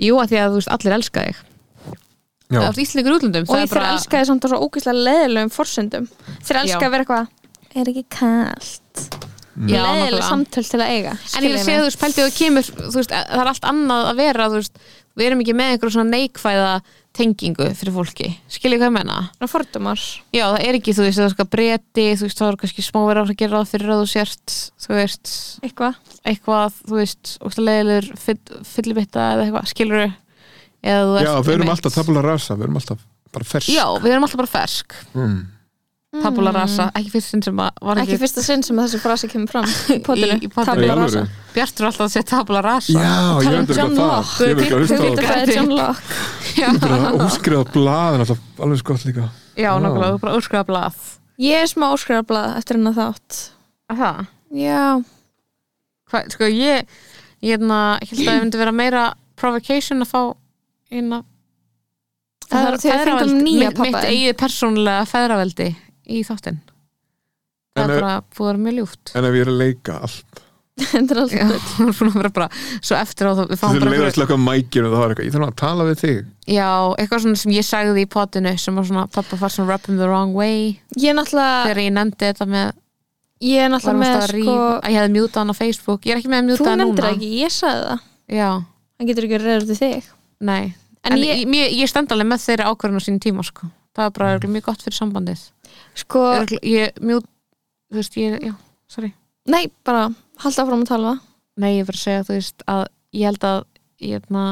B: Jú, að því að þú veist, allir elska þig
D: já,
B: Það er Íslendingur í útlöndum
C: og
B: það
C: ég
B: er
C: þeir
B: bara-
C: elska þér samt á svo ógíslega leðilegum forsendum þeir elska
B: Já.
C: að vera eitthvað er ekki kallt
D: Mm.
B: Já,
C: leðileg
B: nákvæmlega.
C: samtöl til að eiga
B: En ég
C: skiljiði
B: sé
C: mig.
B: þú veist, pæltið og kemur þú veist, það er allt annað að vera þú veist, við erum ekki með einhverjum svona neikvæða tengingu fyrir fólki skilja hvað ég menna
C: Það er fordumar
B: já það er ekki þú veist það er breti þú veist það er kannski smáverið að gera það fyrir að þú sért þú veist
C: Eitthvað
B: eitthvað þú veist ógstalegilegur fyllibitta eða eitthvað skilur eða þú
D: Já,
B: ert
D: við erum
B: einmitt-
D: alltaf tabla rasa, við erum alltaf bara fersk
B: já við erum alltaf bara fersk
D: mm.
B: tabula rasa ekki fyrst sinn sem að var
C: Ekki
B: ekki,
C: fyrsta sinn sem þessi frasi kemur fram í potinu,
B: Í- í potinu.
D: Í
C: tabla
D: alvöru?
C: rasa
B: Bjartur er alltaf að segja tabula rasa
D: Já,
C: Tala
D: ég
C: um
D: veit ekki
C: John
D: að það
C: Locke.
D: Ég veit ekki að
C: Þú
D: hlusta
C: getur
D: á
C: fæðið
B: Græti.
C: John Locke
D: bara óskriðað blað en alltaf alveg skott líka
B: já nokkulega þú er bara úrskriða blað
C: Ég er smá óskrifablað eftir hennar þátt
B: það
C: Já,
B: Hva, sko ég ég hérna, ég held að það myndi vera meira provocation að fá hérna
C: Það er- þegar
B: feðraveldi-
C: fengum nýja
B: mitt-
C: pabba
B: mitt
C: þinn.
B: eigið persónulega feðraveldi í þáttinn það
D: En
B: er
D: ef-
B: bara búið að vera mjög ljúft
D: En ef ég er að leika allt
C: þetta er alltaf
B: Já, hún er búin að vera bara svo eftir á það við fáum
D: Þú
B: bara
D: leiðast
B: einhverju-
D: slökka mækir og það var eitthvað Ég þarf að tala við þig
B: já, eitthvað svona sem ég sagði í potinu sem var svona pappa far svona rub him the wrong way
C: Ég er náttúrulega,
B: þegar ég nefndi þetta með,
C: ég er
B: var
C: náttúrulega
B: með
C: með
B: að
C: sko,
B: rífa að ég hefði mjútað hann á Facebook ég er ekki með
C: Þú
B: að mjúta hann
C: nefndir
B: núna
C: það ekki, ég sagði það
B: já,
C: Hann getur ekki reyður til þig
B: nei
C: En,
B: en,
C: ég,
B: ég, ég, ég stend alveg með þeirra ákvörðun á sín tíma sko. það er bara
D: Mm.
B: örugglega mjög gott fyrir sambandið
C: sko,
B: Örugglega- ég mjög þú veist, ég, já, sorry
C: nei, bara halda áfram að tala
B: nei, ég var að segja, þú veist, að ég held að ég hefna,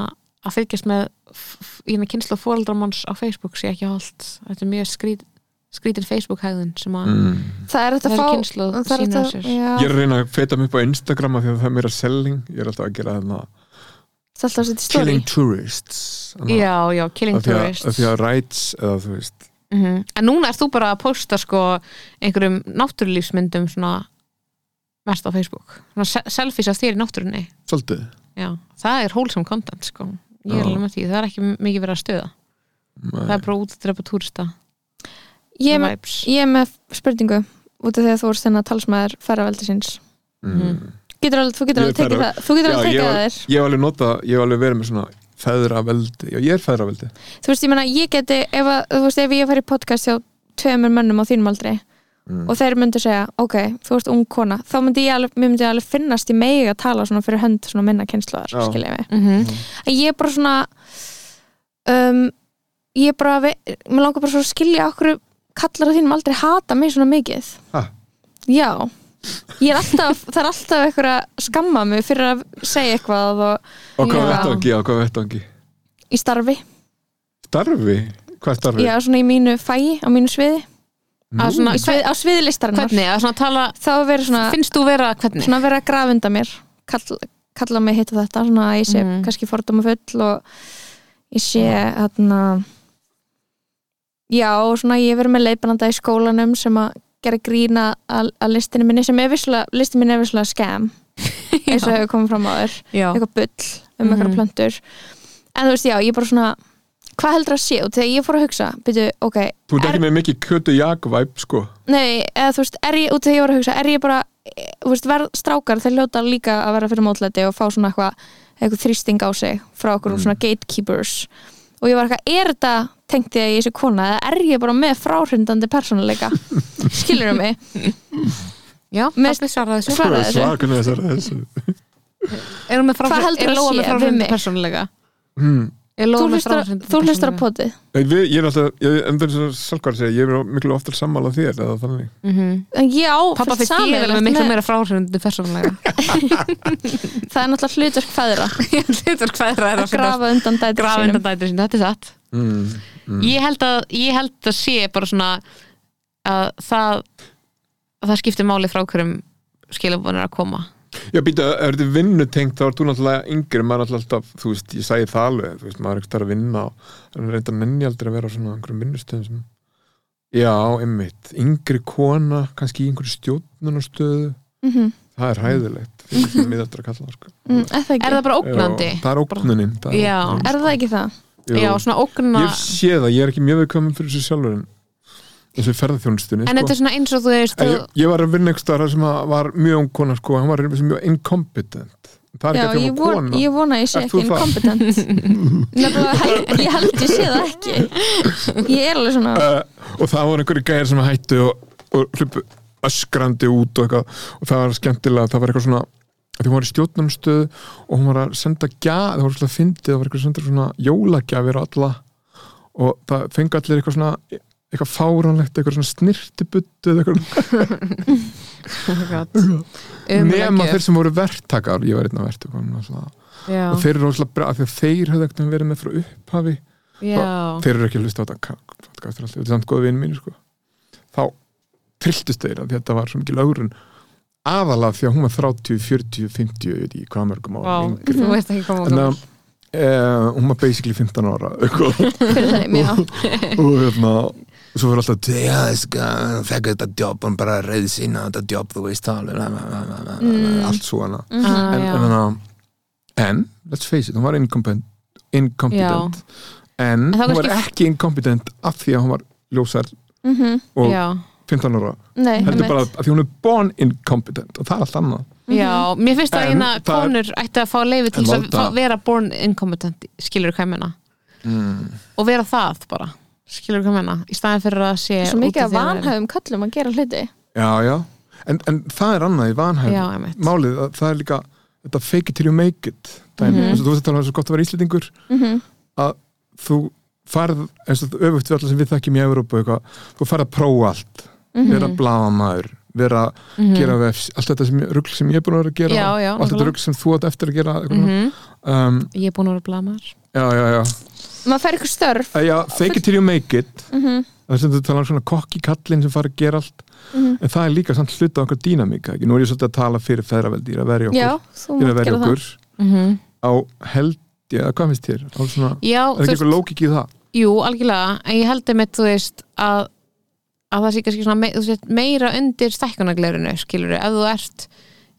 B: að fylgjast með f- f- ég hefna kynslu fóreldramanns á Facebook sé ekki holdt, þetta er mjög skrít skrítin Facebook-hæðin sem að
D: mm.
C: Það er þetta að
B: það er
C: fá
B: kynslu
C: Það er
B: sína á
C: þetta,
B: sér
C: já,
D: Ég er að reyna að feta mig upp á Instagrama því að það er meira selling Ég er alltaf að gera þarna
C: það er alltaf að setja í story
D: Killing tourists Þannig
B: já, já, killing
D: að- af því að- af
B: tourists
D: Því að rights eða þú veist
B: mm en núna ert þú bara að posta sko einhverjum náttúrulífsmyndum svona mest á Facebook svona se- selfies af þér í náttúrunni
D: Svolítið
B: Já, það er wholesome content sko Ég er
D: Já.
B: alveg með því, það er ekki mikið verið að stöða
D: Mm.
B: Það er bara út að drepa túrista
C: Ég er með-
B: vibes
C: ég er með spurningu út af því að þú voru stenna talsmaður ferraveldi síns
D: mm.
C: getur alveg, Þú getur
D: Ég er
C: alveg tekið
D: ferra-
C: það Þú getur
D: Já,
C: alveg
D: ég
C: tekið
D: var-
C: það þér
D: Ég hef alveg nota, ég hef alveg verið með svona feðraveldi, já ég er feðraveldi
C: Þú veist, ég meina, ég geti ef, að, þú veist, ef ég fær í podcast hjá tveimur mönnum á þínum aldri
D: Mm.
C: og þeir myndu segja, ok, þú veist ung kona þá myndi ég alveg, mér myndi alveg finnast í megi að tala svona fyrir hönd svona minna kynsluðar
D: Já.
C: skilja mig.
B: mm -hmm.
C: En ég er bara svona um, ég er bara ve- mér langar bara svo að skilja okkur kallar á þínum aldrei hata mig svona mikið
D: Ha?
C: Já Ég er alltaf, það er alltaf eitthvað að skamma mig fyrir að segja eitthvað og
D: Og hvað
B: Já.
D: vettvangi, á hvað vettvangi
C: í starfi,
D: Starfi? Hvað er starfi?
C: já svona í mínu fæi á mínu sviði,
B: að svona,
C: í sviði á sviði listarinnar
B: Hvernig, að svona tala
C: þá er verið svona,
B: Finnst þú vera hvernig?
C: svona verið að grafa undan mér kalla, kalla mig hitt og þetta svona að ég sé
B: Mhm.
C: kannski fordóma full og ég sé hérna já og svona ég hef verið með leipananda í skólanum sem að gera grína að, að listinu minni sem er visslega, listin minni er visslega skam eins og hefur komið fram á þér
B: Já,
C: eitthvað bull um mm. eitthvað
B: Mhm.
C: plöntur en þú veist já, ég er bara svona hvað heldur að sé og þegar ég fór að hugsa byrju, ok,
D: Þú ert ekki með mikið kjötu jakvæp sko
C: nei, eða þú veist er ég, út þegar ég var að hugsa, er ég bara e, þú veist, verð strákar, þeir hljóta líka að vera fyrir mótlæti og fá svona eitthvað eitthvað þrýsting á sig frá okkur
D: Mm.
C: svona gatekeepers og ég var eitthvað, er þetta tengt ég að ég sé kona eða er ég bara með fráhrindandi persónuleika skilur mig
B: já
C: Mér-
B: pabbi svaraði þessu
C: Svaraði þessu.
D: Svakun er þessu
B: Erum við
C: Hvað
B: fráhrund,
C: heldurðu
B: er
C: að
B: Lóa með
C: sé við
B: fráhrund
C: mig?
B: persónulega?
D: mm.
B: Er
C: þú
B: Lóa með
C: hlustar,
B: fráhrund
C: þú hlustar á potið
D: Nei, við, Ég er alltaf, ég, en það er svo sálkvar að segja Ég er miklu oftar sammála þér eða þannig
C: en ég á
B: Pappa
C: fullt
B: Mhm. finnst ég vel
C: sameiginlegt
B: með miklu meira fráhrund persónulega
C: það er náttúrulega hlutverk fæðra
B: Ég hlutur hvað það er að
C: að grafa undan dætur
B: grafa undan dætur sinni, þetta er satt
D: mm.
B: ég held að ég held að sé bara svona að það að það skiptir máli frá hverjum skilabunir að koma
D: Já, býta, ef þetta er vinnutengt þá er þú náttúrulega yngri, maður er náttúrulega alltaf þú veist, ég sagði það alveg, þú veist, maður er ekki þar að vinna og þannig reynda nenni aldrei að vera á svona einhverjum vinnustöðum sem Já, einmitt, yngri kona kannski í einhverju stjórnunarstöðu
C: mm -hmm.
D: það er hæðilegt fyrir svona miðaldra kalla sko.
C: mm, er, það ekki?
B: er það bara ógnandi?
D: Já, það er ógnunin það er
B: Já.
D: ógnunin,
C: er það ekki það?
D: sko.
B: já, svona ógnuna
D: Ég sé það, ég er ekki mjög viðkvæmum fyrir þessu sjálfur en þessu ferðarþjónustunni
B: en þetta er svona eins og þú veist
D: En ég, ég var að vinna einhvers staðar sem að var mjög ung kona sko, hann var einhvers mjög incompetent það er
C: Já,
D: ekki að
C: ég,
D: það var
C: von,
D: kona
C: ég vona að ég sé
D: Ert
C: ekki
D: þú það?
C: inkompetent Nefnilega, hel- ég held ég sé það ekki Ég er alveg svona
D: uh, og það voru einhverju gæðir sem hættu og, og hlupu öskrandi út og, eitthvað, og það var skemmtilega, það var eitthvað svona því hún var í stjórnumstöð og hún var að senda gjafir, það var svolítið að fyndið það var eitthvað að senda svona jólagjafir á alla og það fengi allir eitthvað svona eitthvað fáránlegt, eitthvað svona snirtibuttu eða eitthvað nema þeir sem voru verktakar ég var einn af verktakarnum náttúrulega.
B: Já,
D: og þeir eru rosalega bra, af því að þeir höfðu ekkert um verið með frá upphafi
B: já,
D: þeir eru ekki að hlusta á þetta podcast er alltaf, þetta er samt góð vinn mínu sko. þá trilltust þeir að þetta var svo mikil augrun aðalega því að hún var 30, 40, 50 ég veit ekki hvað mörgum ára
B: Vá, þú veist ekki koma
D: en að Uh, hún var basically 15 ára eitthvað.
C: fyrir þeim, já
D: og hérna svo fyrir alltaf já, sko, hún fekk þetta jobb hún bara reyði sína þetta jobb þú veist það alveg, la, la, la, la, la,
C: Mm.
D: allt svona
B: Ah,
D: en,
B: já.
D: en, en, en let's face it, hún var incompetent, incompetent. en
B: En þá
D: hún var
B: kannski-
D: ekki incompetent af því að hún var ljósar
C: mm
D: og
B: já,
D: 15 ára
C: Nei,
D: heldur
C: einmitt.
D: bara af því hún er born incompetent og það er allt annað
B: já, mér finnst að
D: En
B: eina
D: það er-
B: konur ætti að fá leifi til
D: En
B: þess að
D: láta-
B: fá- vera born incompetent skilur hvað ég menna
D: mm.
B: og vera það bara, skilur hvað ég menna í staðin fyrir að sé
C: svo
B: út
C: mikið
B: af
C: að
B: því að-
C: vanhæfum kallum að gera hluti
D: já, já, en, en það er annað í
B: já,
D: vanhæf
B: emitt
D: málið, að, það er líka þetta fake it till you make it dæmi,
C: Mhm.
D: eins og þú veist að tala um svo gott að vera íslendingur
C: Mhm.
D: þú farð, eins og öfugt við allar sem við þekkjum í Evrópu og eitthvað, þú farð að prófa allt
B: Mhm.
D: vera blaðamaður, vera
C: Mhm.
D: gera vefs, allt þetta sem, rugl sem ég er búin að vera að gera
B: Já, já,
D: allt þetta
B: nákvæmlega.
D: rugl sem þú átt eftir að gera mm
C: Mhm.
B: -hmm.
D: um,
B: ég er búin að vera blamar
D: já, já, já,
C: maður fær ykkur störf
D: Æ, já fake it till you make it
C: mm -hmm.
D: það er sem þú talar um svona kokki kallinn sem fara að gera allt
C: Mhm.
D: en það er líka samt hluta okkar dýnamíka ekki? nú er ég svolítið að tala fyrir feðraveldi, ég er að verja okkur
C: já, þú
D: ég er að
C: mátt
D: verja
C: gera það
D: okkur á held, já, hvað finnst þér? Á svona,
B: Mhm. já,
D: er ekki eitthvað lókik í það?
B: Jú, algjörlega, en ég held einmitt, þú veist, að, að það sé kannski svona me, þú veist, meira undir stækkunaglerinu, skilur ef þú ert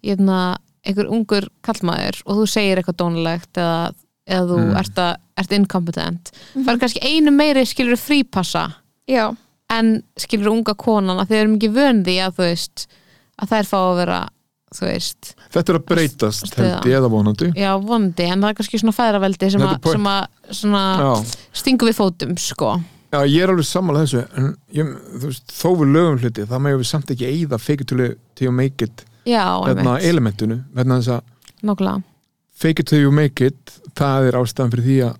B: eitna, einhver ungur kallmaður og þú segir eitthvað dónulegt eða, eða þú
D: Mm.
B: ert, að, ert incompetent það er kannski einu meiri skilur frípassa
C: já,
B: en skilur unga konan að þið erum ekki vön því að þú veist að þær fá að vera, þú veist
D: Þetta er að breytast,
B: Stuða.
D: held ég, eða vonandi
B: já, vondi, en það er kannski svona fæðraveldi sem,
D: Þetta er
B: að-
D: point.
B: sem að svona
D: Já,
B: stingu við fótum, sko
D: já ég er alveg sammála þessu en ég, þú veist, þó við lögum hluti það meðjum við samt ekki eigða fake it till you- till you make it
B: já,
D: hérna elementinu hérna þess að
B: nokkulega
D: fake it till you make it það er ástæðan fyrir því að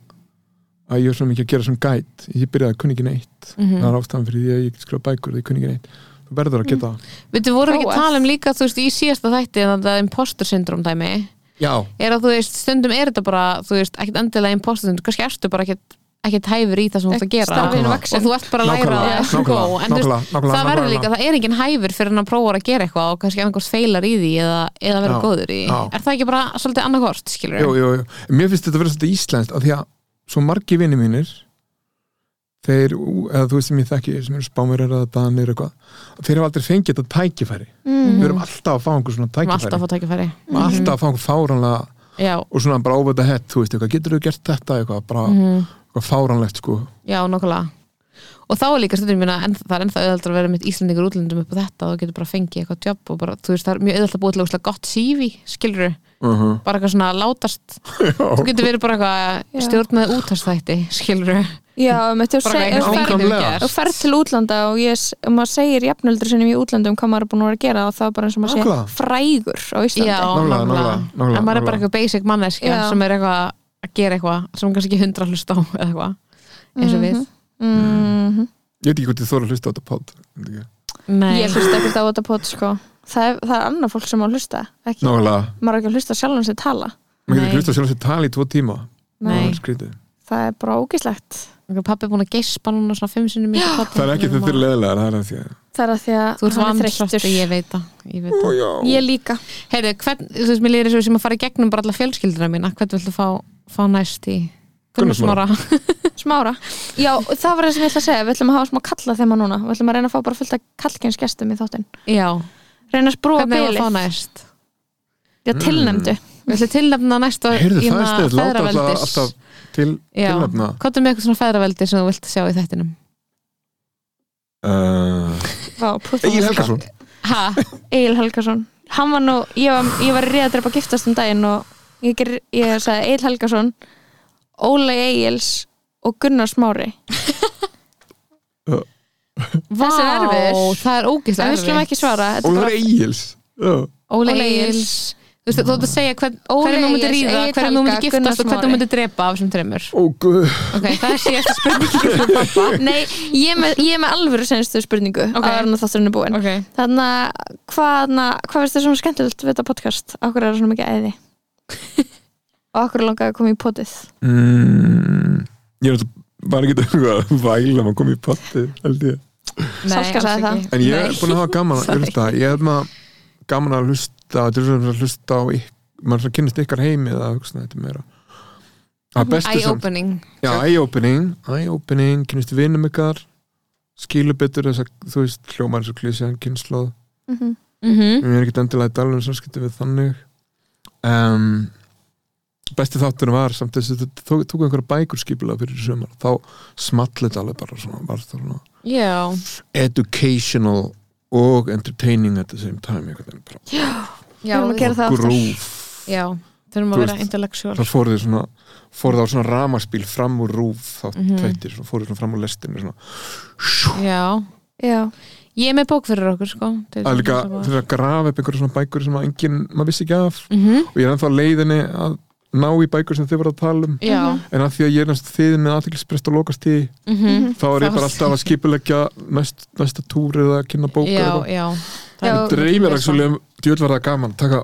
D: að ég er svona mikið að gera svona gæt ég byrjaði að kunni ekki neitt
B: Mhm.
D: það er ástæðan fyrir því að ég skrifa bækur og ég kunni ekki neitt þú verður að
B: Mhm.
D: geta það
B: Við þú vorum ekki að
C: Prófað.
B: tala um líka, þú veist, í síðasta þætti en það er imposter syndrom dæmi
D: já,
B: er að þú veist, stundum er þetta bara þú veist, ekkert endilega imposter syndrom, kannski ertu bara ekkert, ekkert hæfur í það sem þú ert að
C: Ekki
B: gera
C: starfinu
D: Nákvæmlega.
B: og
C: vaksin
B: þú ert bara að læra
D: nákvæmlega,
B: það
D: nákvæmlega,
B: Go, en þú veist,
D: nákvæmlega, nákvæmlega
B: það verður líka,
D: nákvæmlega.
B: það er enginn hæfur fyrir hann að prófa að gera eitthvað og kannski annarkvort feilar í því eða, eða verður
D: Já,
B: góður í því
D: já.
B: er það ekki bara svolítið annarkvort, skilur
D: jú, jú, jú. mér finnst þetta að vera svolítið íslenskt af því að svo margi vini mínir þeir, ú- eða þú veist sem ég þekki sem eru spámurir eða danir eitthvað þeir hafa aldrei fengið þetta tækifæri við erum alltaf að fá einhver svona
B: við erum Mhm. alltaf að
D: tækifæri
B: fá tækifæri
D: Við erum alltaf að fá einhver fáranlega
B: já,
D: og svona bara over the head, þú veist, eitthvað, getur þú gert þetta eitthvað, bara
B: mhm.
D: eitthvað fáranlegt sko
B: já, nokkulega og þá er líka stundum minna, en það er ennþá auðvitað að vera með Íslandingur útlendum upp á þetta og þú getur bara að fengi eitthvað jobb og bara, þú veist, það er mjög auðvitað að búið til ógeðslega gott CV, skilur
D: uh -huh.
B: bara eitthvað svona látast, þú getur verið bara eitthvað
C: Já.
B: stjórnað útastætti, skilur
C: já, um þetta
B: bara eitthvað
D: ferð-
B: sem þú
D: Nákvæmlega.
B: gerst.
C: og ferð til útlanda og ég, s- og maður segir jafnöldur sinni í útlandum hvað maður er búin að vera að gera og það er bara eins og maður sé
D: Nákvæmlega.
C: frægur á Íslandi
B: já,
D: Nákvæmlega, nákvæmlega, nákvæmlega,
B: en maður er bara
D: nákvæmlega.
B: eitthvað basic manneskja
C: Já.
B: sem er eitthvað að gera eitthvað sem kannski ekki hundra hlust á eða eitthvað eins og við
C: Mhm.
D: ég veit ekki hvort ég þóra að hlusta á þetta pod
B: Nei,
C: ég hlusta ekkert á þetta pot sko. það er, það er annað fólk sem á að hlusta ekki,
D: nákvæmlega,
C: maður er ekki að hlusta sjálfum sér tala
D: maður getur
B: Nei.
D: ekki hlusta sjálf sér tala í tvo tíma
B: Nei.
D: það er skrítið.
C: það er bara ógislegt
B: pappi er búin að geispa núna svona fimm sinnum í þetta
D: Það er ekki þetta er leðilega, það er að því að
C: það er að því að
B: Þú ert
C: hann er
B: vantröstur,
C: þreyttur
B: ég veit það, ég veit það.
D: Ó, já.
C: ég líka
B: Heyrðu, hvern, þú veist, mér lýðir þessu sem að fara í gegnum bara alla fjölskyldina mína, hvern viltu fá, fá næst í
D: Gunnarsmára.
B: Gunnarsmára?
C: Smára. Já, það var það sem ég ætla að segja. Við ætlum að hafa smá kalla þeim núna. Við ætlum að reyna að fá bara fullt af kallkins gestum í þáttinn.
B: Já,
C: Reyna að sprúa
B: hvernig er að
C: bilið.
B: fá næst?
C: Já,
D: Mm.
C: tilnæmdu.
B: Við ætlum tilnefna næsta
D: Heyrðu, það er
B: hérna,
D: sniðið, láta alltaf,
B: feðraveldis-
D: alltaf til,
B: Já.
D: tilnefna
B: Hvað er með eitthvað svona feðraveldi sem þú vilt sjá í þettinum?
D: uh,
C: Vá, pútt á
D: Egil
C: mig.
D: Helgason
B: Ha?
C: Egil Helgason. Hann var nú, ég var, ég var reyða að drepa giftast um daginn og ég, ger, ég sagði Egil Helgason, Óla Egils og Gunnar Smári.
B: Vá,
C: Þessi er erfiður.
B: það er
C: En
B: ógeðslega
C: við skulum
B: erfið.
C: ekki svara. Þetta er
D: Ólafur
C: bara
D: Egils Já.
B: Óli
C: Óli
B: Eils,
C: Egils.
B: þú veist, þú ert að segja hvern, hverjum þú myndir
C: Ólegis,
B: ríða,
C: Egill
B: hverjum þú myndir
C: Helga,
B: giftast
C: Gunnar
B: og hverjum þú
C: Smári.
B: myndir drepa af þessum þreymur
D: Ó, guð
B: ok, það er síðasta spurningin frá pappa
C: Nei, ég er með, ég er með alvöru senstu spurningu
B: Ok.
C: okay. að þarna þátturinn er búin
B: ok,
C: Þannig að hvað, na, hvað finnst þér svona skemmtilegt við þetta podcast? Akkur er það svona mikið æði? og akkur langaði að koma í potið?
D: mm, Ég er alltaf bara ekki um að væla maður komið í patti held ég
B: nei,
C: Salka
B: alls
C: sagði
B: ekki.
D: En ég er
B: Nei.
D: búin að hafa gaman að hlusta Ég er maður gaman að hlusta Þetta er svona að hlusta á ykk maður er svona að kynnast ykkar heimi eða eitthvað svona, þetta er meira Það er bestu samt
B: eye-opening
D: Já, eye-opening, eye-opening, kynnist vinum ykkar skilur betur þess að þú veist hljómar eins og klísjan kynnslóð
C: Mm
B: mm -hmm.
D: við erum ekkert endilega í dalunum samskipti við þannig um, besti þátturinn var samt þess að þetta tók, tók einhverja bækur skipulega fyrir í sumar þá small þetta alveg bara svona, var það svona
B: já,
D: educational og entertaining at the same time einhvern veginn bara
B: já,
C: Við erum að
B: við-
C: gera það aftur.
D: grúf
B: já þurfum að
D: Þú
B: vera
D: veist,
B: intellectual
D: það fór þið svona fór það á svona ramaspíl fram úr rúf þá mm
B: Mhm.
D: tveitir, svona, fór þið svona fram úr lestinu svona
B: já,
C: Já,
B: ég er með bók fyrir okkur sko til
D: Það er líka
B: þess
D: til að grafa upp einhverja svona bækur sem að enginn, maður vissi ekki af
B: Mhm,
D: og ég er ennþá á leiðinni að ná í bækur sem þið voru að tala um
B: já
C: Mhm.
D: en að því að ég er næst þið með aðtilsprest og lokast í
B: mhm.
D: þá er ég
B: Þá-
D: bara alltaf að skipulegja næst, næsta túr eða að kynna bókur
B: já,
D: og
C: Já,
B: já Það er-
D: dreymir ekki svolítið um djöld var það gaman taka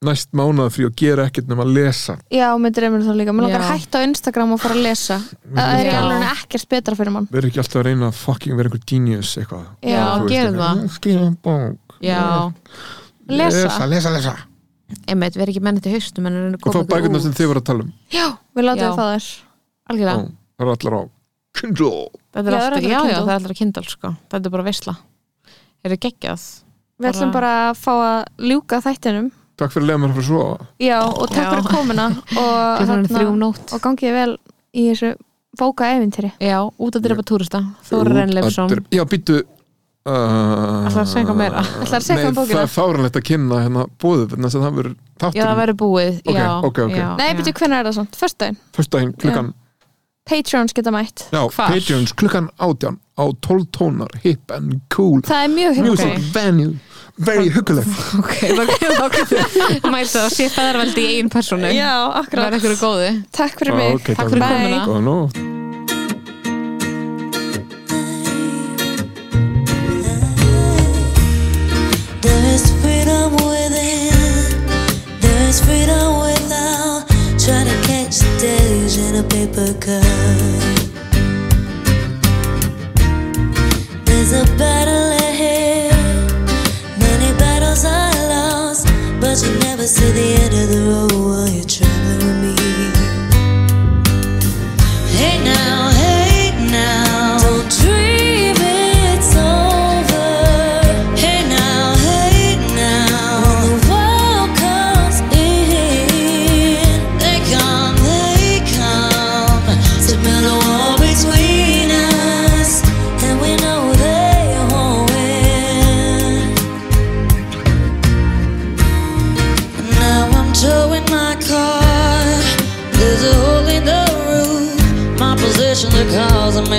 D: næst mánuða frí og gera ekkert nema að lesa
C: já, með dreymur það líka Mér langar
B: Já.
C: að hætta á Instagram og fara að lesa Það er í
B: Já.
C: alveg ekkert betra fyrir mann
D: verður ekki alltaf að reyna að fucking vera einhver genius eitthvað
B: Já,
D: Þú veist,
B: gerum
D: eitthvað,
B: það.
D: "Nú, skrifa um bók,
B: já,
C: Lesa.
D: lesa, lesa
B: einmitt, við erum ekki mennið til haustum en erum
D: og fá
B: komið
D: bækurna sem þið voru að tala um
C: Við látum það
B: Já.
C: það þess
B: algjörlega,
D: Ó, það eru allar á Kindle
B: þetta er
C: Já, það er
B: alltaf,
C: allra
B: já, já,
C: Kindle.
B: það er allra kindal sko, þetta er bara veisla er það geggjað
C: Við ætlum bara að fá að ljúka þættinum
D: Takk fyrir að leiða mér að fara svo
C: Já, og takk
B: Já.
C: fyrir komuna og,
B: klukkan er
C: þarna-
B: þrjú um nótt
C: og gangið vel í þessu bóka efintyri
B: já, út að drepa túrista Þóra Rennleifsson
D: Já, býttu Ætlar
B: Ætlarðu að segja eitthvað meira?
D: Ah.
C: Ætlarðu að segja eitthvað um bókina?
D: Það er fáranlegt að kynna hérna bóðið þannig að það verður um
B: já, það
D: þátturinn
B: verður búið
D: Ok,
B: já,
D: ok, ok.
B: já,
C: Nei,
B: já.
C: byrju, hvernig er það svona? Föstudaginn?
D: Fyrsta hinn klukkan
C: Patreons geta mætt
D: Já,
B: Hvar?
D: Patreons klukkan átján á 12 tónar, hip and cool
C: Það er mjög
D: Music
C: hérna
D: venue, very hugguleg
B: ok, ok, ok mæta og sé fæðarveldi í eigin personu
C: Já,
B: það er
C: akkurat
B: ykkur góði
C: Takk fyrir mig
D: Ok,
B: Takk fyrir
C: Bye.
B: komuna.
D: Góða nótt
E: There's freedom within, there's freedom without. Trying to catch the days in a paper cup. There's a battle ahead, many battles are lost, but you never see the end of the road while you're traveling with me. Hey now, hey now, don't dream it's over. Hey now, hey now, when the world comes in, they come, they come to build a wall between us, and we know they won't win. Now I'm towing my car. There's a hole in the roof. My position the cause of my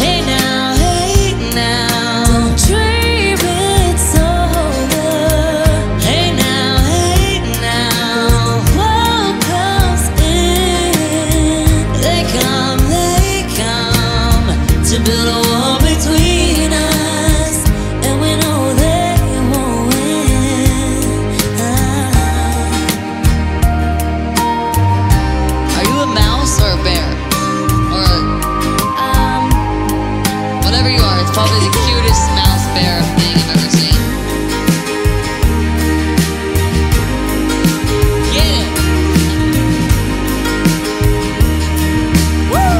E: Hey now, hey now, don't dream it's over. Hey now, hey now, world comes in. They come, they come to build a wall between us, and we know they won't win. Are you a mouse or a bear or a? Um. Whatever you are, it's probably the cutest mouse bear thing I've ever seen. Get it! Woo!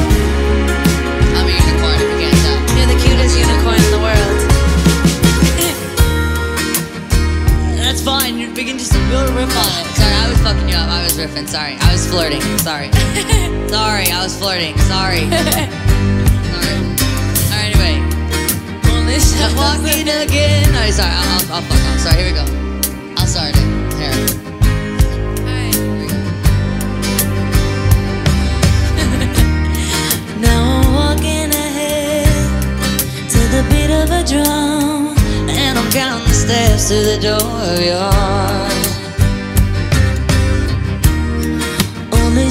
E: I'm a unicorn, if you can't tell. You're the cutest unicorn in the world. That's fine, you're beginning to build a riff on it. Sorry, I was fucking you up. I was riffing, sorry. I was flirting, sorry. sorry, I was flirting, sorry. Alright, anyway. Only walking again. No, sorry, I'll, I'll, I'll fuck off. Sorry, here we go. I'll start it. Here. steps to the door of your heart. Only